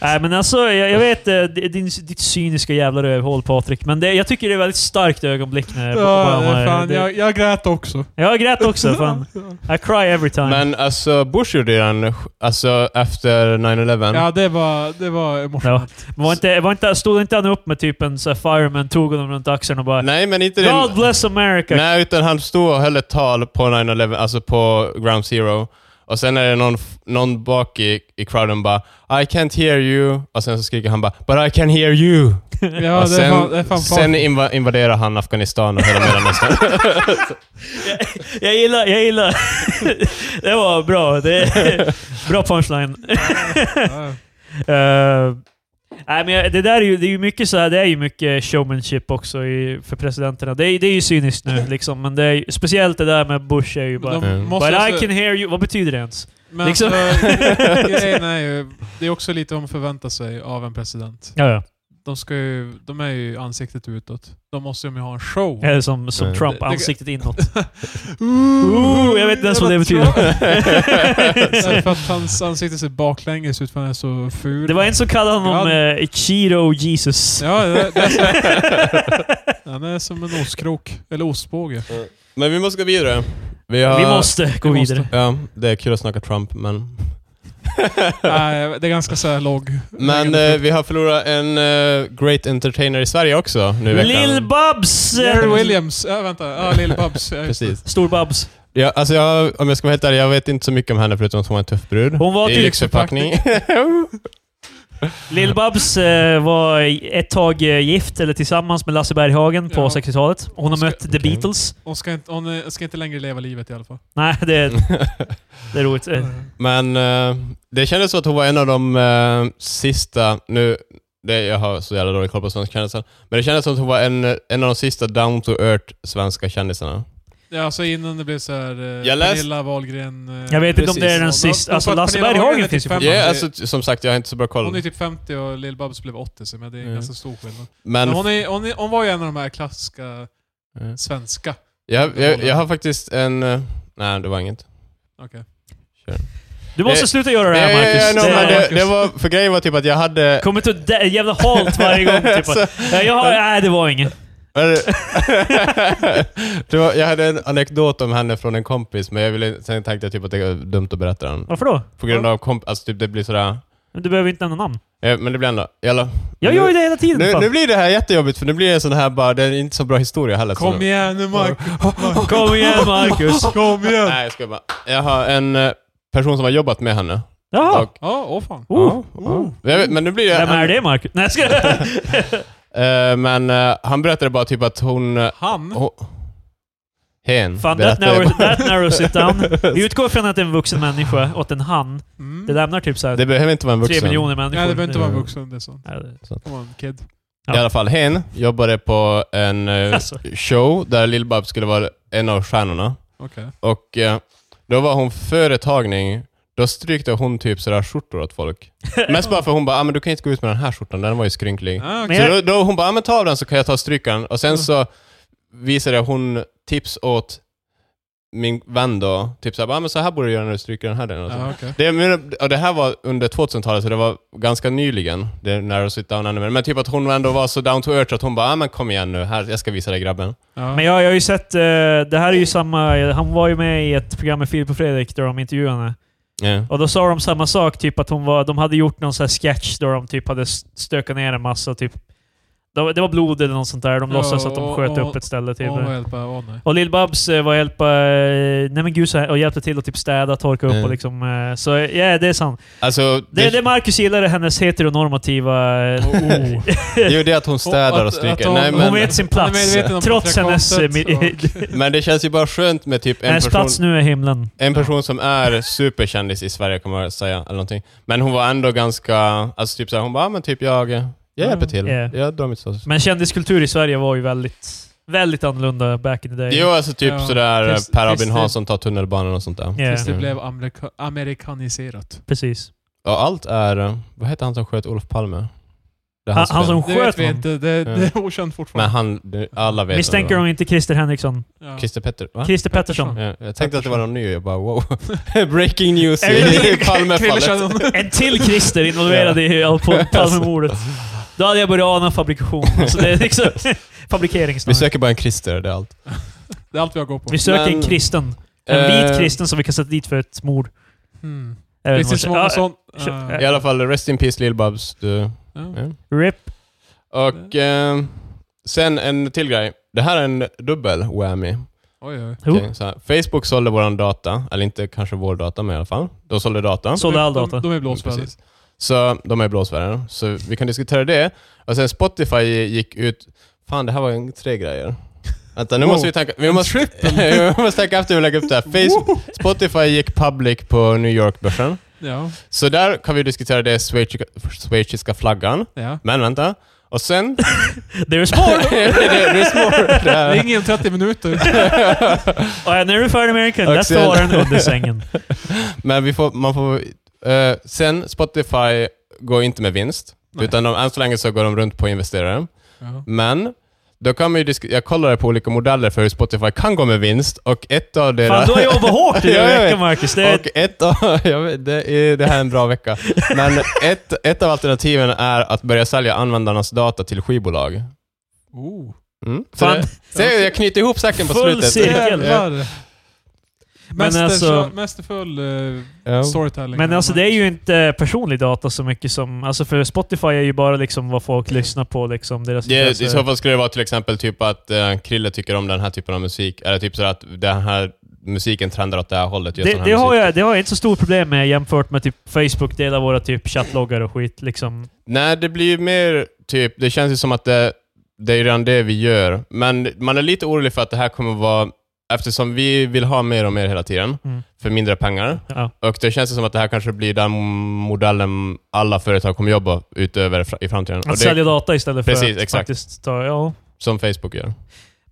Speaker 1: Nej men alltså, jag, jag vet eh, din, ditt cyniska jävla rövhål Patrik, men det, jag tycker det är ett väldigt starkt ögonblick när
Speaker 3: Ja,
Speaker 1: Obama...
Speaker 3: det- fan,
Speaker 1: det,
Speaker 3: jag, jag grät också.
Speaker 1: jag grät också, fan. I cry every time.
Speaker 2: Men alltså, Bush gjorde ju den alltså, efter 9-11.
Speaker 3: Ja, det var, det var emotionellt.
Speaker 1: Men var inte, var inte, stod inte han upp med typ en så här fireman, tog honom runt axeln och bara
Speaker 2: Nej, men inte
Speaker 1: God
Speaker 2: den.
Speaker 1: bless America!
Speaker 2: Nej, utan han stod och höll ett tal på 9-11, alltså på Ground Zero. Och sen är det någon, f- någon bak i, i crowden bara I can't hear you. Och sen så skriker han bara But I can hear you.
Speaker 3: Ja,
Speaker 2: och
Speaker 3: det är
Speaker 2: sen,
Speaker 3: fan, det är fan
Speaker 2: sen
Speaker 3: fan.
Speaker 2: inva invaderar han Afghanistan och hela Mellanöstern.
Speaker 1: Jag gillar, jag gillar. det var bra. Det, bra punchline.
Speaker 3: Ja.
Speaker 1: Eh, nej, men jag- det där är ju, det är ju mycket så här, det är ju mycket showmanship också i, för presidenterna. Det är, det är ju cyniskt nu liksom, men det är, ju- speciellt det där med Bush är ju bara...
Speaker 3: De
Speaker 2: Mm.
Speaker 1: But
Speaker 3: måste
Speaker 1: I
Speaker 3: alltså-
Speaker 1: can hear you. Vad betyder det ens?
Speaker 3: Men
Speaker 1: Liksom.
Speaker 3: alltså, grejen är ju, det är också lite vad man förväntar sig av en president.
Speaker 1: Ja, ja.
Speaker 3: De, ska ju, de är ju ansiktet utåt. Då måste de ju ha en show.
Speaker 1: Eller som, som
Speaker 2: Nej,
Speaker 1: Trump,
Speaker 2: Mm. det-
Speaker 3: det-
Speaker 1: ansiktet inåt. Ooh, jag vet inte ens vad det betyder. Alltså.
Speaker 3: Nej, för att hans ansikte ser baklänges ut för han är så ful.
Speaker 1: Det var en som kallade honom
Speaker 3: God.
Speaker 1: eh, Cheeto Jesus.
Speaker 3: Ja, det, det är så, han är som en ostkrok. Eller ostbåge.
Speaker 2: men vi måste gå vidare. Vi, har,
Speaker 1: Vi måste gå
Speaker 3: vi måste.
Speaker 1: vidare.
Speaker 2: Ja, det är kul att snacka Trump, men...
Speaker 3: Nej, det är ganska såhär låg.
Speaker 2: Men eh, vi har förlorat en eh, great entertainer i Sverige också nu i veckan.
Speaker 1: Lill-Babs!
Speaker 3: Jerry Williams. Ja, vänta. Ja, Lil babs Ja, just det.
Speaker 2: Precis.
Speaker 1: Stor-Babs.
Speaker 2: Ja, alltså jag, om jag ska vara helt ärlig, jag vet inte så mycket om henne förutom att hon var en tuff brud.
Speaker 1: Hon var
Speaker 2: I
Speaker 1: typ-
Speaker 2: lyxförpackning.
Speaker 1: Lill-Babs eh, var ett tag eh, gift, eller tillsammans med Lasse Berghagen på
Speaker 3: Ja.
Speaker 1: 60-talet. Hon har
Speaker 3: Ska-
Speaker 1: mött The
Speaker 2: okej.
Speaker 1: Beatles.
Speaker 3: Hon ska inte, hon eh, ska inte längre leva livet i alla fall.
Speaker 1: Nej, det,
Speaker 3: Mm.
Speaker 1: det är roligt. Eh,
Speaker 2: Men eh, det kändes som att hon var en av de eh, sista, nu, det, jag har så jävla dålig koll på svenska kändisar, men det kändes som att hon var en, en av de sista down to earth svenska kändisarna.
Speaker 3: Ja, alltså innan det blev såhär... Eh,
Speaker 2: Jag läste-
Speaker 3: Pernilla Wahlgren... Eh,
Speaker 1: Jag vet inte om
Speaker 2: Precis.
Speaker 1: det är den
Speaker 3: Hon-
Speaker 1: sista...
Speaker 3: hon-
Speaker 1: Alltså
Speaker 3: hon-
Speaker 1: Lasse
Speaker 3: Pernilla
Speaker 1: Berghagen
Speaker 3: Wahlgren
Speaker 1: finns ju
Speaker 3: är
Speaker 1: på
Speaker 3: typ
Speaker 2: Ja,
Speaker 3: fem. det-
Speaker 2: alltså t- som sagt, jag har inte så bra koll.
Speaker 3: Hon är typ 50 och Lil babs blev 80, så men det är
Speaker 2: Mm.
Speaker 3: ganska stor skillnad.
Speaker 2: men
Speaker 3: Men hon, är, hon, är, hon var ju en av de här klassiska
Speaker 2: Mm.
Speaker 3: svenska.
Speaker 2: jag, jag, jag har faktiskt en... eh, nej, det var inget.
Speaker 3: Okej.
Speaker 1: Du måste
Speaker 2: Eh,
Speaker 1: sluta göra det
Speaker 2: Ja,
Speaker 1: här
Speaker 2: ja, ja,
Speaker 1: Marcus.
Speaker 2: no, men
Speaker 1: Det
Speaker 2: det, det var, för grejen var typ att jag hade...
Speaker 1: kommer till att dä- jävla halt varje gång. Typ.
Speaker 2: Så-
Speaker 1: Ja, jag har, nej, det var inget.
Speaker 2: det var, jag hade en anekdot om henne från en kompis, men jag ville, sen tänkte jag typ att det är dumt att berätta den.
Speaker 1: Varför då?
Speaker 2: På grund av komp, alltså typ det blir sådär...
Speaker 1: Men Du behöver inte nämna namn.
Speaker 2: Eh, Men det blir ändå... Jalla.
Speaker 1: Jag
Speaker 2: Nu-
Speaker 1: gör ju det hela tiden.
Speaker 2: Nu,
Speaker 1: fan.
Speaker 2: nu blir det här jättejobbigt, för nu blir det en sån här bara, det är inte så bra historia heller.
Speaker 3: Kom
Speaker 2: så,
Speaker 3: igen nu Marcus!
Speaker 1: Kom igen Marcus!
Speaker 3: Kom igen!
Speaker 2: Nej, jag ska bara... Jag har en eh, person som har jobbat med henne.
Speaker 1: Jaha!
Speaker 2: Och,
Speaker 3: Ja, åh fan.
Speaker 1: Oh.
Speaker 2: ja. Jag vet, men nu blir det...
Speaker 1: Vem är det Marcus? Nej, jag ska...
Speaker 2: Mm. Eh, men eh, han berättade bara typ att hon... eh,
Speaker 3: Han?
Speaker 2: hon hen.
Speaker 1: Mm. Fan, that
Speaker 2: berättade
Speaker 1: narrows,
Speaker 2: bara-
Speaker 1: that narrows it down. Vi utgår från att det är en vuxen människa åt en han.
Speaker 3: Mm.
Speaker 1: Det lämnar typ såhär
Speaker 2: Det behöver inte vara en
Speaker 1: tre
Speaker 2: vuxen.
Speaker 1: miljoner människor.
Speaker 3: Nej, det behöver inte vara
Speaker 2: Ja.
Speaker 3: vuxen. Det är sånt.
Speaker 1: Ja, det-
Speaker 3: Come on, kid.
Speaker 1: Ja.
Speaker 2: I alla fall, hen jobbade på en eh,
Speaker 1: Alltså.
Speaker 2: show där Lill-Babs skulle vara en av stjärnorna.
Speaker 3: Okej.
Speaker 2: Och eh, då var hon företagning. Då strykte hon typ sådär skjortor åt folk. Mest bara för hon bara, ah, men du kan inte gå ut med den här skjortan, den var ju skrynklig.
Speaker 3: Ah, okej.
Speaker 1: Men
Speaker 2: Så
Speaker 1: jag- Mm.
Speaker 2: då, då hon bara, ah, men ta av den så kan jag ta och stryka den. Och sen så visade hon tips åt min vän då. Typ såhär, ah, men så här borde du göra när du stryker den här delen. Och så.
Speaker 3: Ja, okej.
Speaker 2: Det, men- och det här var under 2000-talet, så det var ganska nyligen. Det är när sit down ännu mer. Men typ att hon ändå var så down to earth att hon bara ah, men kom igen nu, här, jag ska visa dig grabben.
Speaker 3: Ja.
Speaker 1: Men jag, jag har ju sett... eh, det här är ju samma... Han var ju med i ett program med Filip och Fredrik där de intervjuade henne.
Speaker 2: Ja.
Speaker 1: Och då sa de samma sak, typ att hon var, de hade gjort någon sån här sketch där de typ hade stökat ner en massa typ Det var, det var blod eller något sånt där. De
Speaker 3: Ja,
Speaker 1: låtsas att de
Speaker 3: och-
Speaker 1: sköt
Speaker 3: och-
Speaker 1: upp ett ställe typ. till.
Speaker 3: Åh, vad hjälp, åh nej.
Speaker 1: Och Lill-Babs eh, var hjälpa, eh, nej men gud, så här, och hjälpte till att typ städa, torka upp
Speaker 2: Mm.
Speaker 1: och liksom... eh, Så ja, det är sant.
Speaker 2: Alltså, det,
Speaker 1: Det, det Marcus gillar är hennes heteronormativa... eh,
Speaker 3: Åh, oh.
Speaker 2: det är ju det att hon
Speaker 3: Och
Speaker 2: städar
Speaker 3: att-
Speaker 2: och
Speaker 3: att
Speaker 2: stryker.
Speaker 3: hon-
Speaker 2: Nej,
Speaker 1: Hon
Speaker 2: men,
Speaker 1: vet sin
Speaker 3: Han är
Speaker 1: plats.
Speaker 3: medveten om
Speaker 1: Trots hennes... eh, mi-
Speaker 3: patriarkatet
Speaker 2: men det känns ju bara skönt med typ en
Speaker 1: Hennes
Speaker 2: person,
Speaker 1: plats nu är himlen.
Speaker 2: en person som är superkändis i Sverige, kan man säga. Eller någonting. Men hon var ändå ganska... Alltså typ såhär, hon bara, "Ah, men typ jag, jag hjälper till.
Speaker 1: yeah.
Speaker 2: Jag drar mitt strå.
Speaker 1: Men kändiskultur i Sverige var ju väldigt, väldigt annorlunda back in the day.
Speaker 2: Jo, alltså typ
Speaker 3: Ja,
Speaker 2: sådär
Speaker 3: tills-
Speaker 2: Per
Speaker 3: tills
Speaker 2: Albin
Speaker 3: det-
Speaker 2: Hansson tar tunnelbanan och sånt där.
Speaker 1: Ja.
Speaker 3: Tills det
Speaker 2: Mm.
Speaker 3: blev amerika- amerikaniserat.
Speaker 1: Precis.
Speaker 2: Ja, allt är... eh, Vad heter han som sköt Olof Palme? Det är
Speaker 1: Han, han som
Speaker 2: spelar.
Speaker 3: Det
Speaker 1: sköt
Speaker 3: vet vi
Speaker 1: honom.
Speaker 3: inte. Det, det är okänt
Speaker 2: Men
Speaker 3: fortfarande.
Speaker 2: han... det- Alla vet
Speaker 1: Misstänker
Speaker 2: vem
Speaker 1: de inte Christer Henriksson?
Speaker 3: Men, ja.
Speaker 2: Christer Petter... Va?
Speaker 1: Christer Pettersson.
Speaker 2: Ja, jag tänkte att det var någon ny, jag bara wow. Breaking news
Speaker 1: Är det-
Speaker 2: i Palmefallet.
Speaker 3: Krille Shannon.
Speaker 1: En till Christer involverad i Al- på Palmemordet. Då hade jag börjat ana fabrikation. Så det är liksom fabrikering
Speaker 2: Vi
Speaker 1: snarare.
Speaker 2: söker bara en Christer, det är allt.
Speaker 3: Det är allt vi har att gå på.
Speaker 1: Vi söker en
Speaker 2: Men-
Speaker 1: kristen. En vit
Speaker 2: Eh,
Speaker 1: kristen som vi kan sätta dit för ett mord.
Speaker 3: Mm.
Speaker 1: Jag vet
Speaker 3: Finns det
Speaker 1: inte
Speaker 3: så
Speaker 1: vad Ah, jag
Speaker 3: många
Speaker 1: säger.
Speaker 3: sånt?
Speaker 1: kö-
Speaker 3: Ja.
Speaker 2: I alla fall, rest in peace Lill-Babs. du.
Speaker 3: Ja.
Speaker 2: Ja.
Speaker 1: Ja, RIP.
Speaker 2: Och
Speaker 3: Mm.
Speaker 2: eh, sen en till grej. Det här är en dubbel whammy.
Speaker 3: Oj, oj.
Speaker 1: Jo.
Speaker 2: Okej, så här. Facebook sålde våran data, eller inte kanske vår data men i alla fall. De sålde data.
Speaker 1: Sålde all data.
Speaker 3: De, de är
Speaker 2: Mm,
Speaker 3: blåsväder.
Speaker 2: precis. Så de är blåsvärden. Så vi kan diskutera det. Och sen Spotify gick ut... Fan, det här var ju tre grejer. Vänta, nu
Speaker 3: Wow.
Speaker 2: måste vi tänka... Vi måste,
Speaker 3: trippel.
Speaker 2: vi måste tänka efter hur vi lägger upp det här. Facebook, Spotify gick public på New York-börsen.
Speaker 3: Ja,
Speaker 2: Så där kan vi diskutera det schweiziska, schweiziska flaggan.
Speaker 3: ja.
Speaker 2: Men vänta. Och sen...
Speaker 1: There's more!
Speaker 2: det, det är svårt. Det här.
Speaker 3: Ring in 30 minuter.
Speaker 1: Och Ah, när du är färdig med American, där
Speaker 2: Axel.
Speaker 1: står den under sängen.
Speaker 2: Men vi får, man får... eh, sen, Spotify går inte med vinst.
Speaker 3: Nej.
Speaker 2: Utan de, än så länge så går de runt på investerare.
Speaker 3: Ja.
Speaker 2: Men då kan man ju disk- jag kollade på olika modeller för hur Spotify kan gå med vinst och ett av
Speaker 1: Fan,
Speaker 2: deras...
Speaker 1: du har jobbat hårt i
Speaker 2: Ja,
Speaker 1: den
Speaker 2: jag
Speaker 1: veckan
Speaker 2: vet.
Speaker 1: Marcus. Det är,
Speaker 2: Och ett av, jag vet, det, är, det här är en bra vecka. Men ett, ett av alternativen är att börja sälja användarnas data till skivbolag.
Speaker 3: Oh.
Speaker 2: Mm. Så
Speaker 1: Fan.
Speaker 2: det, se, jag knyter ihop säcken på
Speaker 1: Full
Speaker 2: slutet.
Speaker 1: cirkel.
Speaker 2: Ja.
Speaker 3: Jävlar.
Speaker 1: Men
Speaker 3: Mäster,
Speaker 1: alltså-
Speaker 3: mästerfull eh,
Speaker 2: Ja.
Speaker 3: storytelling.
Speaker 1: men alltså det är ju inte personlig data så mycket som... Alltså för Spotify är ju bara liksom vad folk lyssnar på liksom. Deras
Speaker 2: Det, I
Speaker 1: intresse.
Speaker 2: så fall skulle det vara till exempel typ att eh, Krille tycker om den här typen av musik, eller typ så att den här musiken trendar åt det här hållet. just
Speaker 1: det,
Speaker 2: den här
Speaker 1: det, har
Speaker 2: musiken.
Speaker 1: jag, det har jag inte så stort problem med jämfört med typ Facebook delar våra typ chattloggar och skit liksom.
Speaker 2: Nej, det blir ju mer typ, det känns ju som att det, det är redan det vi gör. Men man är lite orolig för att det här kommer vara, eftersom vi vill ha mer och mer hela tiden,
Speaker 1: Mm.
Speaker 2: för mindre pengar.
Speaker 1: Ja.
Speaker 2: Och det känns ju som att det här kanske blir den modellen alla företag kommer jobba utöver fra- i framtiden.
Speaker 1: Att
Speaker 2: Och det,
Speaker 1: sälja data istället för
Speaker 2: Precis,
Speaker 1: att
Speaker 2: exakt.
Speaker 1: faktiskt ta... Ja.
Speaker 2: som Facebook gör.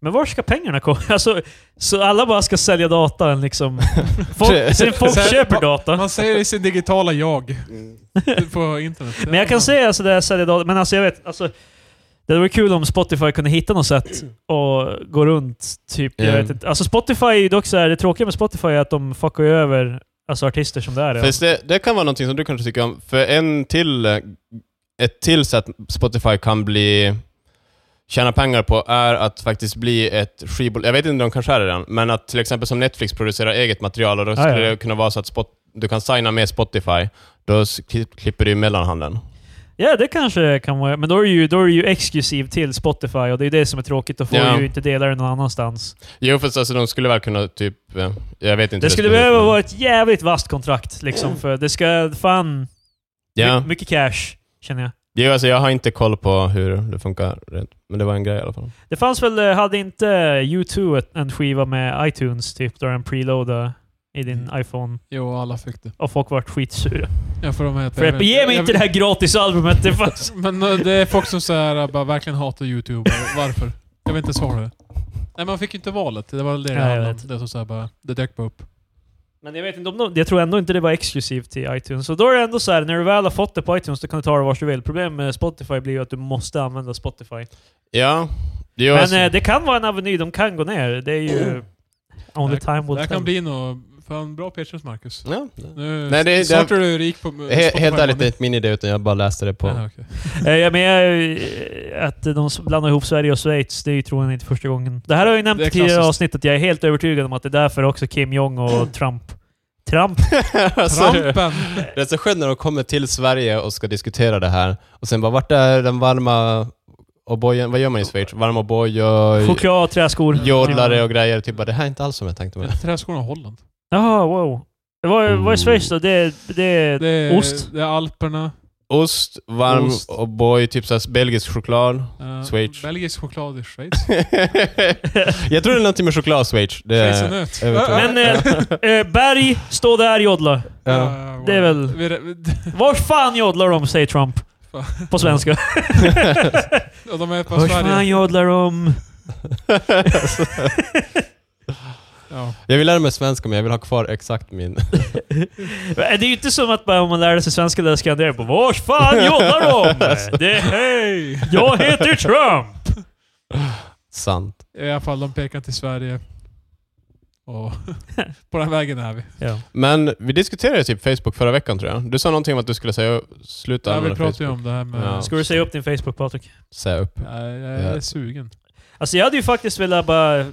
Speaker 1: Men var ska pengarna komma? Alltså, så alla bara ska sälja data liksom. Folk, sen folk
Speaker 3: Så här,
Speaker 1: köper
Speaker 3: va-
Speaker 1: data.
Speaker 3: Man säger i sin digitala jag på internet.
Speaker 1: Mm. Men jag kan säga sådär, sälja data. Men alltså jag vet, alltså, det vore kul om Spotify kunde hitta något sätt att gå runt. Typ, jag
Speaker 2: Mm.
Speaker 1: vet inte. Alltså Spotify är ju dock såhär, det tråkiga med Spotify är att de fuckar ju över alltså, artister som det är.
Speaker 2: Fast det, det kan vara någonting som du kanske tycker om, för en till, eh, ett till sätt Spotify kan bli tjäna pengar på är att faktiskt bli ett skivbolag. Jag vet inte om de kanske är det redan, men att till exempel som Netflix producerar eget material och då
Speaker 1: Ja,
Speaker 2: skulle
Speaker 1: ja.
Speaker 2: det kunna vara så att spot, du kan signa med Spotify, då s- klipp- klipper du ju mellanhanden.
Speaker 1: Ja, det kanske kan vara... Men då är det ju, då är det ju exklusiv till Spotify och det är det som är tråkigt. Då får
Speaker 2: Ja.
Speaker 1: du ju inte dela det någon annanstans.
Speaker 2: Jo, fast alltså de skulle väl kunna typ, eh, jag vet inte.
Speaker 1: Det skulle behöva vara ett jävligt vasst kontrakt liksom, för det ska fan...
Speaker 2: Ja,
Speaker 1: My, mycket cash, känner jag.
Speaker 2: jo, alltså jag har inte koll på hur det funkar, rent- men det var en grej i alla fall.
Speaker 1: Det fanns väl, eh, hade inte U2 ett, en skiva med iTunes typ, där den preloadade i din
Speaker 2: Mm.
Speaker 1: iPhone
Speaker 3: Jo, alla fick det.
Speaker 1: och folk vart skitsura.
Speaker 3: Ja, för de heter,
Speaker 1: För att, ge mig
Speaker 3: jag-
Speaker 1: inte det här alltså. gratisalbumet! Det fanns...
Speaker 3: Men eh, det är folk som så här, bara, verkligen hatar YouTube. Varför? Jag vet inte ens svara det. Nej, man fick ju inte valet. Det var väl det det
Speaker 1: Nej, jag
Speaker 3: handlade om.
Speaker 1: vet.
Speaker 3: Det, som så här, bara, det dök bara upp.
Speaker 1: Men jag vet inte om de, jag tror ändå inte det var exklusivt till iTunes. Så då är det ändå så här, när du väl har fått det på iTunes, då kan du ta det vart du vill. Problemet med Spotify blir ju att du måste använda Spotify.
Speaker 2: Ja, jo,
Speaker 1: Men
Speaker 2: alltså-
Speaker 1: eh, det kan vara en aveny, de kan gå ner. Det är ju... Only time
Speaker 3: Det
Speaker 1: will
Speaker 3: här
Speaker 1: tell.
Speaker 3: kan bli något... Fan, bra pitchers Marcus.
Speaker 2: ja.
Speaker 1: Mm.
Speaker 3: Nu
Speaker 2: Nej, det är-
Speaker 3: snart är du rik på
Speaker 2: He, helt ärligt, det är
Speaker 3: inte
Speaker 2: inte min idé, utan jag bara läste
Speaker 3: Ah,
Speaker 2: det på...
Speaker 1: Eh, jag menar eh, att de s- blandar ihop Sverige och Schweiz, det är ju troligen inte första gången. Det här har jag ju nämnt
Speaker 3: Det är
Speaker 1: i tidigare
Speaker 3: klassiskt.
Speaker 1: avsnittet, jag är helt övertygad om att det är därför också Kim Jong och Trump... Trump?
Speaker 2: Alltså,
Speaker 3: Trampen!
Speaker 2: det är så skönt när de kommer till Sverige och ska diskutera det här, och sen bara vart är den varma O'boyen, vad gör man i Schweiz? Varm O'boy,
Speaker 1: Choklad, träskor.
Speaker 2: jodlare och grejer. Typ bara, det här är inte alls som jag tänkte mig.
Speaker 3: Träskorna i Holland.
Speaker 1: Jaha, wow. Vad är, vad är Schweiz då? Det, det,
Speaker 3: Det är,
Speaker 1: Ost.
Speaker 3: Det är Alperna.
Speaker 2: Ost, varm
Speaker 3: Ost.
Speaker 2: O'boy, typ såhär belgisk choklad.
Speaker 3: eh,
Speaker 2: Schweiz.
Speaker 3: Belgisk choklad i Schweiz.
Speaker 2: jag tror det är någonting med choklad, Schweiz. Det är,
Speaker 3: Schweizernöt.
Speaker 2: jag vet
Speaker 1: Men eh, eh, Berg, stå där jodla.
Speaker 2: ja.
Speaker 3: wow.
Speaker 1: det är väl-
Speaker 3: Vi re-
Speaker 1: Var fan jodlar de, säger Trump.
Speaker 3: Fan.
Speaker 1: På svenska.
Speaker 3: Och de är på
Speaker 1: Var fan
Speaker 3: Sverige.
Speaker 1: jodlar de?
Speaker 3: Ja.
Speaker 2: jag vill lära mig svenska, men jag vill ha kvar exakt min...
Speaker 1: Det är ju inte som att bara om man lärde sig svenska där skandera på Var fan jodlar de? Det,
Speaker 3: Hej!
Speaker 1: jag heter Trump!
Speaker 2: Sant.
Speaker 3: I alla fall, de pekar till Sverige. Och på den vägen är vi.
Speaker 1: Ja.
Speaker 2: Men vi diskuterade typ Facebook förra veckan tror jag. Du sa någonting om att du skulle säga sluta
Speaker 3: Ja, vi
Speaker 2: använda
Speaker 3: pratar ju
Speaker 2: Facebook.
Speaker 3: om det här med...
Speaker 2: Ja.
Speaker 1: Ska du säga upp din Facebook, Patrik?
Speaker 2: Säga upp.
Speaker 3: Nej, jag är
Speaker 2: Ja.
Speaker 3: sugen.
Speaker 1: Alltså jag hade ju faktiskt velat bara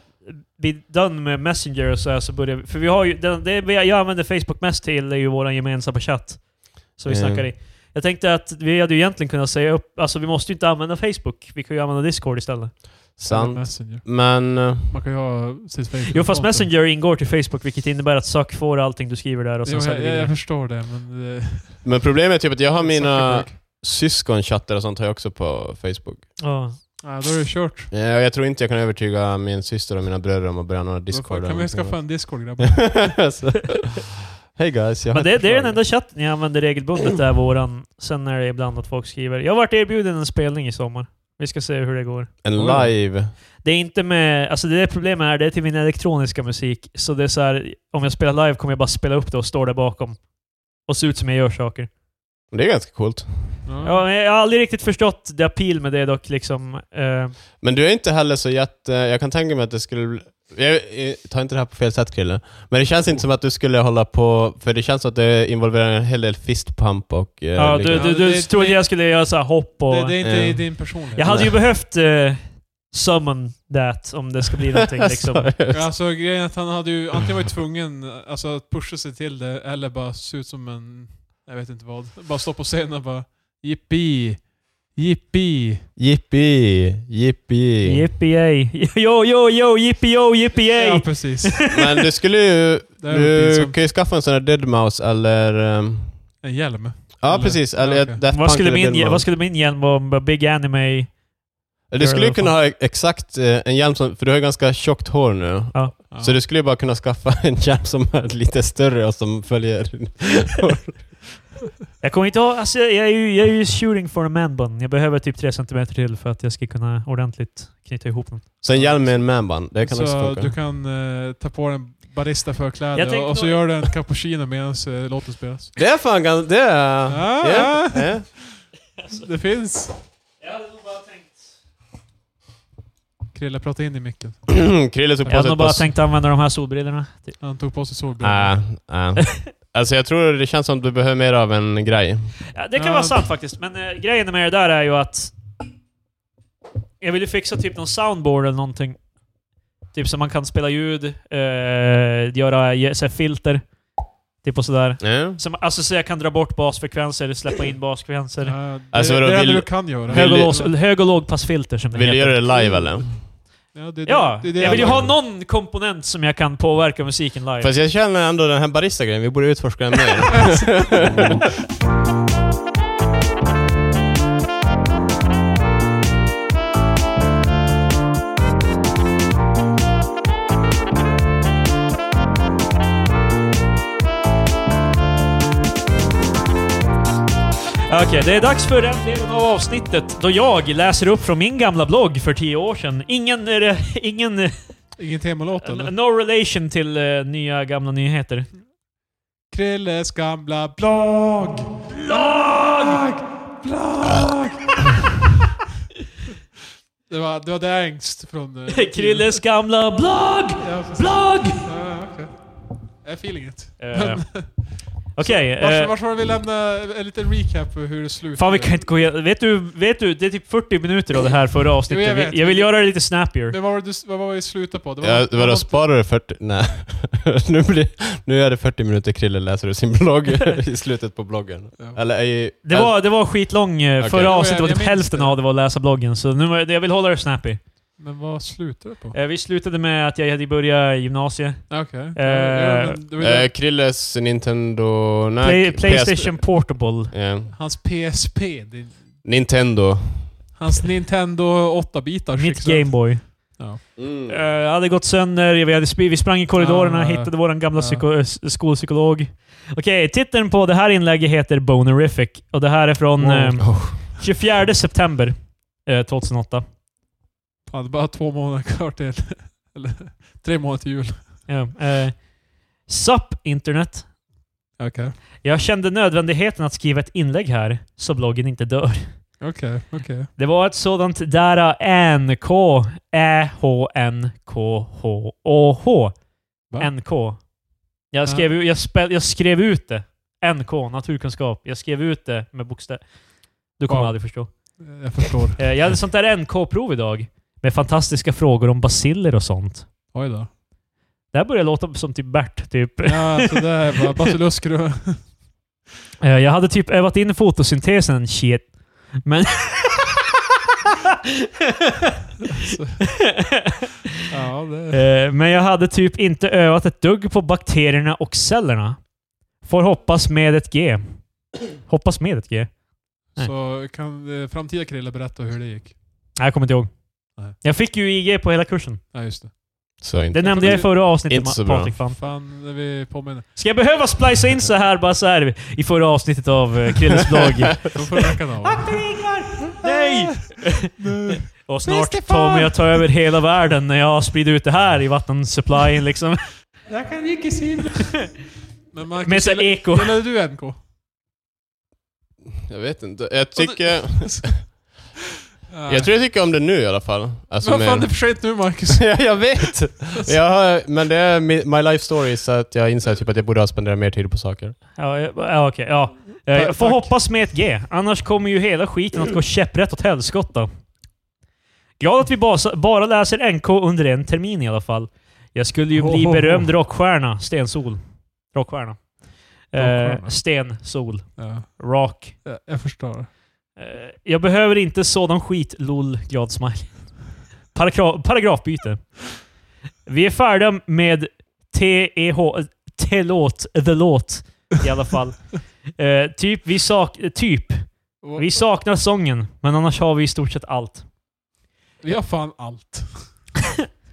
Speaker 1: bli done med Messenger och så här, så börja, För vi har ju, den, det vi- jag använder Facebook mest till är ju vår gemensamma chatt. Som vi
Speaker 2: Mm.
Speaker 1: snackar i. Jag tänkte att vi hade ju egentligen kunnat säga upp, alltså vi måste ju inte använda Facebook, vi kan ju använda Discord istället.
Speaker 3: Eller
Speaker 2: Sant.
Speaker 3: Messenger.
Speaker 2: Men... eh,
Speaker 3: Man kan ju ha sitt Facebook.
Speaker 1: Jo fast Messenger ingår till Facebook, vilket innebär att Sök får allting du skriver där och sen
Speaker 3: Jo,
Speaker 1: säljer
Speaker 3: jag,
Speaker 1: vi
Speaker 3: jag, jag
Speaker 1: det.
Speaker 3: förstår det, men... eh, Det,
Speaker 2: Men problemet är typ att jag har mina
Speaker 3: Zuckerberg.
Speaker 2: syskonchatter och sånt har jag också på Facebook.
Speaker 1: Ja.
Speaker 3: Ja, då är det kört.
Speaker 2: Eh, och Jag tror inte jag kan övertyga min syster och mina bröder om att börja några
Speaker 3: Discord,
Speaker 2: Discord.
Speaker 3: kan
Speaker 2: eller
Speaker 3: vi skaffa en Discord, grabbar?
Speaker 2: någonting. Så- Hey guys, jag har
Speaker 1: Men det,
Speaker 2: ett
Speaker 1: det är den
Speaker 2: förslag.
Speaker 1: enda chatten jag använder regelbundet, det är våran. Sen är det ibland att folk skriver. Jag har varit erbjuden en spelning i sommar. Vi ska se hur det går.
Speaker 2: En
Speaker 3: Oj.
Speaker 2: live.
Speaker 1: Det är inte med... Alltså det där problemet är, det är till min elektroniska musik. Så det är så här, om jag spelar live kommer jag bara spela upp det och stå där bakom. Och se ut som jag gör saker.
Speaker 2: Det är ganska coolt.
Speaker 1: Ja, men jag har aldrig riktigt förstått det appeal med det dock liksom. Eh,
Speaker 2: Men du är inte heller så jätte... Jag kan tänka mig att det skulle... bli- Jag eh, tar inte det här på fel sätt Krille. Men det känns inte som att du skulle hålla på... För det känns som att det involverar en hel del fistpump och... eh,
Speaker 1: ja, du,
Speaker 2: liknande.
Speaker 1: du, du
Speaker 3: Ja, det-
Speaker 1: trodde
Speaker 3: det-
Speaker 1: jag skulle göra så här hopp och...
Speaker 3: Det, det är inte
Speaker 2: Ja.
Speaker 3: din personlighet.
Speaker 1: jag hade ju
Speaker 2: Nej.
Speaker 1: behövt eh, summon that om det ska bli någonting liksom.
Speaker 3: Ja, Alltså grejen är att han hade ju antingen varit tvungen alltså, att pusha sig till det, eller bara se ut som en... Jag vet inte vad. Bara stå på scenen och bara Jippi! Jippi!
Speaker 2: Jippi! Jippi!
Speaker 1: Yippee Yo, yo, yo, yippee yo, yippee
Speaker 3: Ja,
Speaker 1: yay.
Speaker 3: precis.
Speaker 2: Men du skulle ju...
Speaker 3: Det är
Speaker 2: Du
Speaker 3: pinsamt.
Speaker 2: kan ju skaffa en sån här Deadmau5 eller... ehm,
Speaker 3: En hjälm.
Speaker 2: ja,
Speaker 3: Eller-
Speaker 2: precis. Eller
Speaker 3: ja,
Speaker 2: ja,
Speaker 3: okej.
Speaker 1: Vad skulle, min, vad skulle min hjälm vara? Bara Big anime?
Speaker 2: Du skulle ju
Speaker 1: göra i alla
Speaker 2: kunna ha exakt eh, en hjälm som... För du har ju ganska tjockt hår nu.
Speaker 3: Ja.
Speaker 2: Så du skulle ju bara kunna skaffa en hjälm som är lite större och som följer...
Speaker 1: Jag kommer inte ha... Alltså jag, jag, är ju, jag är ju shooting for a man bun. Jag behöver typ 3 cm till för att jag ska kunna ordentligt knyta ihop den.
Speaker 2: Så en hjälm med en manband, det kan också
Speaker 3: så
Speaker 2: funka.
Speaker 3: du kan eh, ta på dig en
Speaker 1: Jag
Speaker 3: baristaförkläde
Speaker 1: tänkte
Speaker 3: och, och så
Speaker 1: nog-
Speaker 3: gör du en cappuccino medan eh, låten spelas.
Speaker 2: Det är fan ganska... Det är...
Speaker 3: Ja.
Speaker 2: Ja, ja.
Speaker 3: Det finns!
Speaker 1: Jag hade nog bara tänkt...
Speaker 3: Krille, prata in i micken.
Speaker 2: Krille tog
Speaker 1: Jag
Speaker 2: på
Speaker 1: hade
Speaker 2: sig
Speaker 1: nog
Speaker 2: ett
Speaker 1: bara
Speaker 2: par...
Speaker 1: tänkt använda de här solbrillorna. Typ.
Speaker 3: Han tog på sig solbrillor.
Speaker 2: Nej, nej. Alltså jag tror det känns som att du behöver mer av en grej.
Speaker 1: Ja, det kan
Speaker 3: Ja.
Speaker 1: vara sant faktiskt, men eh, grejen med det där är ju att... Jag ville fixa typ någon soundboard eller någonting. Typ så man kan spela ljud, eh, göra ge- så här, filter. Typ och sådär.
Speaker 2: Ja.
Speaker 1: Som, alltså så jag kan dra bort basfrekvenser, släppa in basfrekvenser.
Speaker 3: Ja, det,
Speaker 2: Alltså,
Speaker 3: det
Speaker 2: vadå,
Speaker 3: är det enda
Speaker 2: vill-
Speaker 3: du kan göra.
Speaker 1: Hög och,
Speaker 2: du-
Speaker 1: lås, hög och lågpassfilter som det
Speaker 2: Vill du
Speaker 1: heter.
Speaker 2: göra det live eller?
Speaker 3: Ja, det,
Speaker 1: Ja,
Speaker 3: det- det-
Speaker 1: jag vill ju ha någon komponent som jag kan påverka musiken live.
Speaker 2: Fast jag känner ändå den här barista-grejen, vi borde utforska den mer.
Speaker 1: Okej, det är dags för den delen av avsnittet då jag läser upp från min gamla blogg för tio år sedan. Ingen, eh, ingen, eh,
Speaker 3: Ingen temalåt eller?
Speaker 1: no relation till eh, nya gamla nyheter.
Speaker 3: Krilles gamla blogg!
Speaker 1: Blogg!
Speaker 3: Blogg! det, var, det var det ängst från... eh,
Speaker 1: Krilles gamla blogg!
Speaker 3: Ja, precis.
Speaker 1: Blogg!
Speaker 3: Ja, okej. Jag är feeling it.
Speaker 1: Eh, Okej.
Speaker 3: Vars-
Speaker 1: eh,
Speaker 3: Varför vill vi lämna en liten recap för hur det slutade?
Speaker 1: Fan vi kan inte gå igenom... Vet du, vet du, det är typ 40 minuter av det här förra avsnittet. jag,
Speaker 3: Jo, jag
Speaker 1: vill,
Speaker 3: vet.
Speaker 1: jag vill göra det lite snappier.
Speaker 3: Men vad var det du- vad var det vi slutade på? Det var,
Speaker 2: Ja,
Speaker 3: det var
Speaker 2: vadå, sparar du 40? Nej. nu, blir, nu är det 40 minuter Krille läser ur sin blogg i slutet på bloggen.
Speaker 3: Ja.
Speaker 2: Eller i...
Speaker 1: Det var, det var skitlång... eh,
Speaker 2: Okej.
Speaker 1: Förra
Speaker 3: Jo,
Speaker 1: avsnittet
Speaker 3: jag-
Speaker 1: var typ
Speaker 3: jag minns
Speaker 1: hälften
Speaker 3: det.
Speaker 1: av det var att läsa bloggen, så nu, var- jag vill hålla det snappy.
Speaker 3: Men vad slutade det på?
Speaker 1: Eh, Vi slutade med att jag hade börjat gymnasiet.
Speaker 3: Okej. Ja, men det var ju
Speaker 2: Eh,
Speaker 3: det.
Speaker 2: Krilles Nintendo... Nej,
Speaker 1: Play,
Speaker 2: PS
Speaker 1: Playstation Portable.
Speaker 2: Ja.
Speaker 3: Hans PSP. Din,
Speaker 2: Nintendo.
Speaker 3: hans Nintendo 8-bitar.
Speaker 1: Mitt Gameboy.
Speaker 3: Mm.
Speaker 1: Eh, hade gått sönder, vi, hade, sp- vi sprang i korridorerna,
Speaker 3: Ah,
Speaker 1: hittade vår gamla
Speaker 3: ah.
Speaker 1: psyko- s- skolpsykolog. Okej, titeln på det här inlägget heter Bonerific. Och det här är från
Speaker 3: Wow.
Speaker 1: eh, 24 september eh, 2008.
Speaker 3: Fan, det är bara två månader kvar till... Eller tre månader till jul.
Speaker 1: Ja, eh, Sup internet.
Speaker 3: Okej.
Speaker 1: Jag kände nödvändigheten att skriva ett inlägg här, så bloggen inte dör.
Speaker 3: Okej, okej.
Speaker 1: Det var ett sådant där E NK, Ä-H-N-K-H-Å-H.
Speaker 3: Va?
Speaker 1: NK. Jag skrev, ju- jag, spel, jag skrev ut det. NK, naturkunskap. Jag skrev ut det med bokstäver. Du kommer
Speaker 3: Wow.
Speaker 1: aldrig förstå.
Speaker 3: Jag förstår.
Speaker 1: Eh, Jag hade sånt där NK-prov idag. Med fantastiska frågor om basiller och sånt.
Speaker 3: Oj då.
Speaker 1: Det här börjar låta som typ Bert, typ.
Speaker 3: Ja, så det är bara basiluskrum.
Speaker 1: Eh, Jag hade typ övat in fotosyntesen, shit. Men...
Speaker 3: Alltså. Ja, det...
Speaker 1: Eh, Men jag hade typ inte övat ett dugg på bakterierna och cellerna. Får hoppas med ett G. Hoppas med ett G? Nej.
Speaker 3: Så kan eh, framtida Krille berätta hur det gick?
Speaker 1: Nej, jag kommer inte ihåg.
Speaker 3: Nej.
Speaker 1: Jag fick ju IG på hela kursen.
Speaker 3: Ja, just det.
Speaker 2: Så
Speaker 1: Det
Speaker 2: inte.
Speaker 1: nämnde jag i förra avsnittet,
Speaker 2: Inte så
Speaker 1: Ma-
Speaker 2: bra.
Speaker 1: Patrik. Fan.
Speaker 3: Fan, när vi påminner.
Speaker 1: Ska jag behöva splicea in så här, bara så här i förra avsnittet av eh, Krilles blogg?
Speaker 3: Då får vi räcka av.
Speaker 1: Nej!
Speaker 3: Nej.
Speaker 1: Och snart kommer jag ta över hela världen när jag sprider ut det här i vattensupplyen liksom.
Speaker 3: Jag kan inte simma. Men Marcus,
Speaker 1: Med så här
Speaker 3: gillar-
Speaker 1: eko.
Speaker 3: Gillade du NK?
Speaker 2: Jag vet inte. Jag tycker...
Speaker 3: Ja.
Speaker 2: Jag tror jag tycker om det nu i alla fall. Alltså,
Speaker 3: Vad fan, det
Speaker 2: mer-
Speaker 3: är för sent nu Marcus.
Speaker 2: Ja, jag vet! Jag har, men det är mi- my life story, så att jag inser typ att jag borde ha spenderat mer tid på saker.
Speaker 1: Ja, ja, ja, okej. Ja. Eh,
Speaker 3: Tack,
Speaker 1: Jag får
Speaker 3: tack.
Speaker 1: hoppas med ett G. Annars kommer ju hela skiten att gå käpprätt åt helskotta. Glad att vi basa, bara läser NK under en termin i alla fall. Jag skulle ju bli
Speaker 3: Ohoho.
Speaker 1: berömd rockstjärna. Stensol. Rockstjärna. Eh,
Speaker 3: Rockstjärna.
Speaker 1: stensol.
Speaker 3: Ja,
Speaker 1: Rock.
Speaker 3: jag, jag förstår.
Speaker 1: Eh, jag behöver inte sådan skit. LOL. Glad smile. Paragraf, paragrafbyte. Vi är färdiga med TEH... eh, T-låt. The låt. I alla fall. Eh, typ, vi sak, typ, vi saknar sången, men annars har vi i stort sett allt.
Speaker 3: Vi har fan allt.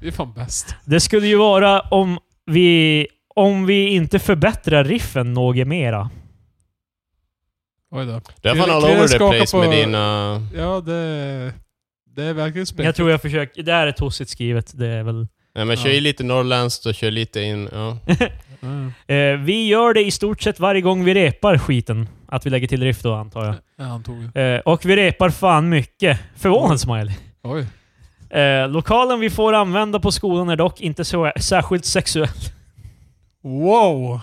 Speaker 3: Vi är fan bäst.
Speaker 1: Det skulle ju vara om vi, om vi inte förbättrar riffen något mera.
Speaker 3: Oj då.
Speaker 2: Det är fan
Speaker 3: Krille-
Speaker 2: all
Speaker 3: Krille
Speaker 2: over the
Speaker 3: skakar
Speaker 2: place
Speaker 3: på-
Speaker 2: med dina...
Speaker 3: Ja, det, det är verkligen
Speaker 1: Jag
Speaker 3: spräckligt.
Speaker 1: tror jag försöker... Det här är tossigt skrivet. Det är väl...
Speaker 2: Nej, men kör
Speaker 3: Ja.
Speaker 2: i lite norrländskt och kör lite in... Ja.
Speaker 3: Mm.
Speaker 1: Eh, vi gör det i stort sett varje gång vi repar skiten. Att vi lägger till riff då, antar jag.
Speaker 3: Ja, han tog det.
Speaker 1: Eh, och vi repar fan mycket. Förvånad smiley.
Speaker 3: Oj.
Speaker 1: Eh, lokalen vi får använda på skolan är dock inte så, särskilt sexuell.
Speaker 3: Wow!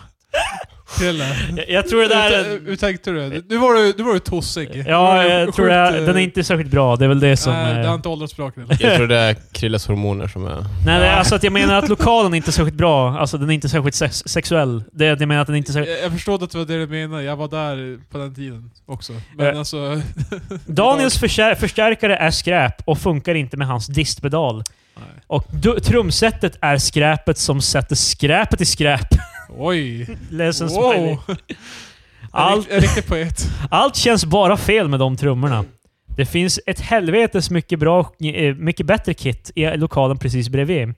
Speaker 3: Krille.
Speaker 1: Jag, jag tror det där... är-
Speaker 3: Hur tänkte du? det? Nu var du, nu var du tossig. Nu var
Speaker 1: Ja,
Speaker 3: du
Speaker 1: jag
Speaker 3: sjukt,
Speaker 1: tror
Speaker 3: eh,
Speaker 1: jag, den är inte särskilt bra. Det är väl det som...
Speaker 3: Nej, det
Speaker 1: eh,
Speaker 3: har inte åldrats bra Krille.
Speaker 2: Jag tror det är Krilles hormoner som är...
Speaker 1: Nej, det, alltså att jag menar att lokalen är inte särskilt bra. Alltså den är inte särskilt sex sexuell. Det, jag menar att den inte är särskilt...
Speaker 3: Jag, jag förstod att det var det du menade. Jag var där på den tiden också. Men
Speaker 1: Eh.
Speaker 3: alltså...
Speaker 1: Daniels förstär förstärkare är skräp och funkar inte med hans distpedal.
Speaker 3: Nej.
Speaker 1: Och du- trumsetet är skräpet som sätter skräpet i skräp.
Speaker 3: Oj!
Speaker 1: Ledsen smiley.
Speaker 3: Wow! En
Speaker 1: Allt,
Speaker 3: rikt- En riktig poet.
Speaker 1: allt känns bara fel med de trummorna. Det finns ett helvetes mycket, bra, eh, mycket bättre kit i lokalen precis bredvid.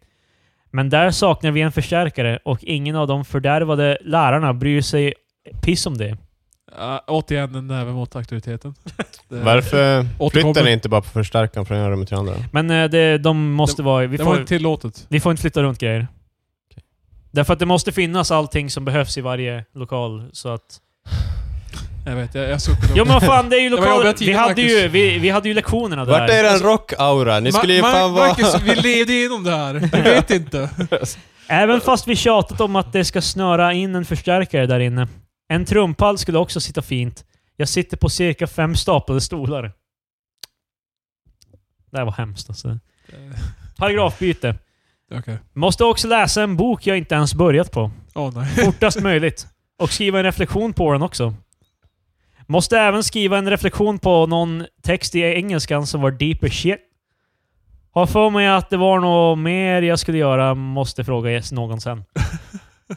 Speaker 1: Men där saknar vi en förstärkare och ingen av de fördärvade lärarna bryr sig piss om det.
Speaker 3: Ja, återigen en näve mot auktoriteten. Det-
Speaker 2: Varför flyttar
Speaker 3: Återkommer.
Speaker 2: ni inte bara på förstärkaren från ena rummet till andra?
Speaker 1: Men eh, det, de måste vara... Vi
Speaker 3: Det var
Speaker 1: får,
Speaker 3: inte tillåtet.
Speaker 1: vi får inte flytta runt grejer. Därför att det måste finnas allting som behövs i varje lokal. Så att...
Speaker 3: Jag vet, jag, jag suckade.
Speaker 1: Jo men vad fan, det är ju
Speaker 3: var
Speaker 1: lokal...
Speaker 3: jobbiga
Speaker 1: Vi
Speaker 3: tider,
Speaker 1: hade ju,
Speaker 3: Marcus.
Speaker 1: vi, vi hade ju lektionerna där.
Speaker 2: Vart är den rock-aura? Ni skulle ju
Speaker 3: Ma- Ma-
Speaker 2: fan vara...
Speaker 3: Marcus, vi levde inom det här. Du vet inte.
Speaker 1: Även fast vi tjatat om att det ska snöra in en förstärkare där inne. En trumpall skulle också sitta fint. Jag sitter på cirka fem staplade stolar. Det här var hemskt alltså. Paragrafbyte.
Speaker 3: Eh, Okej.
Speaker 1: Måste också läsa en bok jag inte ens börjat på.
Speaker 3: Åh nej.
Speaker 1: Fortast möjligt. Och skriva en reflektion på den också. Måste även skriva en reflektion på någon text i engelskan som var deeper shit. Har för mig att det var något mer jag skulle göra, måste fråga yes någon sen.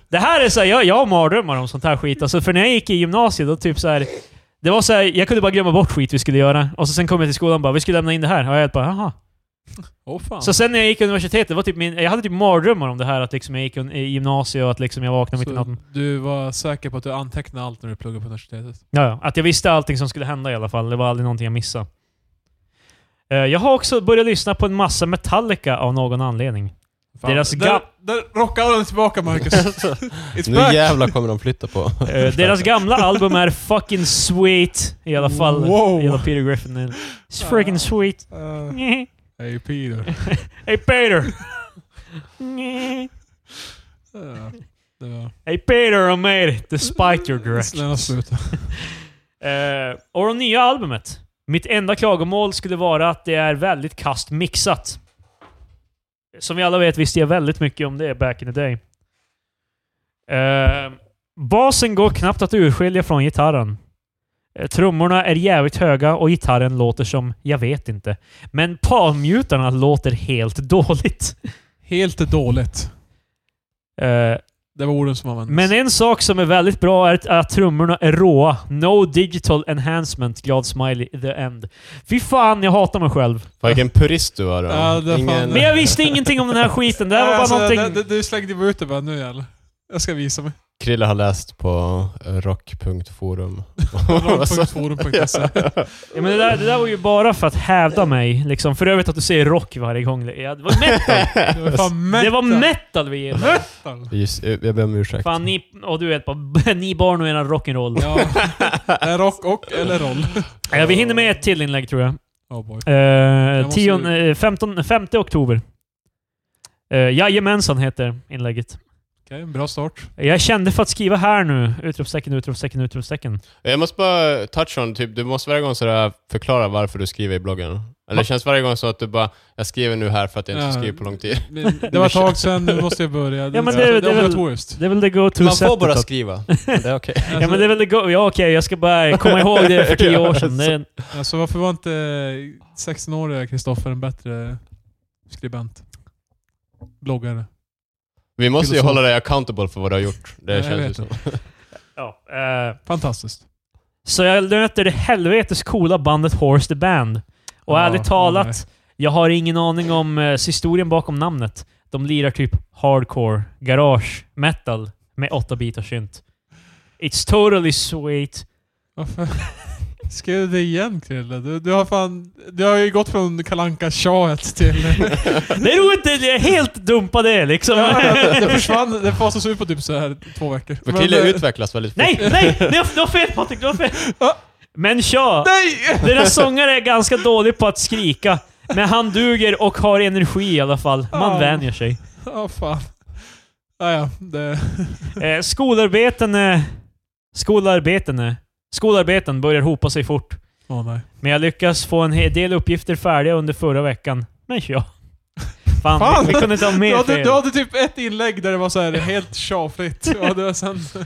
Speaker 1: Det här är så här, jag, jag har mardrömmar om sånt här skit. Alltså, för när jag gick i gymnasiet, då typ så här, det var så här, jag kunde bara glömma bort skit vi skulle göra. Och så sen kom jag till skolan och bara, vi skulle lämna in det här. Och jag helt bara, jaha.
Speaker 3: Åh fan.
Speaker 1: Så sen när jag gick i universitetet, det var typ min, jag hade typ mardrömmar om det här att liksom jag gick i gymnasiet och att liksom jag vaknade mitt i natten.
Speaker 3: Så du var säker på att du antecknade allt när du pluggade på universitetet?
Speaker 1: Ja, ja. Att jag visste allting som skulle hända i alla fall. Det var aldrig någonting jag missade. Eh, Jag har också börjat lyssna på en massa Metallica av någon anledning.
Speaker 3: Fan.
Speaker 1: Deras
Speaker 3: där,
Speaker 1: gap-
Speaker 3: där rockade den tillbaka Marcus. It's
Speaker 2: nu
Speaker 3: back!
Speaker 2: jävlar kommer de flytta på.
Speaker 1: Eh, Deras gamla album är fucking sweet. I alla fall.
Speaker 3: Wow.
Speaker 1: Gillar Peter Griffin. It's freaking sweet.
Speaker 3: Eh, Hey Peter.
Speaker 1: Hey Peter!
Speaker 3: Eh, det var...
Speaker 1: hey Peter, I made it! Despite your direction.
Speaker 3: Snälla sluta.
Speaker 1: Eh, och det nya albumet. Mitt enda klagomål skulle vara att det är väldigt kast mixat. Som vi alla vet visste jag väldigt mycket om det back in the day. Eh, basen går knappt att urskilja från gitarren. Eh, trummorna är jävligt höga och gitarren låter som, jag vet inte. Men palmmutarna låter helt dåligt.
Speaker 3: Helt dåligt.
Speaker 1: Eh,
Speaker 3: Det var orden som användes.
Speaker 1: Men en sak som är väldigt bra är att- att trummorna är råa. No digital enhancement, glad smiley, the end. Fy fan, jag hatar mig själv.
Speaker 2: Fan, Vilken purist du är. då.
Speaker 3: Ja, det är fan-
Speaker 1: Men jag visste ingenting om den här skiten. Det här var bara
Speaker 3: Alltså,
Speaker 1: någonting...
Speaker 3: det- det- Du slängde bara ut det bara nu jävlar. Jag ska visa mig.
Speaker 2: Krille har läst på eh, rock.forum.
Speaker 3: Rock.forum.se.
Speaker 1: Ja, men det, där, det där var ju bara för att hävda mig. Liksom. För övrigt att du säger rock varje gång. Ja, det var metal!
Speaker 3: Det var fan metal.
Speaker 1: Det var metal vi gillade.
Speaker 3: metal.
Speaker 2: Just, eh, jag ber om ursäkt.
Speaker 1: Fan, ni... Och du vet bara, ni barn och eran rock'n'roll.
Speaker 3: Ja. Det är rock och eller roll.
Speaker 1: Ja, vi hinner med ett till inlägg tror jag.
Speaker 3: Oh boy.
Speaker 1: Eh,
Speaker 3: måste
Speaker 1: tion, eh, 15, 5 oktober. Eh, jajamensan heter inlägget.
Speaker 3: Okej, en bra start.
Speaker 1: Jag kände för att skriva här nu. Utropstecken, utropstecken, utropstecken.
Speaker 2: Jag måste bara touch on, typ, du måste varje gång sådär förklara varför du skriver i bloggen. Eller det känns varje gång så att du bara, jag skriver nu här för att jag inte
Speaker 3: Ja.
Speaker 2: skriver på lång tid.
Speaker 3: Men Det var ett tag sedan, nu måste jag börja.
Speaker 1: men det-
Speaker 3: det,
Speaker 1: det är
Speaker 3: det,
Speaker 1: väl-
Speaker 3: är obligatoriskt.
Speaker 1: Det är väl det go-to
Speaker 2: Man får
Speaker 1: sättet
Speaker 2: bara
Speaker 1: att-
Speaker 2: skriva. Men Det är okej.
Speaker 1: Ja men det är väl det go... Ja okej, jag ska bara komma ihåg det för tio år sedan. Det är...
Speaker 3: Alltså varför var inte 16-åriga Kristoffer en bättre skribent? Bloggare.
Speaker 2: Vi måste ju
Speaker 3: Filosof.
Speaker 2: hålla dig accountable för vad du har gjort. Det
Speaker 3: Ja, jag
Speaker 2: känns ju
Speaker 3: vet
Speaker 2: som.
Speaker 1: Ja, eh,
Speaker 3: Fantastiskt.
Speaker 1: så jag möter det helvetes coola bandet Horse the Band. Och
Speaker 3: Ja,
Speaker 1: ärligt talat, jag har ingen aning om eh, historien bakom namnet. De lirar typ hardcore, garage, metal med åtta bitar synt. It's totally sweet.
Speaker 3: Varför? Skrev du det igen Krille? Du, du har fan... Du har ju gått från kalanka tjaet till...
Speaker 1: Det är roligt, det- jag helt dumpade det liksom.
Speaker 3: det, det försvann, det fasas ut på typ så här två veckor.
Speaker 2: För
Speaker 3: Men,
Speaker 2: Krille
Speaker 3: eh,
Speaker 2: utvecklas väldigt fort.
Speaker 1: Nej, nej! Du har, du har fel Patrik, du har fel!
Speaker 3: Ah.
Speaker 1: Men tja!
Speaker 3: eh, Nej!
Speaker 1: Deras sångare är ganska dålig på att skrika. Men han duger och har energi i alla fall. Man
Speaker 3: Ja.
Speaker 1: vänjer sig.
Speaker 3: Ja, fan. Ah, ja, det...
Speaker 1: Eh, skolarbeten... eh, Skolarbeten... eh, Skolarbeten börjar hopa sig fort.
Speaker 3: Åh nej.
Speaker 1: Men jag lyckas få en hel del uppgifter färdiga under förra veckan. Men tja. Fan,
Speaker 3: Fan.
Speaker 1: vi kunde inte ha
Speaker 3: Du
Speaker 1: mer
Speaker 3: hade,
Speaker 1: fel.
Speaker 3: du hade typ ett inlägg där det var så här helt tjafrigt. Och det var sen...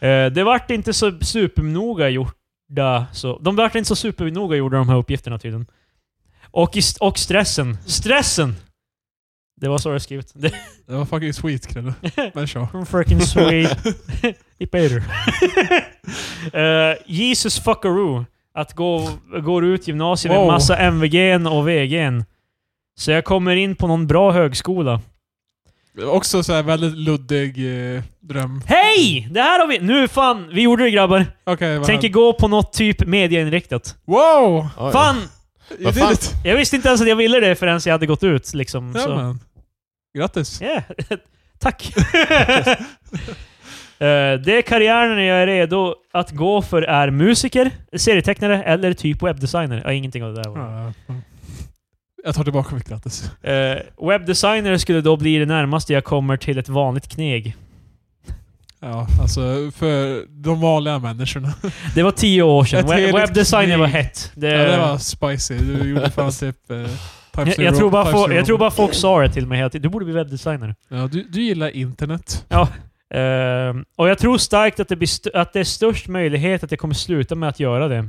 Speaker 1: Eh, det vart inte så supernoga gjorda. Så, de vart inte så supernoga gjorda de här uppgifterna tydligen. Och, i, st- och stressen. Stressen! Det var så det var skrivet. Det,
Speaker 3: Det var fucking sweet Krille. Men tja.
Speaker 1: Freaking sweet. I Peter. Eh, Jesus fuckaroo. Att gå, går ut gymnasiet med
Speaker 3: Wow.
Speaker 1: massa MVG'n och VG'n. Så jag kommer in på någon bra högskola.
Speaker 3: Också så här väldigt luddig eh, dröm.
Speaker 1: Hej! Det här har vi... Nu fan, vi gjorde det grabbar.
Speaker 3: Okej, vad
Speaker 1: Tänker
Speaker 3: hände?
Speaker 1: gå på något typ mediainriktat.
Speaker 3: Wow!
Speaker 2: Oj.
Speaker 1: Fan!
Speaker 3: You
Speaker 2: Vad
Speaker 3: did
Speaker 2: fan?
Speaker 3: it!
Speaker 1: Jag visste inte ens att jag ville det förrän jag hade gått ut liksom.
Speaker 3: Ja,
Speaker 1: Så.
Speaker 3: man. Grattis.
Speaker 1: Yeah. Tack! Eh, det karriären jag är redo att gå för är musiker, serietecknare eller typ webbdesigner. Ja, ingenting av det där. var det.
Speaker 3: Ja, ja. Jag tar tillbaka mitt grattis.
Speaker 1: Eh, webbdesigner skulle då bli det närmaste jag kommer till ett vanligt kneg.
Speaker 3: Ja, alltså för de vanliga människorna.
Speaker 1: Det var tio år sedan.
Speaker 3: Ett
Speaker 1: Web-
Speaker 3: heligt
Speaker 1: Webbdesign
Speaker 3: krig.
Speaker 1: var hett. Det,
Speaker 3: Ja, det var spicy. Du gjorde fan typ... Eh,
Speaker 1: jag,
Speaker 3: Type
Speaker 1: jag,
Speaker 3: Zero-
Speaker 1: tror bara
Speaker 3: Type
Speaker 1: få,
Speaker 3: Zero.
Speaker 1: jag tror bara folk sa det till mig hela tiden. Du borde bli webbdesigner.
Speaker 3: Ja, du, du gillar internet.
Speaker 1: Ehm, och jag tror starkt att det, blir st- att det är störst möjlighet att jag kommer sluta med att göra det.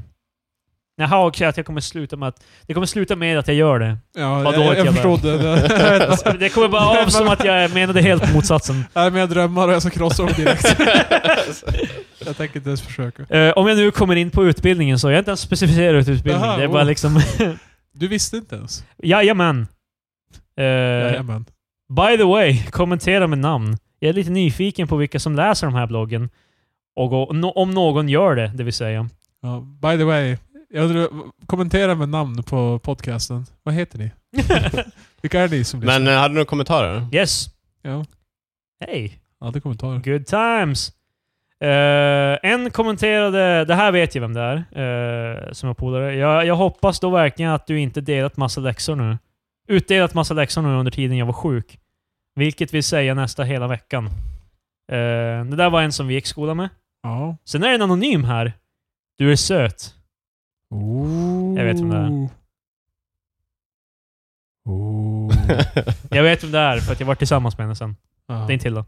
Speaker 1: Jaha, okej, att jag kommer sluta med att... Det kommer sluta med att jag gör det.
Speaker 3: Ja,
Speaker 1: Vadå,
Speaker 3: jag,
Speaker 1: ett
Speaker 3: jag
Speaker 1: jävla-
Speaker 3: förstod det.
Speaker 1: Alltså, det kommer bara av som att jag menade helt motsatsen.
Speaker 3: Nej, men jag drömmar och jag ska krossa dem direkt. jag tänker inte ens försöka.
Speaker 1: Eh, om jag nu kommer in på utbildningen så, jag har inte ens specificerat utbildning.
Speaker 3: Aha,
Speaker 1: det är bara
Speaker 3: oh.
Speaker 1: liksom...
Speaker 3: Du visste inte ens?
Speaker 1: Jajamän! Uh,
Speaker 3: Jajamän.
Speaker 1: by the way, kommentera med namn. Jag är lite nyfiken på vilka som läser de här bloggen. Och gå- no- om någon gör det, det vill säga.
Speaker 3: Ja, by the way, jag undrar, kommentera med namn på podcasten. Vad heter ni? Vilka är ni som lyssnar?
Speaker 2: Men eh, hade du några kommentarer?
Speaker 1: yes!
Speaker 3: Ja,
Speaker 1: Hej!
Speaker 3: aldrig kommentarer.
Speaker 1: Good times! Eh, en kommenterade, det här vet jag vem det är, eh, som jag polare. Jag, jag hoppas då verkligen att du inte delat massa läxor nu. Utdelat massa läxor nu under tiden jag var sjuk. Vilket vill säga nästa hela veckan. Eh, det där var en som vi gick skola med.
Speaker 3: Ja.
Speaker 1: Sen är det en anonym här. Du är söt.
Speaker 3: Ooh.
Speaker 1: Jag vet vem det
Speaker 3: Oh.
Speaker 1: är.
Speaker 3: Ooh.
Speaker 2: Eh,
Speaker 1: Jag vet vem det är för att jag var tillsammans med henne sen.
Speaker 3: Ja,
Speaker 1: Det är inte Hilda.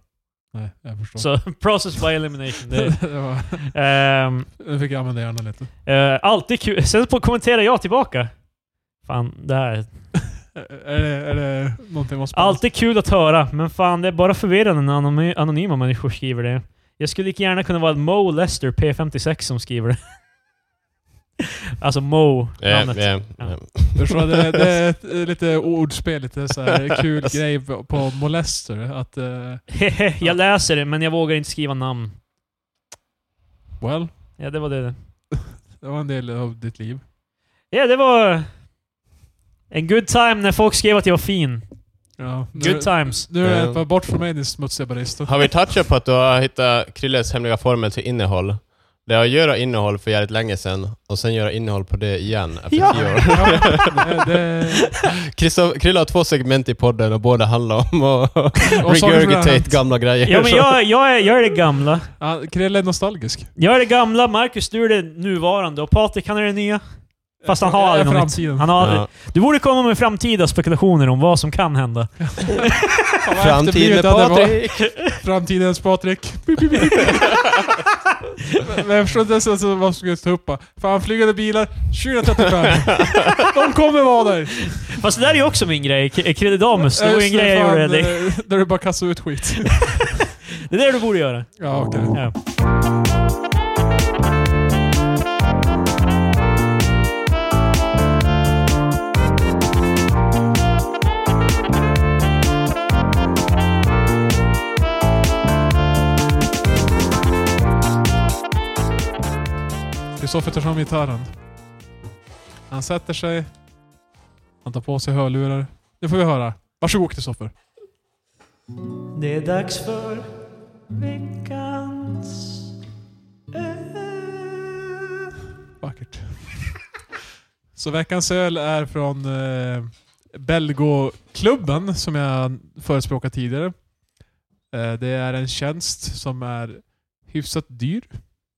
Speaker 3: Nej, jag förstår.
Speaker 1: Så process by elimination. Det,
Speaker 3: det var,
Speaker 1: ehm,
Speaker 3: nu fick jag använda hjärnan lite.
Speaker 1: eh, alltid kul. Sen på kommenterar jag tillbaka. Fan, det här
Speaker 3: Är det, är det någonting man sparar?
Speaker 1: Alltid kul att höra, men fan det är bara förvirrande när anony- anonyma människor skriver det. Jag skulle lika gärna kunna vara Mo Lester P56 som skriver det. alltså Mo,
Speaker 2: Ja,
Speaker 1: namnet.
Speaker 2: ja,
Speaker 1: Ja.
Speaker 2: ja.
Speaker 3: Förstår, det, det är ett, eh, lite ordspel, lite så här kul grej på, på molester. Att, eh,
Speaker 1: Hehe, jag läser det, men jag vågar inte skriva namn.
Speaker 3: well,
Speaker 1: Ja, det var det.
Speaker 3: det var en del av ditt liv.
Speaker 1: Ja, det var... En good time när folk skrev att jag var fin.
Speaker 3: Ja, nu,
Speaker 1: Good times. Eh.
Speaker 3: Nu är det
Speaker 2: Ja.
Speaker 3: bara bort från mig din smutsiga barista.
Speaker 2: Har vi touchat på att du har hittat Krilles hemliga formel till innehåll? Det är att göra innehåll för jävligt länge sedan och sen göra innehåll på det igen efter
Speaker 1: Ja.
Speaker 2: tio år.
Speaker 3: Ja, det, det,
Speaker 2: Christo- Krille har två segment i podden och båda handlar om att
Speaker 3: och saker som har
Speaker 2: regurgitate
Speaker 3: hänt.
Speaker 2: gamla grejer.
Speaker 1: Ja, men jag, jag, är, jag är det gamla.
Speaker 3: Ja, Krille är nostalgisk.
Speaker 1: Jag är det gamla, Marcus du är det nuvarande och Patrik han är det nya. Fast han har
Speaker 3: Jag är
Speaker 1: aldrig något nytt.
Speaker 3: framtiden.
Speaker 1: Han har aldrig,
Speaker 2: Ja.
Speaker 1: Du borde komma med framtida spekulationer om vad som kan hända.
Speaker 3: Fan, vad
Speaker 2: Framtiden med
Speaker 3: efterblivet det hade varit.
Speaker 2: Patrik!
Speaker 3: Framtidens Patrik. Pip, pip, pip. Men men jag förstår inte ens alltså vad som skulle ta upp. bara, Fan, flygande bilar 2035. De kommer vara där.
Speaker 1: Fast det där är ju också min grej. K- Kredidamus. Det var ju en
Speaker 3: Just
Speaker 1: grej jag
Speaker 3: fan,
Speaker 1: gjorde. Det,
Speaker 3: eh, Där du bara kastar ut skit.
Speaker 1: det är det du borde göra.
Speaker 3: Ja, okej.
Speaker 1: Ja.
Speaker 3: Kristoffer tar fram gitarren. Han sätter sig. Han tar på sig hörlurar. Nu får vi höra. Varsågod Kristoffer.
Speaker 1: Det är dags för veckans
Speaker 3: Vackert. Så veckans öl är från eh, Belgoklubben som jag förespråkat tidigare. Eh, det är en tjänst som är hyfsat dyr.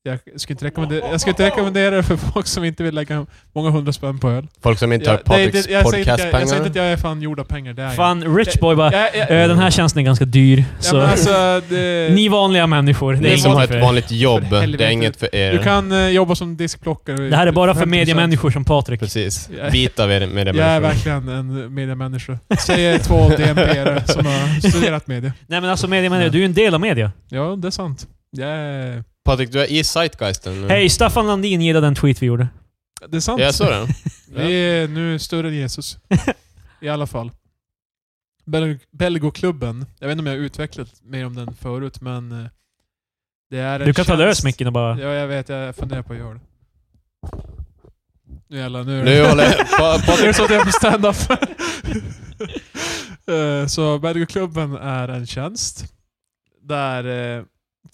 Speaker 3: Jag skulle inte rekommendera, jag skulle inte rekommendera det för folk som inte vill lägga många hundra spänn på öl.
Speaker 2: Folk som inte har
Speaker 3: Jag, det är inte-
Speaker 2: Patriks
Speaker 3: jag, säger inte, jag, jag säger
Speaker 2: podcastpengar.
Speaker 3: inte att jag är fan gjord av pengar. Det är jag
Speaker 1: Fan, Richboy bara...
Speaker 3: inte. Jag- jag-
Speaker 1: "Eh, Den här tjänsten är ganska dyr.
Speaker 3: Ja,
Speaker 1: Så.
Speaker 3: men alltså, det,
Speaker 1: Ni vanliga människor. Det,
Speaker 2: Ni
Speaker 1: är
Speaker 2: som
Speaker 1: inget
Speaker 2: har
Speaker 1: för
Speaker 2: ett
Speaker 1: er.
Speaker 2: vanligt jobb,
Speaker 3: För helvete.
Speaker 2: det är inget för
Speaker 3: du
Speaker 2: er.
Speaker 3: kan eh, jobba som diskplockare.
Speaker 1: det här är bara för
Speaker 3: 50%.
Speaker 1: mediemänniskor som Patrik.
Speaker 2: Precis.
Speaker 3: Ja.
Speaker 2: Bit av er med det
Speaker 3: Jag är
Speaker 2: människor.
Speaker 3: verkligen en mediemänniska. Säger två DNP-are som har studerat media.
Speaker 1: Nej men alltså mediemänniskor, du är ju en del av media.
Speaker 3: Ja, det är sant. Jag är...
Speaker 2: Patrik, du är i Zeitgeisten nu.
Speaker 1: Hej, Staffan Landin gillade den tweet vi gjorde.
Speaker 3: Det är sant.
Speaker 2: Jag såg den.
Speaker 3: Vi är nu större än Jesus. I alla fall. Bel- Belgoklubben. Jag vet inte om jag har utvecklat mer om den förut, men... eh, Det är en
Speaker 1: Du kan ta
Speaker 3: tjänst-
Speaker 1: lös micken och bara...
Speaker 3: Ja, jag vet. Jag funderar på att göra det. Nu jävlar. Nu, är det-
Speaker 2: Nu håller Pa-
Speaker 3: Det är
Speaker 2: Patrik...
Speaker 3: så att jag är på stand-up. Eh, så Bergoklubben är en tjänst där eh,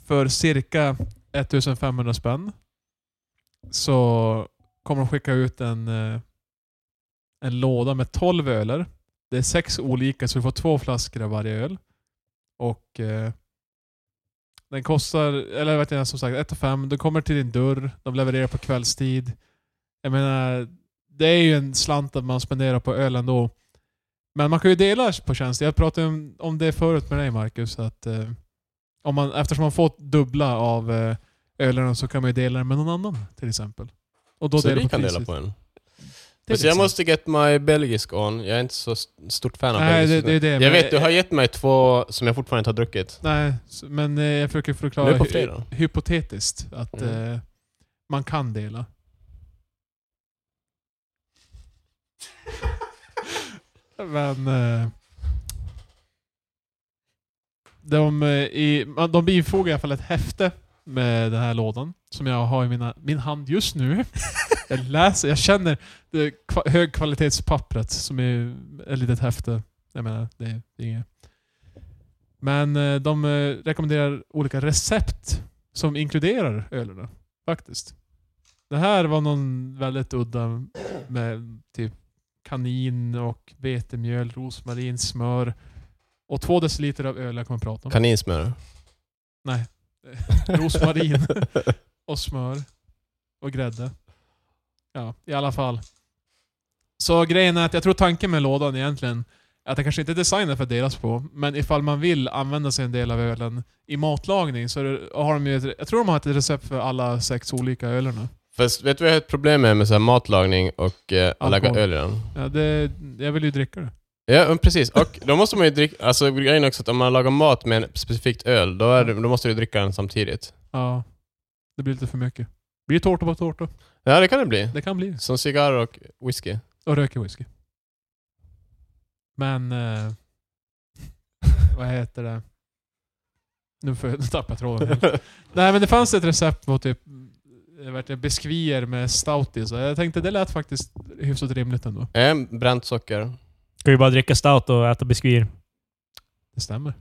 Speaker 3: för cirka 1500 spänn så kommer de skicka ut en, eh, en låda med 12 öler. Det är sex olika så du får två flaskor av varje öl. Och eh, Den kostar, eller vet jag, som sagt, 1 5. Den kommer till din dörr, de levererar på kvällstid. Jag menar, det är ju en slant att man spenderar på öl ändå. Men man kan ju dela på tjänster. Jag pratade om, om det förut med dig Marcus. Att, eh, om man, eftersom man får dubbla av eh, ölen så kan man ju dela den med någon annan till exempel. Och då
Speaker 2: så
Speaker 3: delar
Speaker 2: vi
Speaker 3: på
Speaker 2: kan dela
Speaker 3: priset. liksom-
Speaker 2: på en.
Speaker 3: Till
Speaker 2: Så jag
Speaker 3: exempel.
Speaker 2: måste get my belgisk on. Jag är inte så st- stort fan av
Speaker 3: Nej, det,
Speaker 2: belgisk.
Speaker 3: det är det.
Speaker 2: jag
Speaker 3: men-
Speaker 2: vet, du har gett mig två som jag fortfarande inte har druckit.
Speaker 3: Nej, s- men eh, jag försöker
Speaker 2: Nu
Speaker 3: förklara
Speaker 2: på
Speaker 3: hy-
Speaker 2: fredag.
Speaker 3: hypotetiskt att
Speaker 2: Mm.
Speaker 3: eh, man kan dela. Men eh, de, eh, i, man- de bifogar i alla fall ett häfte med den här lådan som jag har i mina, min hand just nu. Jag läser, jag känner det kva, högkvalitetspappret som är ett litet häfte. Jag menar, det är det är inget. Men eh, de eh, rekommenderar olika recept som inkluderar ölerna. Faktiskt. Det här var någon väldigt udda med typ kanin och vetemjöl, rosmarin, smör och två deciliter av öl jag kommer att prata om.
Speaker 2: Kaninsmör.
Speaker 3: Nej. Rosmarin och smör och grädde. Ja, i alla fall. Så grejen är att jag tror tanken med lådan egentligen är att den kanske inte är designad för att delas på, men ifall man vill använda sig en del av ölen i matlagning så är det, har de ju ett, Jag tror de har ett recept för alla sex olika ölerna.
Speaker 2: Fast vet du vad jag har ett problem med, med så här matlagning och eh, att lägga
Speaker 3: Alkohol.
Speaker 2: öl i den?
Speaker 3: Ja, det, jag vill ju dricka det.
Speaker 2: Ja, men precis. Och då måste man ju dricka... Alltså grejen är också att om man lagar mat med en specifikt öl, då, är det, då måste du dricka den samtidigt.
Speaker 3: Ja. Det blir lite för mycket. Det blir tårta på tårta.
Speaker 2: Ja, det kan det bli.
Speaker 3: Det kan bli det.
Speaker 2: Som cigarr och whisky.
Speaker 3: Och röker whisky. Men... Eh, vad heter det? Nu, får jag, nu tappar jag tråden helt. Nej men det fanns ett recept på typ eh, vad heter det, biskvier med stoutis. Jag tänkte det lät faktiskt hyfsat rimligt ändå.
Speaker 2: Eh, bränt socker.
Speaker 1: Ska ju bara dricka stout och äta biskvier.
Speaker 3: Det stämmer.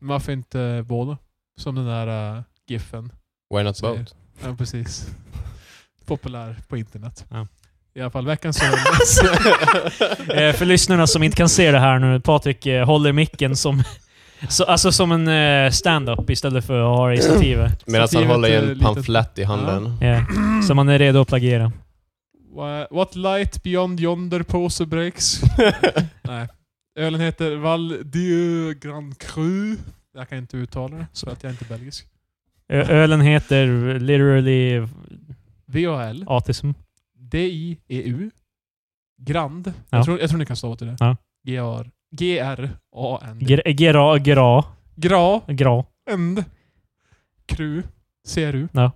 Speaker 3: Men Varför inte båda? Som den där eh, giffen.
Speaker 2: Why not
Speaker 3: Säger.
Speaker 2: both?
Speaker 3: Ja precis. Populär på internet.
Speaker 1: Ja.
Speaker 3: I alla fall veckans öl.
Speaker 1: Eh, för lyssnarna som inte kan se det här nu, Patrik eh, håller micken som, så, alltså som en eh, stand-up istället för att ha det i stativet.
Speaker 2: Medan han
Speaker 3: Stativet
Speaker 2: håller alltså, i
Speaker 3: är
Speaker 2: en
Speaker 3: litet.
Speaker 2: pamflett i handen.
Speaker 1: Yeah. Så man är redo att plagiera.
Speaker 3: Wha- What light beyond yonder pose breaks? Nej. Ölen heter Val Dieu Grand Cru. Jag kan inte uttala det, så att jag är inte belgisk.
Speaker 1: Ö- ölen heter literally
Speaker 3: VAL.
Speaker 1: autism.
Speaker 3: D-I-E-U. E Grand.
Speaker 1: Ja.
Speaker 3: Jag, tror, jag tror ni kan stava till det.
Speaker 1: Ja.
Speaker 3: G-R. G-R-A-N-D.
Speaker 1: Gra, gra, gra,
Speaker 3: Gra.
Speaker 1: gra.
Speaker 3: End. Cru. CRU.
Speaker 1: Ja.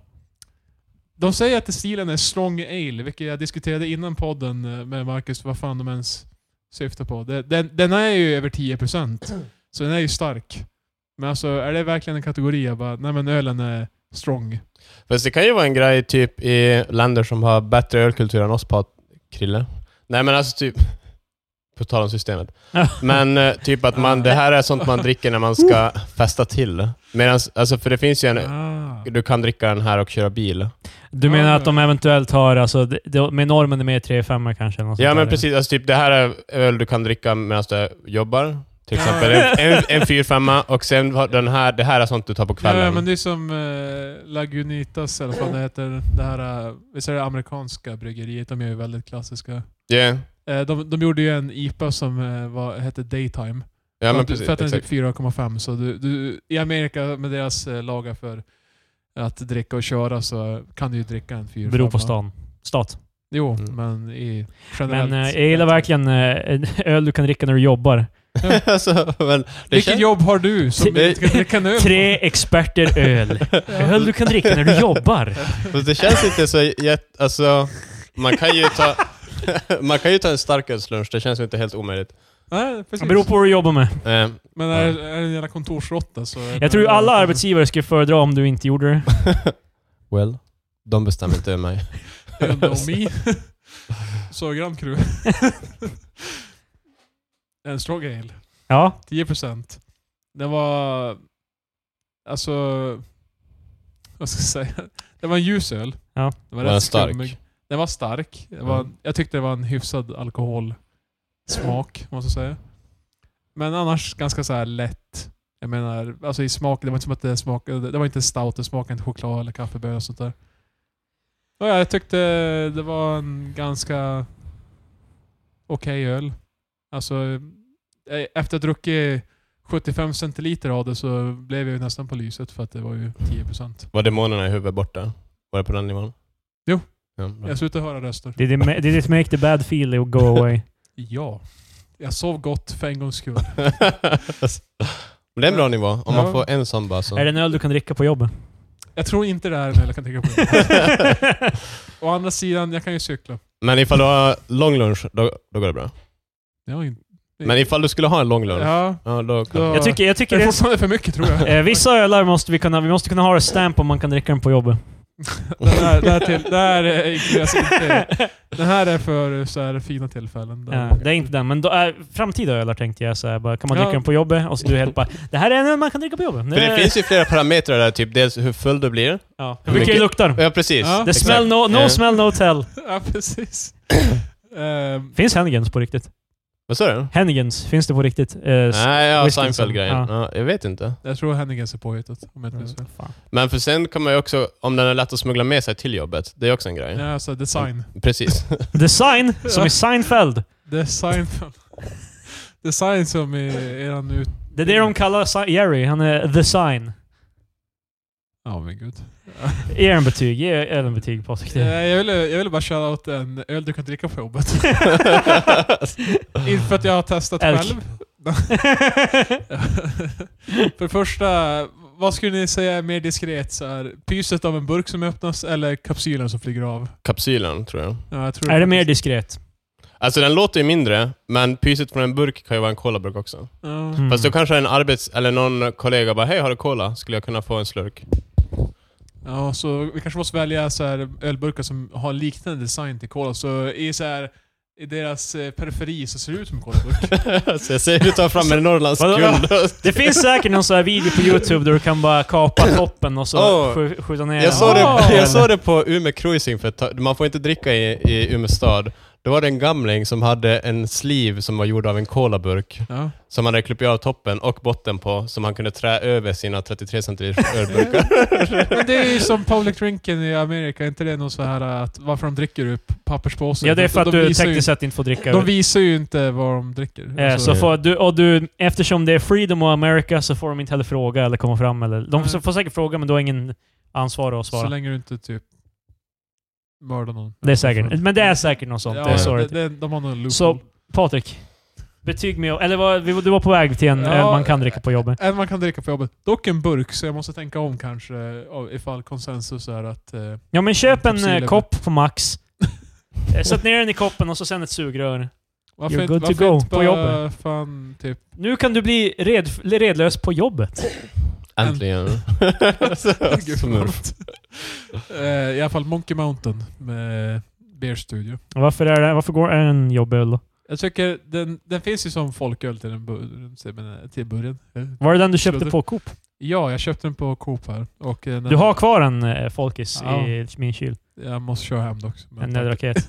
Speaker 3: De säger att stilen är strong ale, vilket jag diskuterade innan podden eh, med Marcus, vad fan de ens syftar på. Det- Den, den är ju över 10%, så den är ju stark. Men alltså, är det verkligen en kategori? Jag bara, nej men ölen är strong.
Speaker 2: Fast det kan ju vara en grej typ i länder som har bättre ölkultur än oss, Pat Krille. Nej men alltså typ... På tal om systemet. Men eh, typ att man, det här är sånt man dricker när man ska festa till. Medan, alltså för det finns ju en...
Speaker 3: Ah.
Speaker 2: Du kan dricka den här och köra bil.
Speaker 1: Du menar att de eventuellt har, alltså, det- det- med normen är mer 3-5 kanske? eller något
Speaker 2: Ja
Speaker 1: sånt
Speaker 2: men
Speaker 1: där.
Speaker 2: precis, alltså typ det här är öl du kan dricka medan du jobbar. Till
Speaker 3: Ja.
Speaker 2: exempel en, en, en 4-5 och sen har den här, det här är sånt du tar på kvällen.
Speaker 3: Ja, men det är som eh, Lagunitas eller vad det heter. Det här, eh, visst är det amerikanska bryggeriet? De är ju väldigt klassiska.
Speaker 2: Yeah.
Speaker 3: Eh, de, de gjorde ju en IPA som eh, var, hette Daytime.
Speaker 2: Ja
Speaker 3: För
Speaker 2: men
Speaker 3: att-
Speaker 2: precis,
Speaker 3: för att den är
Speaker 2: exakt.
Speaker 3: typ 4,5. Så du, du, i Amerika med deras eh, lagar för att dricka och köra så kan du ju dricka en 4,5.
Speaker 1: Beror på stan. Stat.
Speaker 3: Jo,
Speaker 2: Mm.
Speaker 3: men i generellt.
Speaker 1: Men eh, jag gillar verkligen eh, öl du kan dricka när du jobbar.
Speaker 2: alltså, men, det
Speaker 3: Vilket
Speaker 2: känns,
Speaker 3: jobb har du som
Speaker 2: Det-
Speaker 3: inte kan dricka nu?
Speaker 1: Tre experter öl. Öl du kan dricka när du jobbar.
Speaker 2: fast det känns inte så jätte... Alltså, man kan ju ta... man kan ju ta en starkölslunch, det känns ju inte helt omöjligt.
Speaker 3: Nej,
Speaker 1: Det
Speaker 3: precis.
Speaker 1: beror på vad du jobbar med.
Speaker 2: Eh,
Speaker 3: Men är, är det en jävla kontorsrotta så... är det-
Speaker 1: Jag tror alla arbetsgivare skulle föredra om du inte gjorde det.
Speaker 2: well, de bestämmer inte över mig.
Speaker 3: You know me. Så Grand Cru. en strong ale.
Speaker 1: Ja,
Speaker 3: 10%. Den var... Alltså... Vad ska jag säga? Det var en ljus öl.
Speaker 1: Ja.
Speaker 3: Den
Speaker 2: Var
Speaker 3: var,
Speaker 2: den
Speaker 3: rätt
Speaker 2: stark?
Speaker 3: skummig. Den var stark. Det var,
Speaker 2: Mm.
Speaker 3: Jag tyckte det var en hyfsad alkoholsmak, måste jag säga. Men annars ganska så här lätt. Jag menar, alltså i smak, det var inte som att det smakade, det var inte stout, det smakade inte choklad eller kaffebönor och sånt där. Och ja, jag tyckte det var en ganska okej öl. Alltså, eh, efter att ha druckit 75 centiliter av det så blev jag ju nästan på lyset för att det var ju 10%.
Speaker 2: Var demonerna i huvudet borta? Var det på den nivån?
Speaker 3: Jo.
Speaker 2: Ja, bra.
Speaker 3: Jag slutade höra röster.
Speaker 4: Did it, ma- did it make the bad feeling go away?
Speaker 3: Ja. Jag sov gott för en gångs skull.
Speaker 2: Men det är en bra nivå, om man
Speaker 3: Ja.
Speaker 2: får en sån bara så.
Speaker 1: Är det en öl du kan dricka på jobbet?
Speaker 3: Jag tror inte det är en öl jag kan tänka på. Å andra sidan, jag kan ju cykla.
Speaker 2: Men ifall du har lång lunch, då, då går det bra.
Speaker 3: Jag har ju inte-
Speaker 2: Men ifall du skulle ha en lång lunch, ja.
Speaker 3: Ja,
Speaker 2: då kan
Speaker 3: då...
Speaker 1: jag tycker, jag
Speaker 3: det
Speaker 1: tycker
Speaker 3: är
Speaker 1: det är
Speaker 3: fortfarande för mycket tror jag.
Speaker 1: Eh, vissa ölar måste vi kunna, vi måste kunna ha det stamp om man kan dricka den på jobbet.
Speaker 3: Den här, den här, till, den här är inkluderas inte. Den här är för så här fina tillfällen. där
Speaker 1: Ja,
Speaker 3: man-
Speaker 1: Eh, det är inte den, men då, äh, framtida ölar tänkte jag så här, bara, kan man
Speaker 3: Ja.
Speaker 1: dricka den på jobbet? Och så du är helt bara, det här är en öl man kan dricka på jobbet.
Speaker 2: För det finns ju flera parametrar där, typ dels hur full du blir.
Speaker 1: ja.
Speaker 2: hur
Speaker 1: Hur mycket det
Speaker 2: mycket-
Speaker 1: luktar.
Speaker 2: Ja, precis.
Speaker 3: Ja.
Speaker 1: The
Speaker 2: Exakt.
Speaker 1: smell no, no
Speaker 2: Eh,
Speaker 1: smell no tell.
Speaker 3: Ja, precis. Ehm,
Speaker 1: Finns Hennigens på riktigt?
Speaker 2: Vad sa du?
Speaker 1: Hennigens, finns det på riktigt? Eh, s-
Speaker 2: Nej, ja,
Speaker 1: Whisky som-
Speaker 2: Seinfeld-grejen.
Speaker 1: ja.
Speaker 2: Ja. jag vet inte.
Speaker 3: jag tror Henningens är påhittat,
Speaker 1: Mm.
Speaker 3: om jag inte minns fel.
Speaker 1: Fan.
Speaker 2: Men för sen kan man ju också, om den är lätt att smuggla med sig till jobbet, det är också en grej.
Speaker 3: Ja, alltså design.
Speaker 2: Precis.
Speaker 1: Design, som i Seinfeld.
Speaker 3: Design. design som är eran ut...
Speaker 1: Det är det de kallar si- Jerry, han är the sign.
Speaker 3: Ja, men gud.
Speaker 1: Ge en betyg, ge ölen betyg Patrik.
Speaker 3: Eh,
Speaker 1: Det-
Speaker 3: Jag ville, jag ville bara köra åt en öl du kan dricka på jobbet. Inte för att jag har testat
Speaker 1: Elk.
Speaker 3: själv. för det första, vad skulle ni säga är mer diskret? Så här, pyset av en burk som öppnas eller kapsylen som flyger av?
Speaker 2: Kapsylen, tror jag.
Speaker 3: Ja, jag tror
Speaker 1: är det mer diskret?
Speaker 2: Alltså den låter ju mindre, men pyset från en burk kan ju vara en colaburk också.
Speaker 3: Ja.
Speaker 1: Mm.
Speaker 2: Fast då kanske en arbets... Eller någon kollega bara ”Hej, har du cola? Skulle jag kunna få en slurk?”
Speaker 3: Ja, så vi kanske måste välja så här, ölburkar som har liknande design till cola. Så i, så här, i deras eh, periferi så ser det ut som en colaburk.
Speaker 2: Så jag säger du tar fram en Norrlands
Speaker 1: Vadå?
Speaker 2: kund.
Speaker 1: Det finns säkert någon sån här video på Youtube där du kan bara kapa toppen och så
Speaker 2: Åh.
Speaker 1: sk- skjuta ner
Speaker 2: Jag såg
Speaker 3: Ah.
Speaker 2: det, jag såg det på Umeå Cruising, för ett tag- man får inte dricka i, i Umeå stad. Då var det en gamling som hade en sleeve som var gjord av en colaburk,
Speaker 3: Ja.
Speaker 2: som han hade klippt av toppen och botten på, som han kunde trä över sina 33 centiliters ölburkar.
Speaker 3: Men det är ju som public drinking i Amerika, är inte det någon så här eh, att varför de dricker ur papperspåsen?
Speaker 1: Ja, det är för att
Speaker 3: De
Speaker 1: du
Speaker 3: visar ju-
Speaker 1: tekniskt sett inte får dricka
Speaker 3: De
Speaker 1: öl.
Speaker 3: visar ju inte vad de dricker.
Speaker 1: Eh,
Speaker 3: Alltså,
Speaker 1: så får du, och du, eftersom det är Freedom och America så får de inte heller fråga eller komma fram. Eller, de
Speaker 3: Nej.
Speaker 1: får säkert fråga men du har ingen ansvar att
Speaker 3: så
Speaker 1: svara.
Speaker 3: länge du inte typ mördar någon.
Speaker 1: Det är säkert. Men det är säkert något sånt. det är
Speaker 3: det,
Speaker 1: sorgligt.
Speaker 3: det, de har någon loophole.
Speaker 1: Så- Patrik. Betyg med... Eller var, vi- du var på väg till en
Speaker 3: Ja.
Speaker 1: öl man kan dricka på jobbet.
Speaker 3: En man kan dricka på jobbet. Dock en burk, så jag måste tänka om kanske eh, av- ifall konsensus är att... Eh,
Speaker 1: Ja men köp en
Speaker 3: Kapsyler.
Speaker 1: eh, kopp på Max. Eh, Sätt ner den i koppen och så sen ett sugrör.
Speaker 3: varför
Speaker 1: You're
Speaker 3: inte,
Speaker 1: good to
Speaker 3: varför
Speaker 1: go
Speaker 3: inte
Speaker 1: på
Speaker 3: bara
Speaker 1: jobbet.
Speaker 3: fan typ...
Speaker 1: Nu kan du bli red, redlös på jobbet.
Speaker 2: Äntligen. Smurf.
Speaker 3: eh, I alla fall Monkey Mountain med Beer Studio.
Speaker 1: Varför är det... Varför går är det en jobböl då?
Speaker 3: Jag tycker den, den finns ju som folköl till, den bur, till burgen. Eh,
Speaker 1: Var det den du köpte
Speaker 3: Sluddar.
Speaker 1: på Coop?
Speaker 3: Ja, jag köpte den på Coop här. Och eh, den,
Speaker 1: Du har kvar en eh, Folkis
Speaker 3: Ja.
Speaker 1: i min kyl.
Speaker 3: Jag måste köra hem dock. men
Speaker 1: En
Speaker 3: tack.
Speaker 1: nödraket.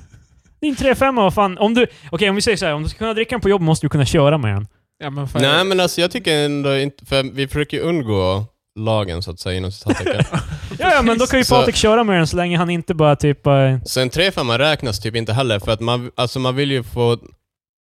Speaker 1: Din 3-5 vad fan. Om du... Okej om vi säger så här. Om du ska kunna dricka den på jobb måste du kunna köra med den.
Speaker 3: Ja, men fan,
Speaker 2: Nej men alltså jag tycker ändå inte, för vi försöker ju undgå lagen så att säga inom citattecken.
Speaker 1: Ja, ja men då kan ju
Speaker 2: Så-
Speaker 1: Patrik köra med den så länge han inte bara typ... eh,
Speaker 2: Så en 3-5 räknas typ inte heller, för att man, alltså man vill ju få...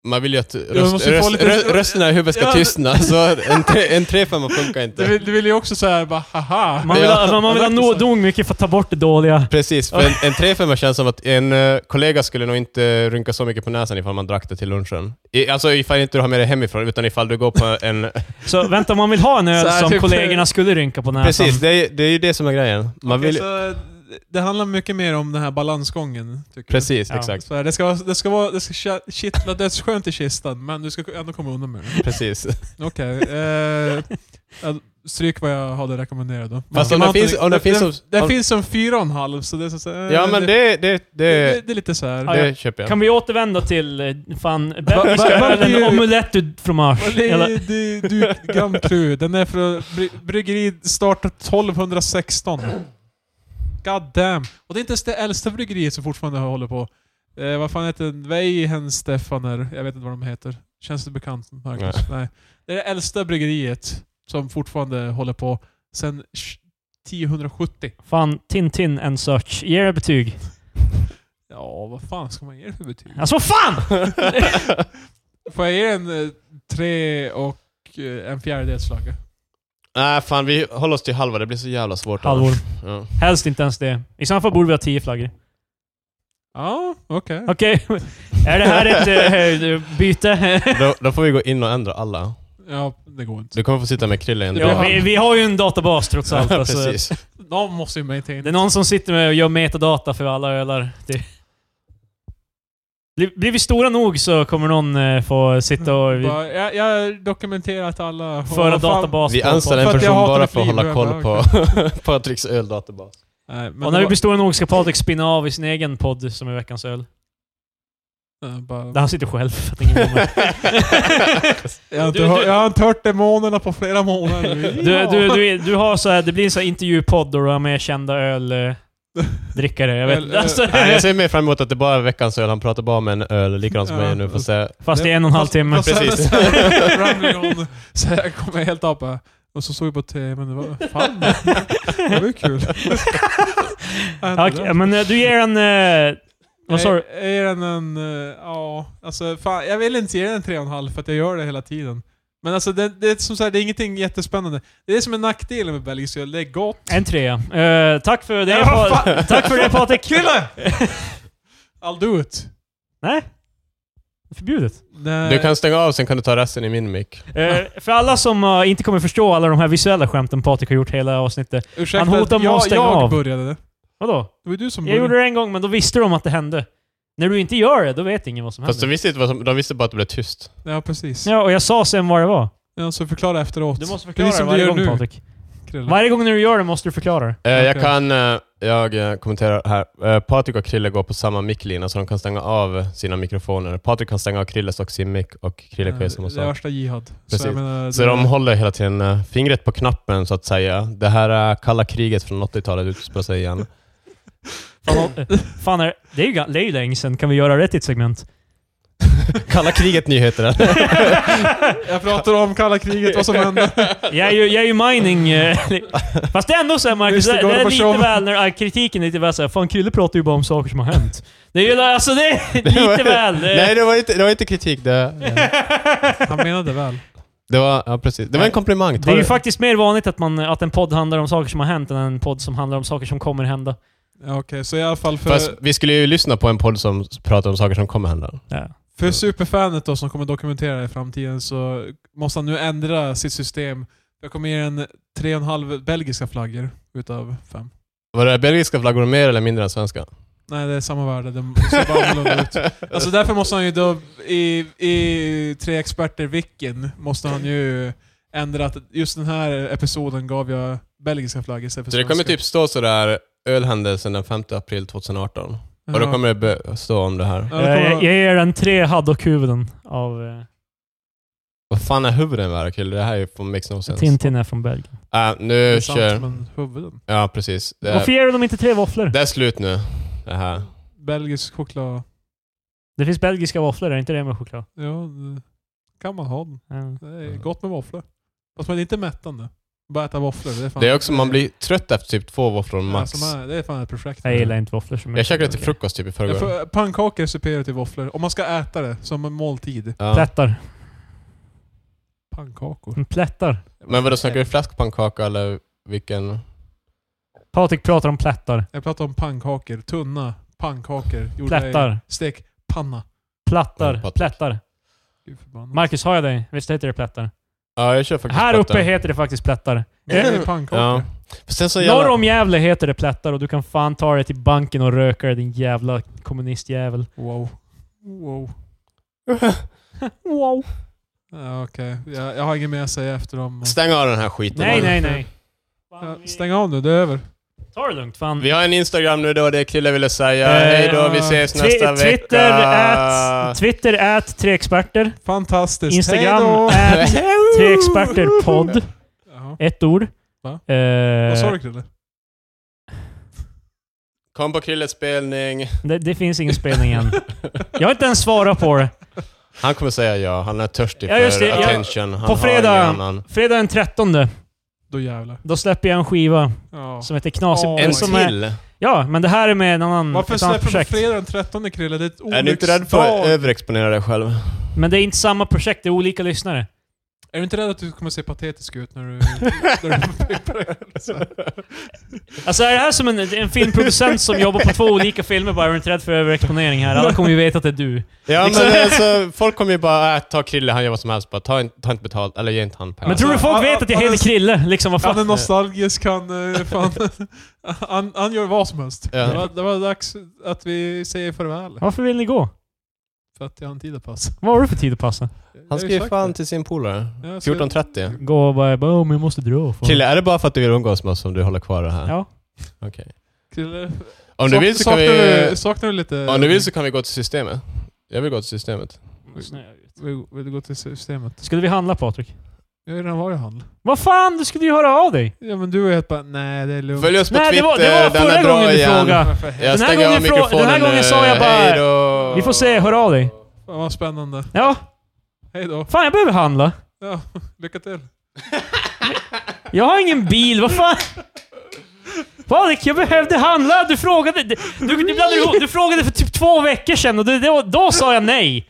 Speaker 2: Man vill ju att röst,
Speaker 3: måste ju få
Speaker 2: röst,
Speaker 3: lite-
Speaker 2: rö- rösterna i huvudet ska
Speaker 3: Ja.
Speaker 2: tystna, så en tre- en 3-5 funkar
Speaker 3: Du
Speaker 2: inte.
Speaker 3: vill, du vill ju också såhär bara haha.
Speaker 1: Man vill,
Speaker 2: Ja.
Speaker 1: ha- man vill ha no- nog mycket för att ta bort det dåliga.
Speaker 2: Precis, för en, en 3-5 känns som att en eh, kollega skulle nog inte rynka så mycket på näsan ifall man drack det till lunchen. I, alltså ifall inte du har med det hemifrån, utan ifall du går på en...
Speaker 1: Så vänta, man vill ha en
Speaker 3: Så
Speaker 1: öl
Speaker 3: här
Speaker 1: som
Speaker 3: typ-
Speaker 1: kollegorna skulle rynka på näsan.
Speaker 2: Precis, det är, det är ju det som är grejen. Man
Speaker 3: Okej,
Speaker 2: vill,
Speaker 3: så det handlar mycket mer om den här balansgången. Tycker
Speaker 2: precis,
Speaker 1: Ja.
Speaker 2: exakt.
Speaker 3: Jag. Så här, det, ska, vara- det, ska vara, det ska kä- kittla dödsskönt i kistan, men du ska ändå komma undan med det.
Speaker 2: Precis.
Speaker 3: Okej. eh, jag stryk vad jag hade rekommenderat då.
Speaker 2: Fast om det finns... Om det finns som,
Speaker 3: det
Speaker 2: om,
Speaker 3: finns som fyra och en halv, så det är så, så här,
Speaker 2: ja men det, det,
Speaker 3: det,
Speaker 2: det,
Speaker 3: det är lite så här.
Speaker 1: Ja,
Speaker 2: det köper jag.
Speaker 1: Kan vi återvända till eh, fan...
Speaker 3: va-
Speaker 1: Vi ska
Speaker 3: va-
Speaker 1: göra
Speaker 3: va-
Speaker 1: en omelett du fromage.
Speaker 3: Det
Speaker 1: Eller-
Speaker 3: är- det är- Du, Grand Cru. Den är från bry- bryggeri startat 1216. God damn. Och det är inte ens det äldsta bryggeriet som fortfarande håller på. Eh, vad fan heter den? Weihen Stefaner. Jag vet inte vad de heter. Känns det bekant? Marcus? Nej. Det är det äldsta bryggeriet som fortfarande håller på sedan 1070.
Speaker 1: Fan, Tintin and such. Ge det betyg.
Speaker 3: Ja, vad fan ska man ge det för betyg?
Speaker 1: Alltså vad fan!
Speaker 3: Får jag ge den eh, tre och eh, en fjärdedels flagga?
Speaker 2: Nej, fan vi håller oss till halva. Det blir så jävla svårt.
Speaker 1: Halvor.
Speaker 2: annars. Ja.
Speaker 1: Helst inte ens det. I så fall borde vi ha tio flaggor.
Speaker 3: Ja, okej.
Speaker 1: Okej. Är det här ett eh, byte?
Speaker 2: Då, då får vi gå in och ändra alla.
Speaker 3: Ja, det går inte.
Speaker 2: Du kommer få sitta med Krille i en
Speaker 1: ja, vi, vi har ju en databas trots allt. Alltså.
Speaker 2: Precis.
Speaker 3: Någon måste ju med till.
Speaker 1: Det är någon som sitter med och gör metadata för alla ölar. Det... Blir- Blir vi stora nog så kommer någon eh, få sitta och... Vi,
Speaker 3: Bara, jag, jag har dokumenterat alla.
Speaker 1: föra
Speaker 3: Mm. Vad fan-
Speaker 1: databas
Speaker 2: Vi
Speaker 1: på-
Speaker 2: anställer en
Speaker 3: För att jag
Speaker 2: person
Speaker 3: hatar
Speaker 2: bara
Speaker 3: det
Speaker 2: för att
Speaker 3: flyg,
Speaker 2: hålla koll
Speaker 3: jag
Speaker 2: på Patricks öldatabas.
Speaker 3: Nej, men
Speaker 1: Och när
Speaker 3: det
Speaker 1: vi
Speaker 3: var-
Speaker 1: blir stora nog ska Patrik spinna av i sin egen podd som är veckans öl.
Speaker 3: Nej, bara-
Speaker 1: Där han sitter själv för att ingen kommer.
Speaker 3: Jag har, inte
Speaker 1: Du-
Speaker 3: hört,
Speaker 1: du-
Speaker 3: jag har inte hört demonerna på flera månader.
Speaker 1: Du, du, du, du har så här, det blir en så här intervjupodd och du har med kända öldrickare. Jag vet
Speaker 3: Öl- öl-
Speaker 1: inte. Alltså,
Speaker 2: Nej, jag ser mer fram emot att det bara är veckans öl. Han pratar bara med en öl, likadant som
Speaker 3: Ja.
Speaker 2: mig nu. Får se.
Speaker 1: fast i en och en halv timme.
Speaker 3: Fast- fast-
Speaker 2: Precis.
Speaker 3: Rambling on. Så jag kommer helt av bara, Och så såg jag på tv, men det var... Fan, det var ju kul.
Speaker 1: Ja, Okej, men eh, du ger en... eh, Vad sa du?
Speaker 3: Jag ger den en... eh, Ja, alltså fan, jag vill inte ge den en tre och en halv för att jag gör det hela tiden. Men alltså det, det är som sagt, det är ingenting jättespännande. Det är som en nackdel med belgisk öl, det är gott.
Speaker 1: En trea. Eh, tack för det,
Speaker 3: Ja, vad
Speaker 1: Pa- Tack för det Patrik!
Speaker 3: Krille! I'll do it.
Speaker 1: Nej. Förbjudet.
Speaker 3: Nej.
Speaker 2: Du kan stänga av, sen kan du ta resten i min mick.
Speaker 1: Eh, för alla som eh, inte kommer förstå alla de här visuella skämten Patrik har gjort hela avsnittet.
Speaker 3: Ursäkta,
Speaker 1: han hotar med
Speaker 3: jag,
Speaker 1: att stänga
Speaker 3: jag
Speaker 1: av.
Speaker 3: började det.
Speaker 1: Vadå?
Speaker 3: Det var ju du som
Speaker 1: Jag
Speaker 3: började.
Speaker 1: gjorde det en gång, men då visste de att det hände. När du inte gör det, då vet ingen vad som
Speaker 2: Fast de
Speaker 1: händer.
Speaker 2: visste, inte vad som, de visste bara att det blev tyst.
Speaker 3: Ja, precis.
Speaker 1: Ja, och jag sa sen vad det var.
Speaker 3: Ja, så förklara efteråt.
Speaker 1: Du måste förklara
Speaker 3: Precis
Speaker 1: det
Speaker 3: som
Speaker 1: varje
Speaker 3: du
Speaker 1: gång
Speaker 3: gör nu,
Speaker 1: Patrik.
Speaker 3: Krille.
Speaker 1: Varje gång när du gör det måste du förklara det.
Speaker 2: Eh, Jag
Speaker 3: Okej.
Speaker 2: kan... eh, Jag eh, kommenterar här. Eh, Patrik och Krille går på samma micklina, så de kan stänga av sina mikrofoner. Patrik kan stänga av Krilles och sin mick, och Krille kan göra
Speaker 3: Ja,
Speaker 2: samma
Speaker 3: Det är
Speaker 2: sak.
Speaker 3: värsta jihad.
Speaker 2: Precis.
Speaker 3: Så, jag menar,
Speaker 2: Så
Speaker 3: det-
Speaker 2: de håller hela tiden eh, fingret på knappen så att säga. Det här är kalla kriget från 80-talet utspelar sig igen.
Speaker 1: Fan, eh, Fan, är, det är ju ga- det är ju länge sedan. Kan vi göra det till ett segment?
Speaker 2: Kalla kriget nyheter.
Speaker 3: Jag pratar om kalla kriget, vad som hände.
Speaker 1: Jag är ju, jag är ju mining... eh, Fast det är ändå såhär Marcus,
Speaker 3: Just
Speaker 1: det,
Speaker 3: det,
Speaker 1: det är lite
Speaker 3: Gorbatjov.
Speaker 1: väl när eh, kritiken är lite väl såhär, fan Krille pratar ju bara om saker som har hänt. Det är ju alltså det är lite väl. eh.
Speaker 2: Nej, det var inte, det var inte kritik. Det,
Speaker 3: Han menade väl.
Speaker 2: det var, ja, precis. Det var en komplimang.
Speaker 1: Det
Speaker 2: Ta
Speaker 1: är ju
Speaker 2: det.
Speaker 1: faktiskt mer vanligt att, man, att en podd handlar om saker som har hänt än en podd som handlar om saker som kommer hända.
Speaker 3: Ja, Okej, så i alla fall för,
Speaker 2: Fast vi skulle ju lyssna på en podd som pratar om saker som kommer hända.
Speaker 3: för superfanet då som kommer dokumentera det i framtiden så måste han nu ändra sitt system. Jag kommer ge en tre och en halv belgiska flaggor utav fem.
Speaker 2: Var det belgiska flaggor mer eller mindre än svenska?
Speaker 3: Nej, det är samma värde. Det ser bara annorlunda ut. Alltså därför måste han ju då, i, i Tre Experter Vicken, måste han ju ändra att just den här episoden gav jag belgiska flaggor istället för
Speaker 2: Så det kommer
Speaker 3: svenska.
Speaker 2: typ stå sådär ölhändelsen den 5 april 2018. Och typ- då
Speaker 3: Ja.
Speaker 2: kommer det be- stå om det här.
Speaker 3: Ja, det
Speaker 1: Eh,
Speaker 3: kommer-
Speaker 1: jag, jag ger den tre Haddock-huvuden av eh,
Speaker 2: Vad fan är huvuden värd Krille? Det här är ju på mix no sense.
Speaker 1: Tintin är från Belgien.
Speaker 2: Ah,
Speaker 3: Det
Speaker 2: nu
Speaker 3: är sant,
Speaker 2: kör...
Speaker 3: men huvuden.
Speaker 2: Ja, precis. Det
Speaker 1: Varför
Speaker 2: är,
Speaker 1: ger de inte tre våfflor?
Speaker 2: det är slut nu. Det här.
Speaker 3: Belgisk choklad.
Speaker 1: Det finns belgiska våfflor, är inte det med choklad?
Speaker 3: Ja, det kan man ha den.
Speaker 2: Mm.
Speaker 1: Ja.
Speaker 3: Det är gott med våfflor. Fast man är inte mättande. Bara äta våfflor. Det är, fan,
Speaker 2: Det är också, man blir trött efter typ två våfflor max.
Speaker 3: Ja, som är- det är fan ett projekt.
Speaker 1: Jag gillar inte våfflor så mycket.
Speaker 2: Jag käkade till frukost typ i
Speaker 3: Jag
Speaker 2: förrgår.
Speaker 3: får- Pannkakor är superior till våfflor. Om man ska äta det som en måltid.
Speaker 2: Ja.
Speaker 1: Plättar.
Speaker 3: Pannkakor.
Speaker 1: Mm, Plättar.
Speaker 2: Men vadå, snackar du fläskpannkaka eller vilken?
Speaker 1: Patrik pratar om plättar.
Speaker 3: Jag pratar om pannkakor. Tunna pannkakor. Gjorda
Speaker 1: Plättar.
Speaker 3: i stekpanna.
Speaker 1: Plattar.
Speaker 2: Mm, Patrik.
Speaker 1: plättar.
Speaker 3: Gud förbannat.
Speaker 1: Marcus, har jag dig? Visst heter det plättar?
Speaker 2: Ja, jag kör faktiskt
Speaker 1: Här
Speaker 2: platta.
Speaker 1: uppe heter det faktiskt plättar.
Speaker 3: Det
Speaker 2: Eh,
Speaker 3: är pannkakor.
Speaker 2: Ja. Fast Sen så
Speaker 1: Norr
Speaker 2: jävla...
Speaker 1: om Gävle heter det plättar och du kan fan ta dig till banken och röka dig, din jävla kommunistjävel.
Speaker 3: Wow. Wow.
Speaker 1: Wow.
Speaker 3: Ja, Okej, jag, jag har inget mer att säga efter dem.
Speaker 2: Stäng av den här skiten.
Speaker 1: Nej, nej, nej.
Speaker 3: Ja, stäng av nu, det är över.
Speaker 1: Ta det lugnt fan.
Speaker 2: Vi har en Instagram nu, det var det Krille ville säga.
Speaker 1: Eh,
Speaker 2: Hej då, vi ses
Speaker 1: Twi-
Speaker 2: nästa
Speaker 1: Twitter
Speaker 2: vecka.
Speaker 1: at, Twitter at tre experter.
Speaker 3: Fantastiskt.
Speaker 1: Instagram
Speaker 3: Hejdå!
Speaker 1: at tre experter podd.
Speaker 3: Jaha.
Speaker 1: Ett ord.
Speaker 3: Va?
Speaker 1: Eh,
Speaker 3: Vad sa du Krille?
Speaker 2: Kom på Krilles spelning.
Speaker 1: det, det finns ingen spelning än. Jag har inte ens svarat på det.
Speaker 2: Han kommer säga ja, han är törstig
Speaker 1: Ja,
Speaker 2: för
Speaker 1: just det, ja.
Speaker 2: attention. Han
Speaker 1: På fredag-
Speaker 2: Har ingen annan.
Speaker 1: Fredag den 13,
Speaker 3: Då jävlar.
Speaker 1: då släpper jag en skiva
Speaker 3: Ja.
Speaker 1: som heter Knasig...
Speaker 3: Åh,
Speaker 2: En
Speaker 1: eller som är,
Speaker 2: till?
Speaker 1: ja, men det här är med en annan,
Speaker 3: Varför
Speaker 1: ett annat
Speaker 3: släpper du
Speaker 1: projekt.
Speaker 3: fredag den 13 Krille? Det är ett
Speaker 2: Är du inte rädd för att
Speaker 3: olycksdag.
Speaker 2: överexponera dig själv?
Speaker 1: Men det är inte samma projekt, det är olika lyssnare.
Speaker 2: eh,
Speaker 3: Är du inte rädd att du kommer se patetisk ut när du... när du
Speaker 1: Alltså är det här som en, en filmproducent som jobbar på två olika filmer bara? Är du inte rädd för överexponering här? Alla kommer ju veta att det är du.
Speaker 2: Ja
Speaker 1: Liksom.
Speaker 2: men alltså, folk kommer ju bara äh, ta Krille, han gör vad som helst. Bara, ta, in, ta inte betalt, eller ge inte han pengar.
Speaker 1: Men tror du folk
Speaker 3: han-
Speaker 1: vet att jag
Speaker 3: han-
Speaker 1: heter Krille? Liksom vad
Speaker 3: han är
Speaker 1: fan?
Speaker 3: nostalgisk, han... eh, Fan, han, han gör vad som helst.
Speaker 2: Ja.
Speaker 3: Det, var, det var dags att vi säger farväl.
Speaker 1: Varför vill ni gå?
Speaker 3: För att jag har en tid att passa.
Speaker 1: Vad har du för tid att passa?
Speaker 2: han ska ju fan till sin polare.
Speaker 3: Ja, jag ska-
Speaker 2: 14.30.
Speaker 1: Gå och bara, bara "Åh, men jag måste dra. fan."
Speaker 2: Krille, är det bara för att du vill umgås med oss som du håller kvar det här?
Speaker 1: Ja.
Speaker 2: Okej.
Speaker 3: Krille,
Speaker 2: Om du
Speaker 3: sak-
Speaker 2: vill så kan
Speaker 3: eh, saknar
Speaker 2: vi...
Speaker 3: Du, saknar du lite...
Speaker 2: Om du vill så kan vi gå till systemet. Jag vill gå till systemet.
Speaker 3: Vill, vill du gå till systemet?
Speaker 1: Skulle vi handla Patrik?
Speaker 3: Jag har ju redan varit i handel.
Speaker 1: Vad fan, du skulle ju höra av dig!
Speaker 3: Ja men du är helt bara, nej det är lugnt.
Speaker 2: Följ oss på
Speaker 1: Nej, det
Speaker 2: Twitter,
Speaker 1: var- det var
Speaker 2: den
Speaker 1: förra
Speaker 2: är
Speaker 1: gången
Speaker 2: bra
Speaker 1: du
Speaker 2: igen.
Speaker 1: frågade.
Speaker 3: Men för helvete,
Speaker 2: Jag
Speaker 1: Den här
Speaker 2: stänger av
Speaker 1: gången frå-
Speaker 2: mikrofonen
Speaker 1: den här gången sa jag
Speaker 2: nu.
Speaker 1: bara,
Speaker 2: Hejdå.
Speaker 1: Vi får se, hör av dig.
Speaker 3: Fan vad spännande.
Speaker 1: Ja,
Speaker 3: Hej då.
Speaker 1: fan jag behöver handla.
Speaker 3: Ja, lycka till.
Speaker 1: Jag har ingen bil, vad fan? Patrik, jag behövde handla. Du frågade... Du, du, du, blandade ihop- du frågade för typ två veckor sedan och det, det, var- då sa jag nej.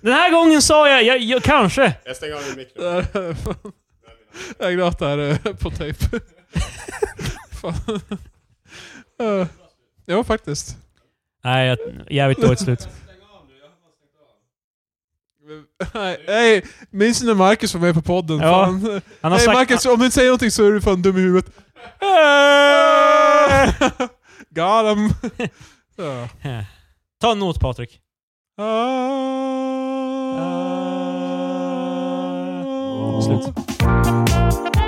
Speaker 1: Den här gången sa jag, jag, jag kanske.
Speaker 2: Jag stänger av min mikrofon.
Speaker 3: Det här är fan- Jag är glad att det här är på tejp. Fan. Eh, Ja faktiskt.
Speaker 1: Nej, jag, jävligt dåligt slut.
Speaker 3: Nej, Hej, minns ni när Marcus var med på podden?
Speaker 1: Ja,
Speaker 3: fan.
Speaker 1: Han har
Speaker 3: Nej
Speaker 1: sagt...
Speaker 3: Marcus, om du inte säger någonting så är du fan dum i huvudet. Got him. Ja.
Speaker 1: Ta en not Patrik.
Speaker 3: Ah.
Speaker 1: Slut.